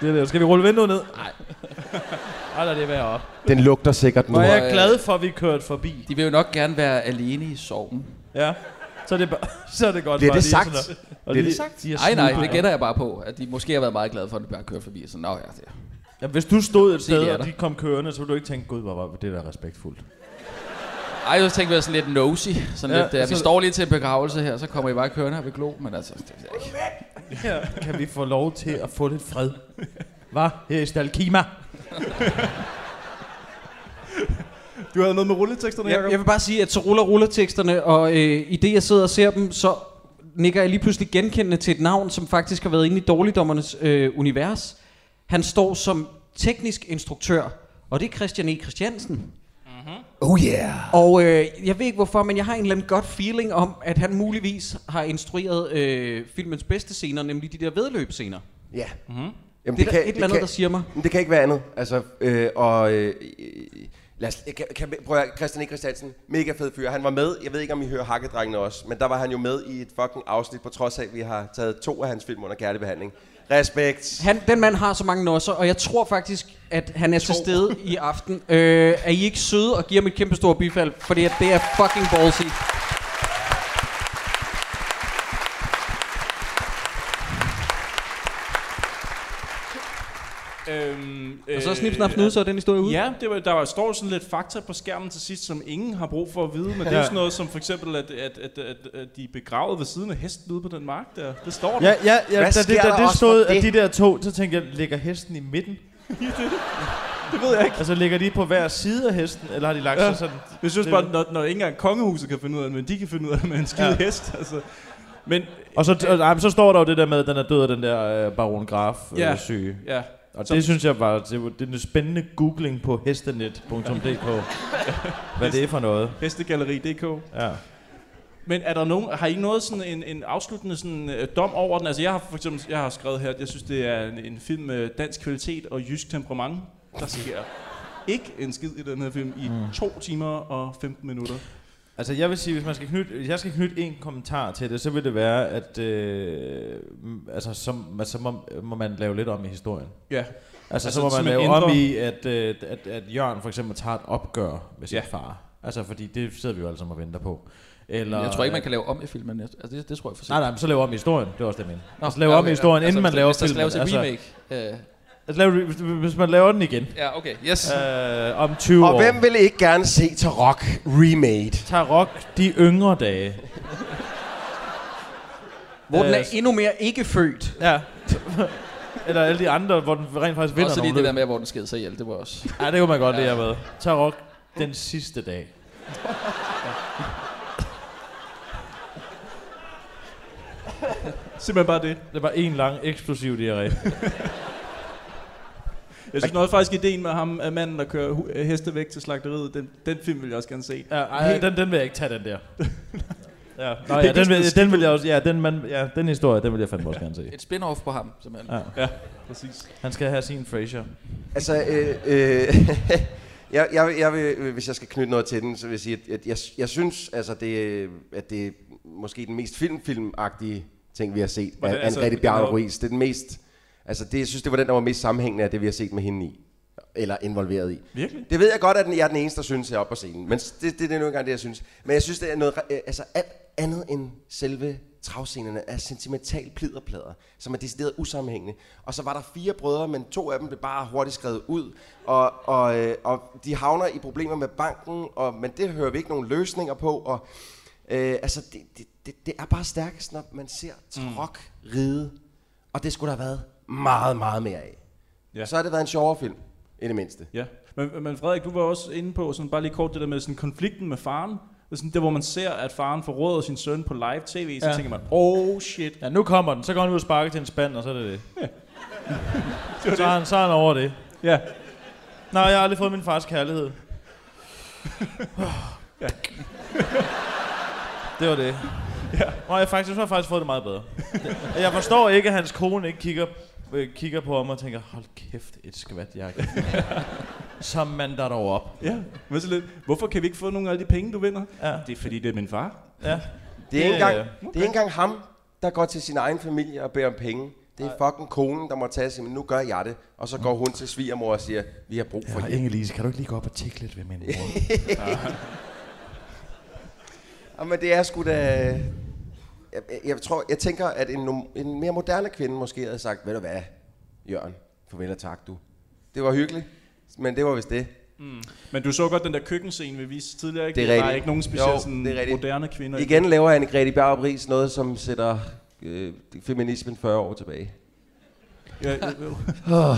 C: Det er det. Skal vi rulle vinduet ned? Nej. Ej, lad det være op.
A: Den lugter sikkert nu.
C: Hvor jeg er glad for, at vi kørte forbi.
F: øh, De vil jo nok gerne være alene i sorgen.
C: Ja. Så er det, bare, så er det godt
F: Bliver
C: bare
F: det
C: lige
F: sagt?
C: sådan at- og
F: Bliver
C: lige-
F: det sagt?
C: de har
F: Nej, nej,
C: snuppet.
F: det gætter jeg bare på, at de måske har været meget glade for, at det bare kører forbi. Så, Nå, ja, det.
C: Ja, hvis du stod et
F: Se,
C: sted,
F: de er
C: og
F: der.
C: de kom kørende, så ville du ikke tænke, gud, hvor var det der respektfuldt.
F: Ej, jeg tænkte, vi var sådan lidt nosy. Sådan
C: Ja, altså-
F: ja, lidt, uh, vi
C: så-
F: står lige til en begravelse her, så kommer I bare kørende her ved Glo. Men altså, det, det,
C: Her kan vi få lov til at få lidt fred. Hvad? Her i Stalkima.
D: Du havde noget med rulleteksterne,
E: Jeg, jeg vil bare sige, at så ruller rulleteksterne, og øh, i det, jeg sidder og ser dem, så nikker jeg lige pludselig genkendende til et navn, som faktisk har været inde i dårligdommernes øh, univers. Han står som teknisk instruktør, og det er Christian E. Christiansen.
O: Oh yeah.
E: Og øh, jeg ved ikke hvorfor, men jeg har en eller anden godt feeling om, at han muligvis har instrueret øh, filmens bedste scener, nemlig de der vedløbscener.
A: Ja.
C: Mhm.
E: Mm-hmm. Jamen, det, det kan, et eller andet,
A: kan,
E: der siger mig.
A: Men det kan ikke være andet. Altså, øh, og, øh, lad os, kan, kan, prøv at høre, Christian E. Christiansen, mega fed fyr. Han var med, jeg ved ikke om I hører Hakkedrengene også, men der var han jo med i et fucking afsnit, på trods af, at vi har taget to af hans film under kærlig behandling. Respekt.
E: Han, den mand har så mange nosser, og jeg tror faktisk, at han er til stede i aften. Øh, er I ikke søde og giver ham et kæmpe stort bifald? Fordi at det er fucking ballsy.
D: Øhm,
E: Og så snip, snap, snude, så er den historie ude.
D: Ja, det var, der var, står sådan lidt fakta på skærmen til sidst, som ingen har brug for at vide. Men det er
E: Ja.
D: jo sådan noget som for eksempel, at, at, at, at, at de er begravet ved siden af hesten ude på den mark der. Det står der.
C: Ja, ja, ja da, det, da det stod af de der to, så tænkte jeg, ligger hesten i midten?
D: det ved jeg ikke.
C: Altså ligger de på hver side af hesten, eller har de lagt
D: Ja.
C: sig sådan?
D: Jeg synes
C: Det-
D: bare, når, når ikke engang kongehuset kan finde ud af det, men de kan finde ud af det med en skide
C: Ja.
D: ja. hest. Altså. Men
C: Og så, og, ej, men så står der jo det der med, at den er død af den der øh, baron Graf øh,
D: Ja,
C: syge.
D: ja.
C: Og
D: Som-
C: det synes jeg var, det, var, det er en spændende googling på hestenet.dk. Hvad det er for noget.
D: Hestegalleri.dk.
C: Ja.
D: Men er der nogen, har I noget sådan en, en afsluttende sådan, øh, dom over den? Altså jeg har for eksempel jeg har skrevet her, at jeg synes, det er en, en film med dansk kvalitet og jysk temperament. Der sker ikke en skid i den her film i mm. to timer og 15 minutter.
C: Altså jeg vil sige, hvis man skal knytte, hvis jeg skal knytte en kommentar til det, så vil det være, at øh, m- altså, som, altså, må, må man lave lidt om i historien.
D: Ja.
C: Altså, altså
D: Altså,
C: så må man lave
D: simpelthen
C: om
D: ændre-
C: i, at, øh, at, at Jørgen for eksempel tager et opgør med sin
F: Ja.
C: ja. far. Altså fordi det sidder vi jo alle sammen og venter på. Eller,
F: Eller, jeg tror ikke, man
C: at-
F: kan lave om i filmen. Jeg- Altså, det, det tror jeg for
C: Nej, nej, men så laver om i historien. Det var også det, jeg mente.
F: Nå,
C: altså, laver
F: ja,
C: om
F: okay,
C: i historien,
F: ja.
C: inden man
F: Altså,
C: laver
F: hvis der skal
C: filmen.
F: laves et remake,
C: Altså,
F: øh.
C: altså, laver, hvis, hvis man laver den igen.
F: Ja, okay, yes.
C: Øh, om 20 år.
A: Og hvem vil ikke gerne se Tarok remade?
C: Tarok, de yngre dage.
E: Hvor den er
C: Øh, s-
E: endnu mere ikke født.
C: Ja. Eller alle de andre, hvor den rent faktisk vinder
F: Også
C: nogle
F: lige det
C: løb.
F: der med, hvor den skede sig ihjel, det var også...
C: Ja, det kunne man godt lide at med. Tarok, den sidste dag.
D: Simpelthen bare det.
C: Det var en lang eksplosiv diarré.
D: Jeg synes noget faktisk ideen med ham, at manden, der kører hu- øh, heste væk til slagteriet, den, den film vil jeg også gerne se.
C: Ja, ej, den, den vil jeg ikke tage, den der. ja,
D: Det
C: Nå,
D: er
C: ja, den,
D: sådan
C: vil,
D: skidt
C: den vil jeg også, ja, den, man, ja, den historie, den vil jeg fandme også gerne se.
F: Et spin-off på ham, simpelthen.
C: Ja.
D: ja, præcis.
C: Han skal have sin Frasier.
A: Altså, øh, øh, jeg, jeg, vil- jeg vil, hvis jeg skal knytte noget til den, så vil jeg sige, at, at jeg, jeg synes, altså, det, øh, at det er måske den mest filmfilmagtige ting, vi har set af
D: Hvordan, altså,
A: altså, Anne Bjarne
D: hvornår-
A: Ruiz. Det er den mest, altså, det, jeg synes, det var den, der var mest sammenhængende af det, vi har set med hende i. Eller involveret i.
D: Virkelig?
A: Det ved jeg godt, at den- jeg er den eneste, der synes, jeg er oppe på scenen. Men det, det, det er nu engang det, jeg synes. Men jeg synes, det er noget, re- øh, altså alt andet end selve travscenerne er sentimental pliderplader, som er decideret usammenhængende. Og så var der fire brødre, men to af dem blev bare hurtigt skrevet ud, og, og, øh, og de havner i problemer med banken, og, men det hører vi ikke nogen løsninger på, og øh, altså, det, det, det, det er bare stærkest, når man ser trok mm. ride, og det skulle der have været meget, meget mere af.
D: Ja.
A: Ja. Så har det været en sjovere film, i det mindste.
D: Ja, men, men Frederik, du var også inde på, sådan bare lige kort det der med sådan konflikten med faren. Det er sådan der, hvor man ser, at faren forråder sin søn på live tv, så
C: Ja.
D: ja. tænker man, oh shit.
C: Ja, nu kommer den. Så går han ud og sparker til en spand, og så er det det.
D: Det var
C: så, er han, så er han over det.
D: Ja.
C: Nej, jeg har aldrig fået min fars kærlighed.
D: Ja.
C: Det var det. Ja. Nå, jeg faktisk, så har jeg faktisk fået det meget bedre. Jeg forstår ikke, at hans kone ikke kigger, øh, kigger på ham og tænker, hold kæft, et skvat jakke. Som man der dog op.
D: Ja, men så lidt, hvorfor kan vi ikke få nogle af de penge, du vinder? Ja. Det er fordi, det er min far.
C: Ja.
A: Det er, ikke engang, det er ikke engang ham, der går til sin egen familie og beder om penge. Det er fucking konen, der må tage sig, men nu gør jeg det. Og så går hun til svigermor og siger, vi har brug for
K: Mm. Ja,
A: hjælp.
K: Inge-Lise, kan du ikke lige gå op og tjekke lidt ved min mor?
A: Ja, men det er sgu da... Jeg, jeg- jeg, tror, jeg tænker, at en, nom- en mere moderne kvinde måske havde sagt, ved du hvad, Jørgen, farvel og tak du. Det var hyggeligt, men det var vist det.
D: Mm. Men du så godt den der køkkenscene, vi viste tidligere, ikke?
A: Det er
D: Der er
A: rigtigt.
D: ikke nogen speciel
A: Jo,
D: sådan,
A: det er rigtigt.
D: moderne kvinder. i
A: Igen laver Anne-Grethe Bjarup Riis noget, som sætter øh, feminismen 40 år tilbage.
D: Ja, ja, ja.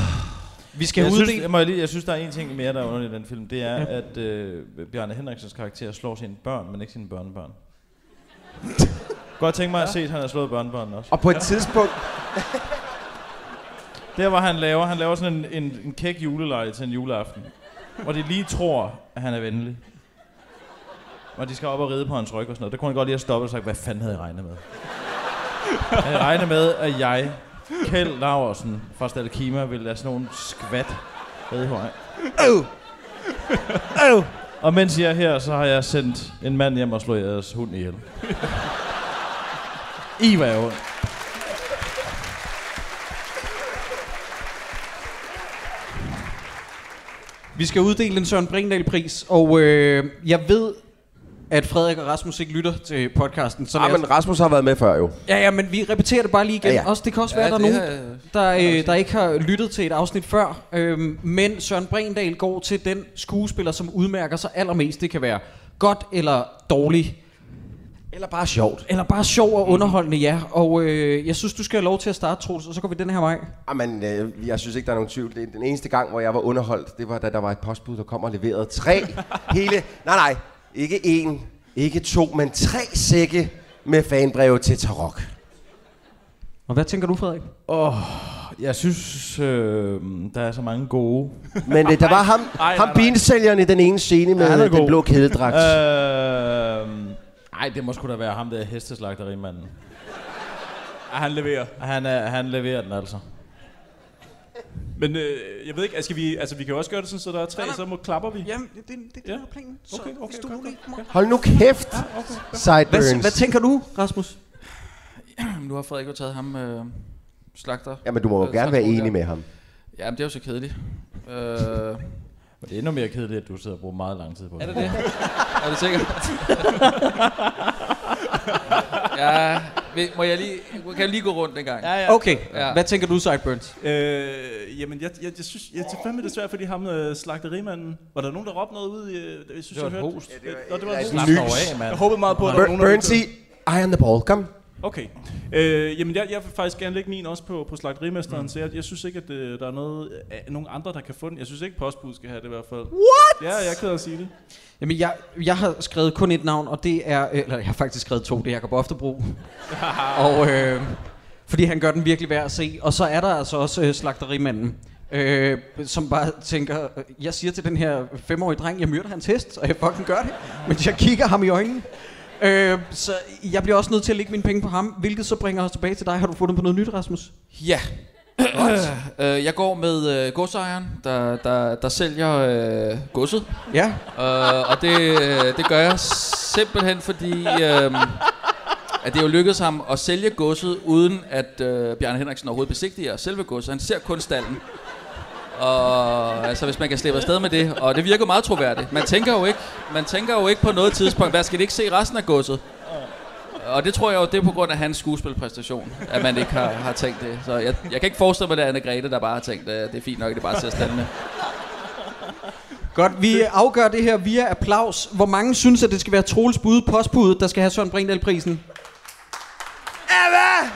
E: Vi skal
C: jeg
E: uddele-
C: synes, jeg, må lige, jeg synes, der er en ting mere, der er underligt i den film. Det er, at øh, Bjarne Henriksens karakter slår sine børn, men ikke sine børnebørn. Godt tænke mig at se, at han har slået børnebørnene også.
A: Og på et tidspunkt...
C: Der hvor han laver, han laver sådan en, en, en kæk juleleje til en juleaften. Hvor de lige tror, at han er venlig. Og de skal op og ride på hans ryg og sådan noget. Der kunne han godt lige have stoppet og sagt, hvad fanden havde jeg regnet med? Jeg regner med, at jeg, Kjeld Laversen fra Stalkima, vil lade sådan nogle skvat ride på mig.
O: Øv! Øv!
C: Og mens jeg er her, så har jeg sendt en mand hjem og slået jeres hund ihjel. I var jo.
E: Vi skal uddele en Søren Brindahl-pris, og øh, jeg ved, at Frederik og Rasmus ikke lytter til podcasten. Så
A: Ah,
E: lad os-
A: men Rasmus har været med før jo.
E: Ja, ja, men vi repeterer det bare lige igen.
A: Ja,
E: Ja,
A: ja.
E: ja. Også, det kan også
A: Ja,
E: ja, være, der
A: det
E: er nogen, der, øh, der ikke har lyttet til et afsnit før. Øhm, men Søren Brindal går til den skuespiller, som udmærker sig allermest. Det kan være godt eller dårligt. Eller bare sjovt. Eller bare sjov og underholdende, ja. Og øh, jeg synes, du skal have lov til at starte, Troels, og så går vi den her vej.
A: Jamen, øh, jeg synes ikke, der er nogen tvivl. Det- Den eneste gang, hvor jeg var underholdt, det var, da der var et postbud, der kom og leverede tre hele... Nej, nej, ikke en, ikke to, men tre sække med fanbreve til Tarok.
E: Og hvad tænker du, Frederik?
C: Åh, oh, jeg synes, øh, der er så mange gode.
A: Men øh, der var ham, ham binsælgeren i den ene scene med ja, den blå kædedragt. Uh,
C: Øh, ej, det må sgu da være ham der hesteslagterimanden.
D: Ah, han leverer.
C: Han, er, han leverer den altså.
D: Men øh, jeg ved ikke, altså, skal vi, altså vi kan jo også gøre det sådan, så der er tre, så må klapper vi.
E: Jamen, det, det, det er planen.
D: Okay, okay, okay, okay, okay.
A: Hold nu kæft,
D: Ja, okay.
A: Sideburns.
E: du, Rasmus?
F: nu har Frederik jo taget ham øh, slagter.
A: Jamen, du må jo
F: øh,
A: gerne være
F: slagter-
A: enig med ham.
F: Jamen, det er jo så kedeligt. Øh, er
C: Det er endnu mere kedeligt, at du sidder og bruger meget lang tid på
F: det det? er det sikkert? ja, vil- må jeg lige, kan jeg lige gå rundt en gang?
E: Okay, ja. hvad tænker du, Sideburns?
D: Øh, jamen, jeg, jeg, jeg synes, jeg er fandme desværre, fordi ham øh, slagterimanden, var der nogen, der råbte noget ud i, øh, jeg synes,
C: Det var
D: jeg
C: et
D: hørte.
C: host.
D: Ja, det var, Nå, det var
C: Ja,
D: et
C: et
D: host.
C: nyt. Slap dog af, mand.
D: Jeg håbede meget på, at der var
A: Bur-
D: nogen, der ville
A: Burnsy, I on the ball, kom.
D: Okay. Øh, jamen, jeg, jeg vil faktisk gerne lægge min også på, på slagterimesteren, mm. så jeg, jeg synes ikke, at øh, der er noget, øh, nogen andre, der kan få den. Jeg synes ikke, postbud skal have det i hvert fald.
E: What?
D: Ja, jeg er ked af at sige det.
E: Jamen, jeg, jeg har skrevet kun et navn, og det er... øh, Eller, jeg har faktisk skrevet to. Det er Jacob Oftebro. og, øh, fordi han gør den virkelig værd at se. Og så er der altså også øh, slagterimanden, øh, som bare tænker... øh, Jeg siger til den her femårige dreng, jeg myrder hans hest, og jeg fucking gør det. Men jeg kigger ham i øjnene. Øh, så jeg bliver også nødt til at lægge mine penge på ham, hvilket så bringer os tilbage til dig. Har du fundet på noget nyt, Rasmus?
F: Ja. øh, jeg går med øh, godsejeren, der, der, der sælger øh, godset.
E: Ja.
F: Øh, og det, øh, det gør jeg simpelthen, fordi øh, at det jo lykkedes ham at sælge godset, uden at øh, Bjarne Henriksen overhovedet besigtiger selve godset. Han ser kun stallen. Og altså, hvis man kan slippe afsted med det, og det virker meget troværdigt. Man tænker jo ikke, man tænker jo ikke på noget tidspunkt, hvad skal det ikke se resten af godset? Og det tror jeg jo, det er på grund af hans skuespilpræstation, at man ikke har, har tænkt det. Så jeg, jeg kan ikke forestille mig, at det er Anne-Grethe, der bare har tænkt, at det er fint nok, at det bare ser standende.
E: Godt, vi afgør det her via applaus. Hvor mange synes, at det skal være Troels Bude postbuddet, der skal have Søren Brindahl-prisen?
D: Ava!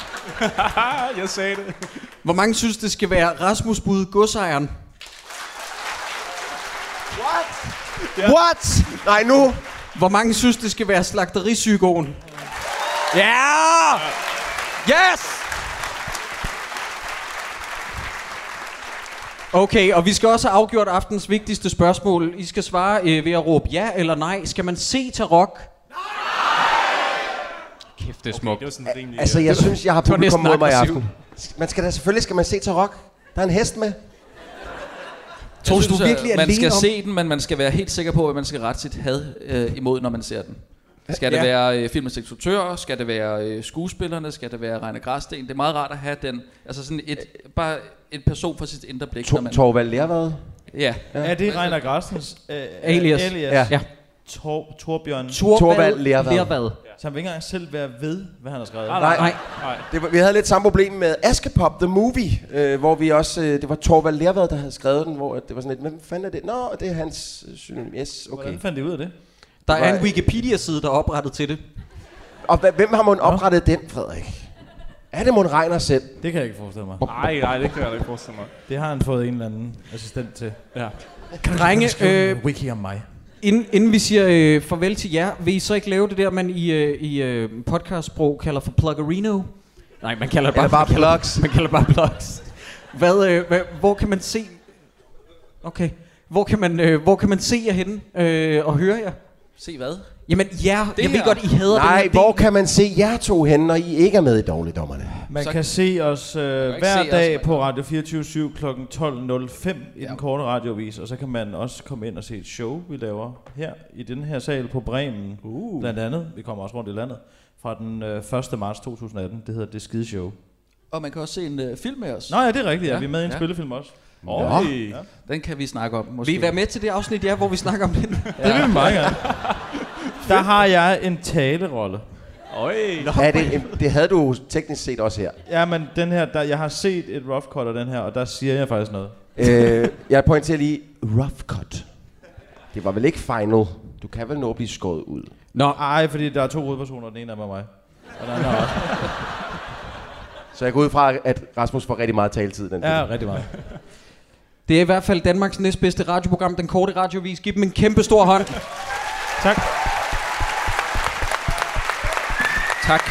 D: Ah, jeg sagde det.
E: Hvor mange synes, det skal være Rasmus Bud godsejeren?
A: What?
E: Yeah. What? Nej, nu! Hvor mange synes, det skal være slagteripsykoen? Ja! Yeah! Yes! Okay, og vi skal også have afgjort aftens vigtigste spørgsmål. I skal svare øh, ved at råbe ja eller nej. Skal man se Tarok?
F: Kæft, det er smukt.
D: Okay, det var sådan rimelig...
A: Altså, jeg synes, jeg har
E: Det var
A: publikum
E: næsten
A: mod mig i
E: aggressivt.
A: aften. Man skal da, selvfølgelig skal man se Tarok. Der er en hest med. øh,
F: Jeg
A: Troels, du
F: synes,
A: er virkelig
F: at Man
A: alene
F: skal
A: om-
F: se den, men man skal være helt sikker på, at man skal rette sit had øh, imod, når man ser den. Skal det
E: Ja.
F: være øh, filmens instruktører? Skal det være øh, skuespillerne? Skal det være Reine Græsten? Det er meget rart at have den. Altså sådan et, bare en person for sit indre blik. når man-
A: Torvald Lervad.
F: Ja.
C: Ja. Er det Reiner Grassens øh,
E: Alias.
C: alias.
E: Ja. Ja.
C: Tor, Torbjørn.
A: Torvald Torvald Lervad. Lervad.
C: Så han vil ikke engang selv være ved, hvad han har skrevet.
A: Nej, nej.
C: nej.
A: Det var, vi havde lidt samme problem med Askepop The Movie, øh, hvor vi også, øh, det var Torvald Lervad, der havde skrevet den, hvor at det var sådan lidt, hvem fanden er det? Nå, det er hans øh, synonym. Yes, okay.
C: Hvordan fandt de ud af det?
E: Der er en Wikipedia-side, der er oprettet til det.
A: Og hva- hvem har mon oprettet den, Frederik? Er det mon Regner selv?
C: Det kan jeg ikke forestille mig.
D: Nej, nej, det kan jeg da ikke forestille mig.
C: Det har han fået en eller anden assistent til.
D: Ja.
C: Kan du
E: Drenge,
C: skrive en
E: øh,
C: wiki om mig?
E: Inden, inden vi siger øh, farvel til jer, vil I så ikke lave det der, man i, øh, i øh, podcastsprog kalder for pluggerino? Nej, man kalder det bare,
A: Eller bare
E: man kalder,
A: plugs.
E: Man kalder det bare plugs. Hvad, øh, hvad, hvor kan man se... Okay. Hvor kan man, øh, hvor kan man se jer henne øh, og høre jer?
F: Se hvad?
E: Jamen, ja,
F: Det
E: det jeg ved
F: her.
E: godt, I hader
A: Nej,
E: den her
A: hvor kan man se jer to henne, når I ikke er med i Dårligdommerne?
C: Man kan se os
A: ikke
C: øh,
A: se
C: hver
A: os,
C: dag på Radio 24 kl. 12.05 i den korte radiovis, og så kan man også komme ind og se et show, vi laver her i den her sal på Bremen, uh. blandt andet. Vi kommer også rundt i landet fra den øh, 1. marts 2018. Det hedder Det Skide Show.
F: Og man kan også se en øh, film med os.
C: Nå ja, det er rigtigt, ja. Vi er med i en spillefilm også.
F: Nå.
C: Oj.
F: Ja. Den kan vi snakke om, måske.
E: Vil I være med til det afsnit, ja, hvor vi snakker om den?
C: Det vil vi meget gerne. Der har jeg en talerolle.
F: Øj.
A: Er det, en- det havde du teknisk set også her.
C: Ja, men den her, der, jeg har set et rough cut af den her, og der siger jeg faktisk noget.
A: øh, jeg pointerer lige, rough cut. Det var vel ikke final. Du kan vel nå at blive skåret ud.
E: Nå.
C: Ej, fordi der er to hovedpersoner, og den ene er med mig. Og den anden er også.
A: Så jeg går ud fra, at Rasmus får rigtig meget taletid. i Den
C: Ja,
A: film.
C: rigtig meget.
E: Det er i hvert fald Danmarks næstbedste radioprogram, Den Korte Radiovis. Giv dem en kæmpe stor hånd.
C: tak.
F: Tak.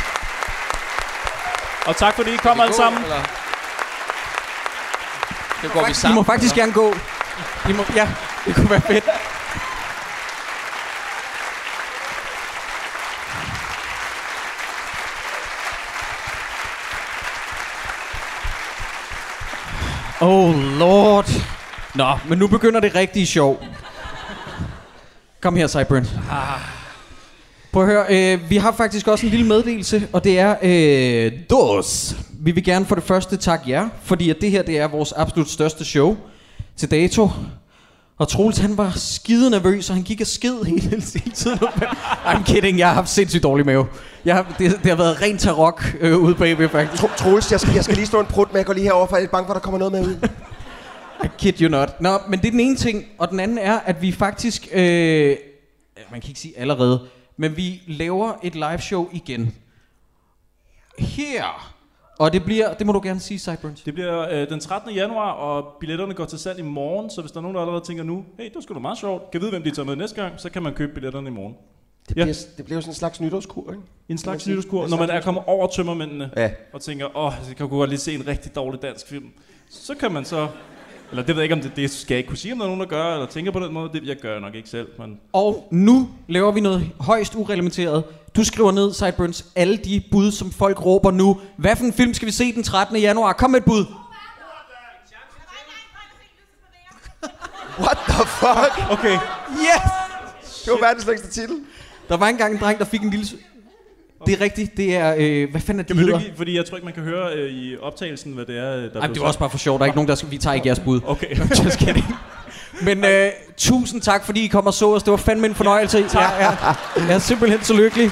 D: Og tak fordi I kom alle sammen.
F: Det går vi
E: I
F: sammen.
E: må faktisk gerne gå. I må, ja, det kunne være fedt. Oh lord. Nå, men nu begynder det rigtige sjov. Kom her, Cyburn. Prøv at høre, øh, vi har faktisk også en lille meddelelse, og det er øh, DOS. Vi vil gerne for det første takke jer, fordi at det her det er vores absolut største show til dato. Og Troels, han var skide nervøs, og han gik og sked hele, hele tiden. I'm kidding, jeg har haft sindssygt dårlig mave. Jeg har, det, det har været ren tarok øh, ude bagved, faktisk.
A: Troels, jeg skal, jeg skal lige stå en prut, men jeg går lige herover, for jeg er bange for, at der kommer noget med ud.
E: I kid you not. Nå, men det er den ene ting, og den anden er, at vi faktisk, øh, man kan ikke sige allerede, men vi laver et live show igen. Her. Og det bliver, det må du gerne sige, Cyburns.
D: Det bliver øh, den 13. januar, og billetterne går til salg i morgen, så hvis der er nogen, der allerede tænker nu, hey, det var sgu da meget sjovt, kan vide, hvem de tager med næste gang, så kan man købe billetterne i morgen.
A: Det bliver, ja. det bliver jo sådan en slags nytårskur, ikke?
D: En slags nytårskur, når man er kommet over tømmermændene,
A: Ja.
D: og tænker, åh, oh, jeg kan godt lige se en rigtig dårlig dansk film. Så kan man så, eller det ved jeg ikke, om det, det skal jeg ikke kunne sige, om der er nogen, der gør, eller tænker på den måde. Det, jeg gør nok ikke selv, men
E: Og nu laver vi noget højst urelementeret. Du skriver ned, Sideburns, alle de bud, som folk råber nu. Hvad for en film skal vi se den 13. januar? Kom med et bud.
A: What the fuck?
D: Okay.
A: Yes! Det var verdens længste titel.
E: Der var engang en dreng, der fik en lille... s- Det er rigtigt, det er... Øh, hvad fanden er det,
D: Jamen,
E: hedder?
D: det, fordi jeg tror ikke, man kan høre øh, i optagelsen, hvad det er, øh, der
E: Ej,
D: blev
E: men det
D: sagt.
E: var også bare for sjov. Der er ikke nogen, der skal... Vi tager ikke jeres bud.
D: Okay.
E: Just kidding. Men øh, tusind tak, fordi I kom og så os. Det var fandme en fornøjelse. Ja, ja. Jeg er simpelthen så lykkelig.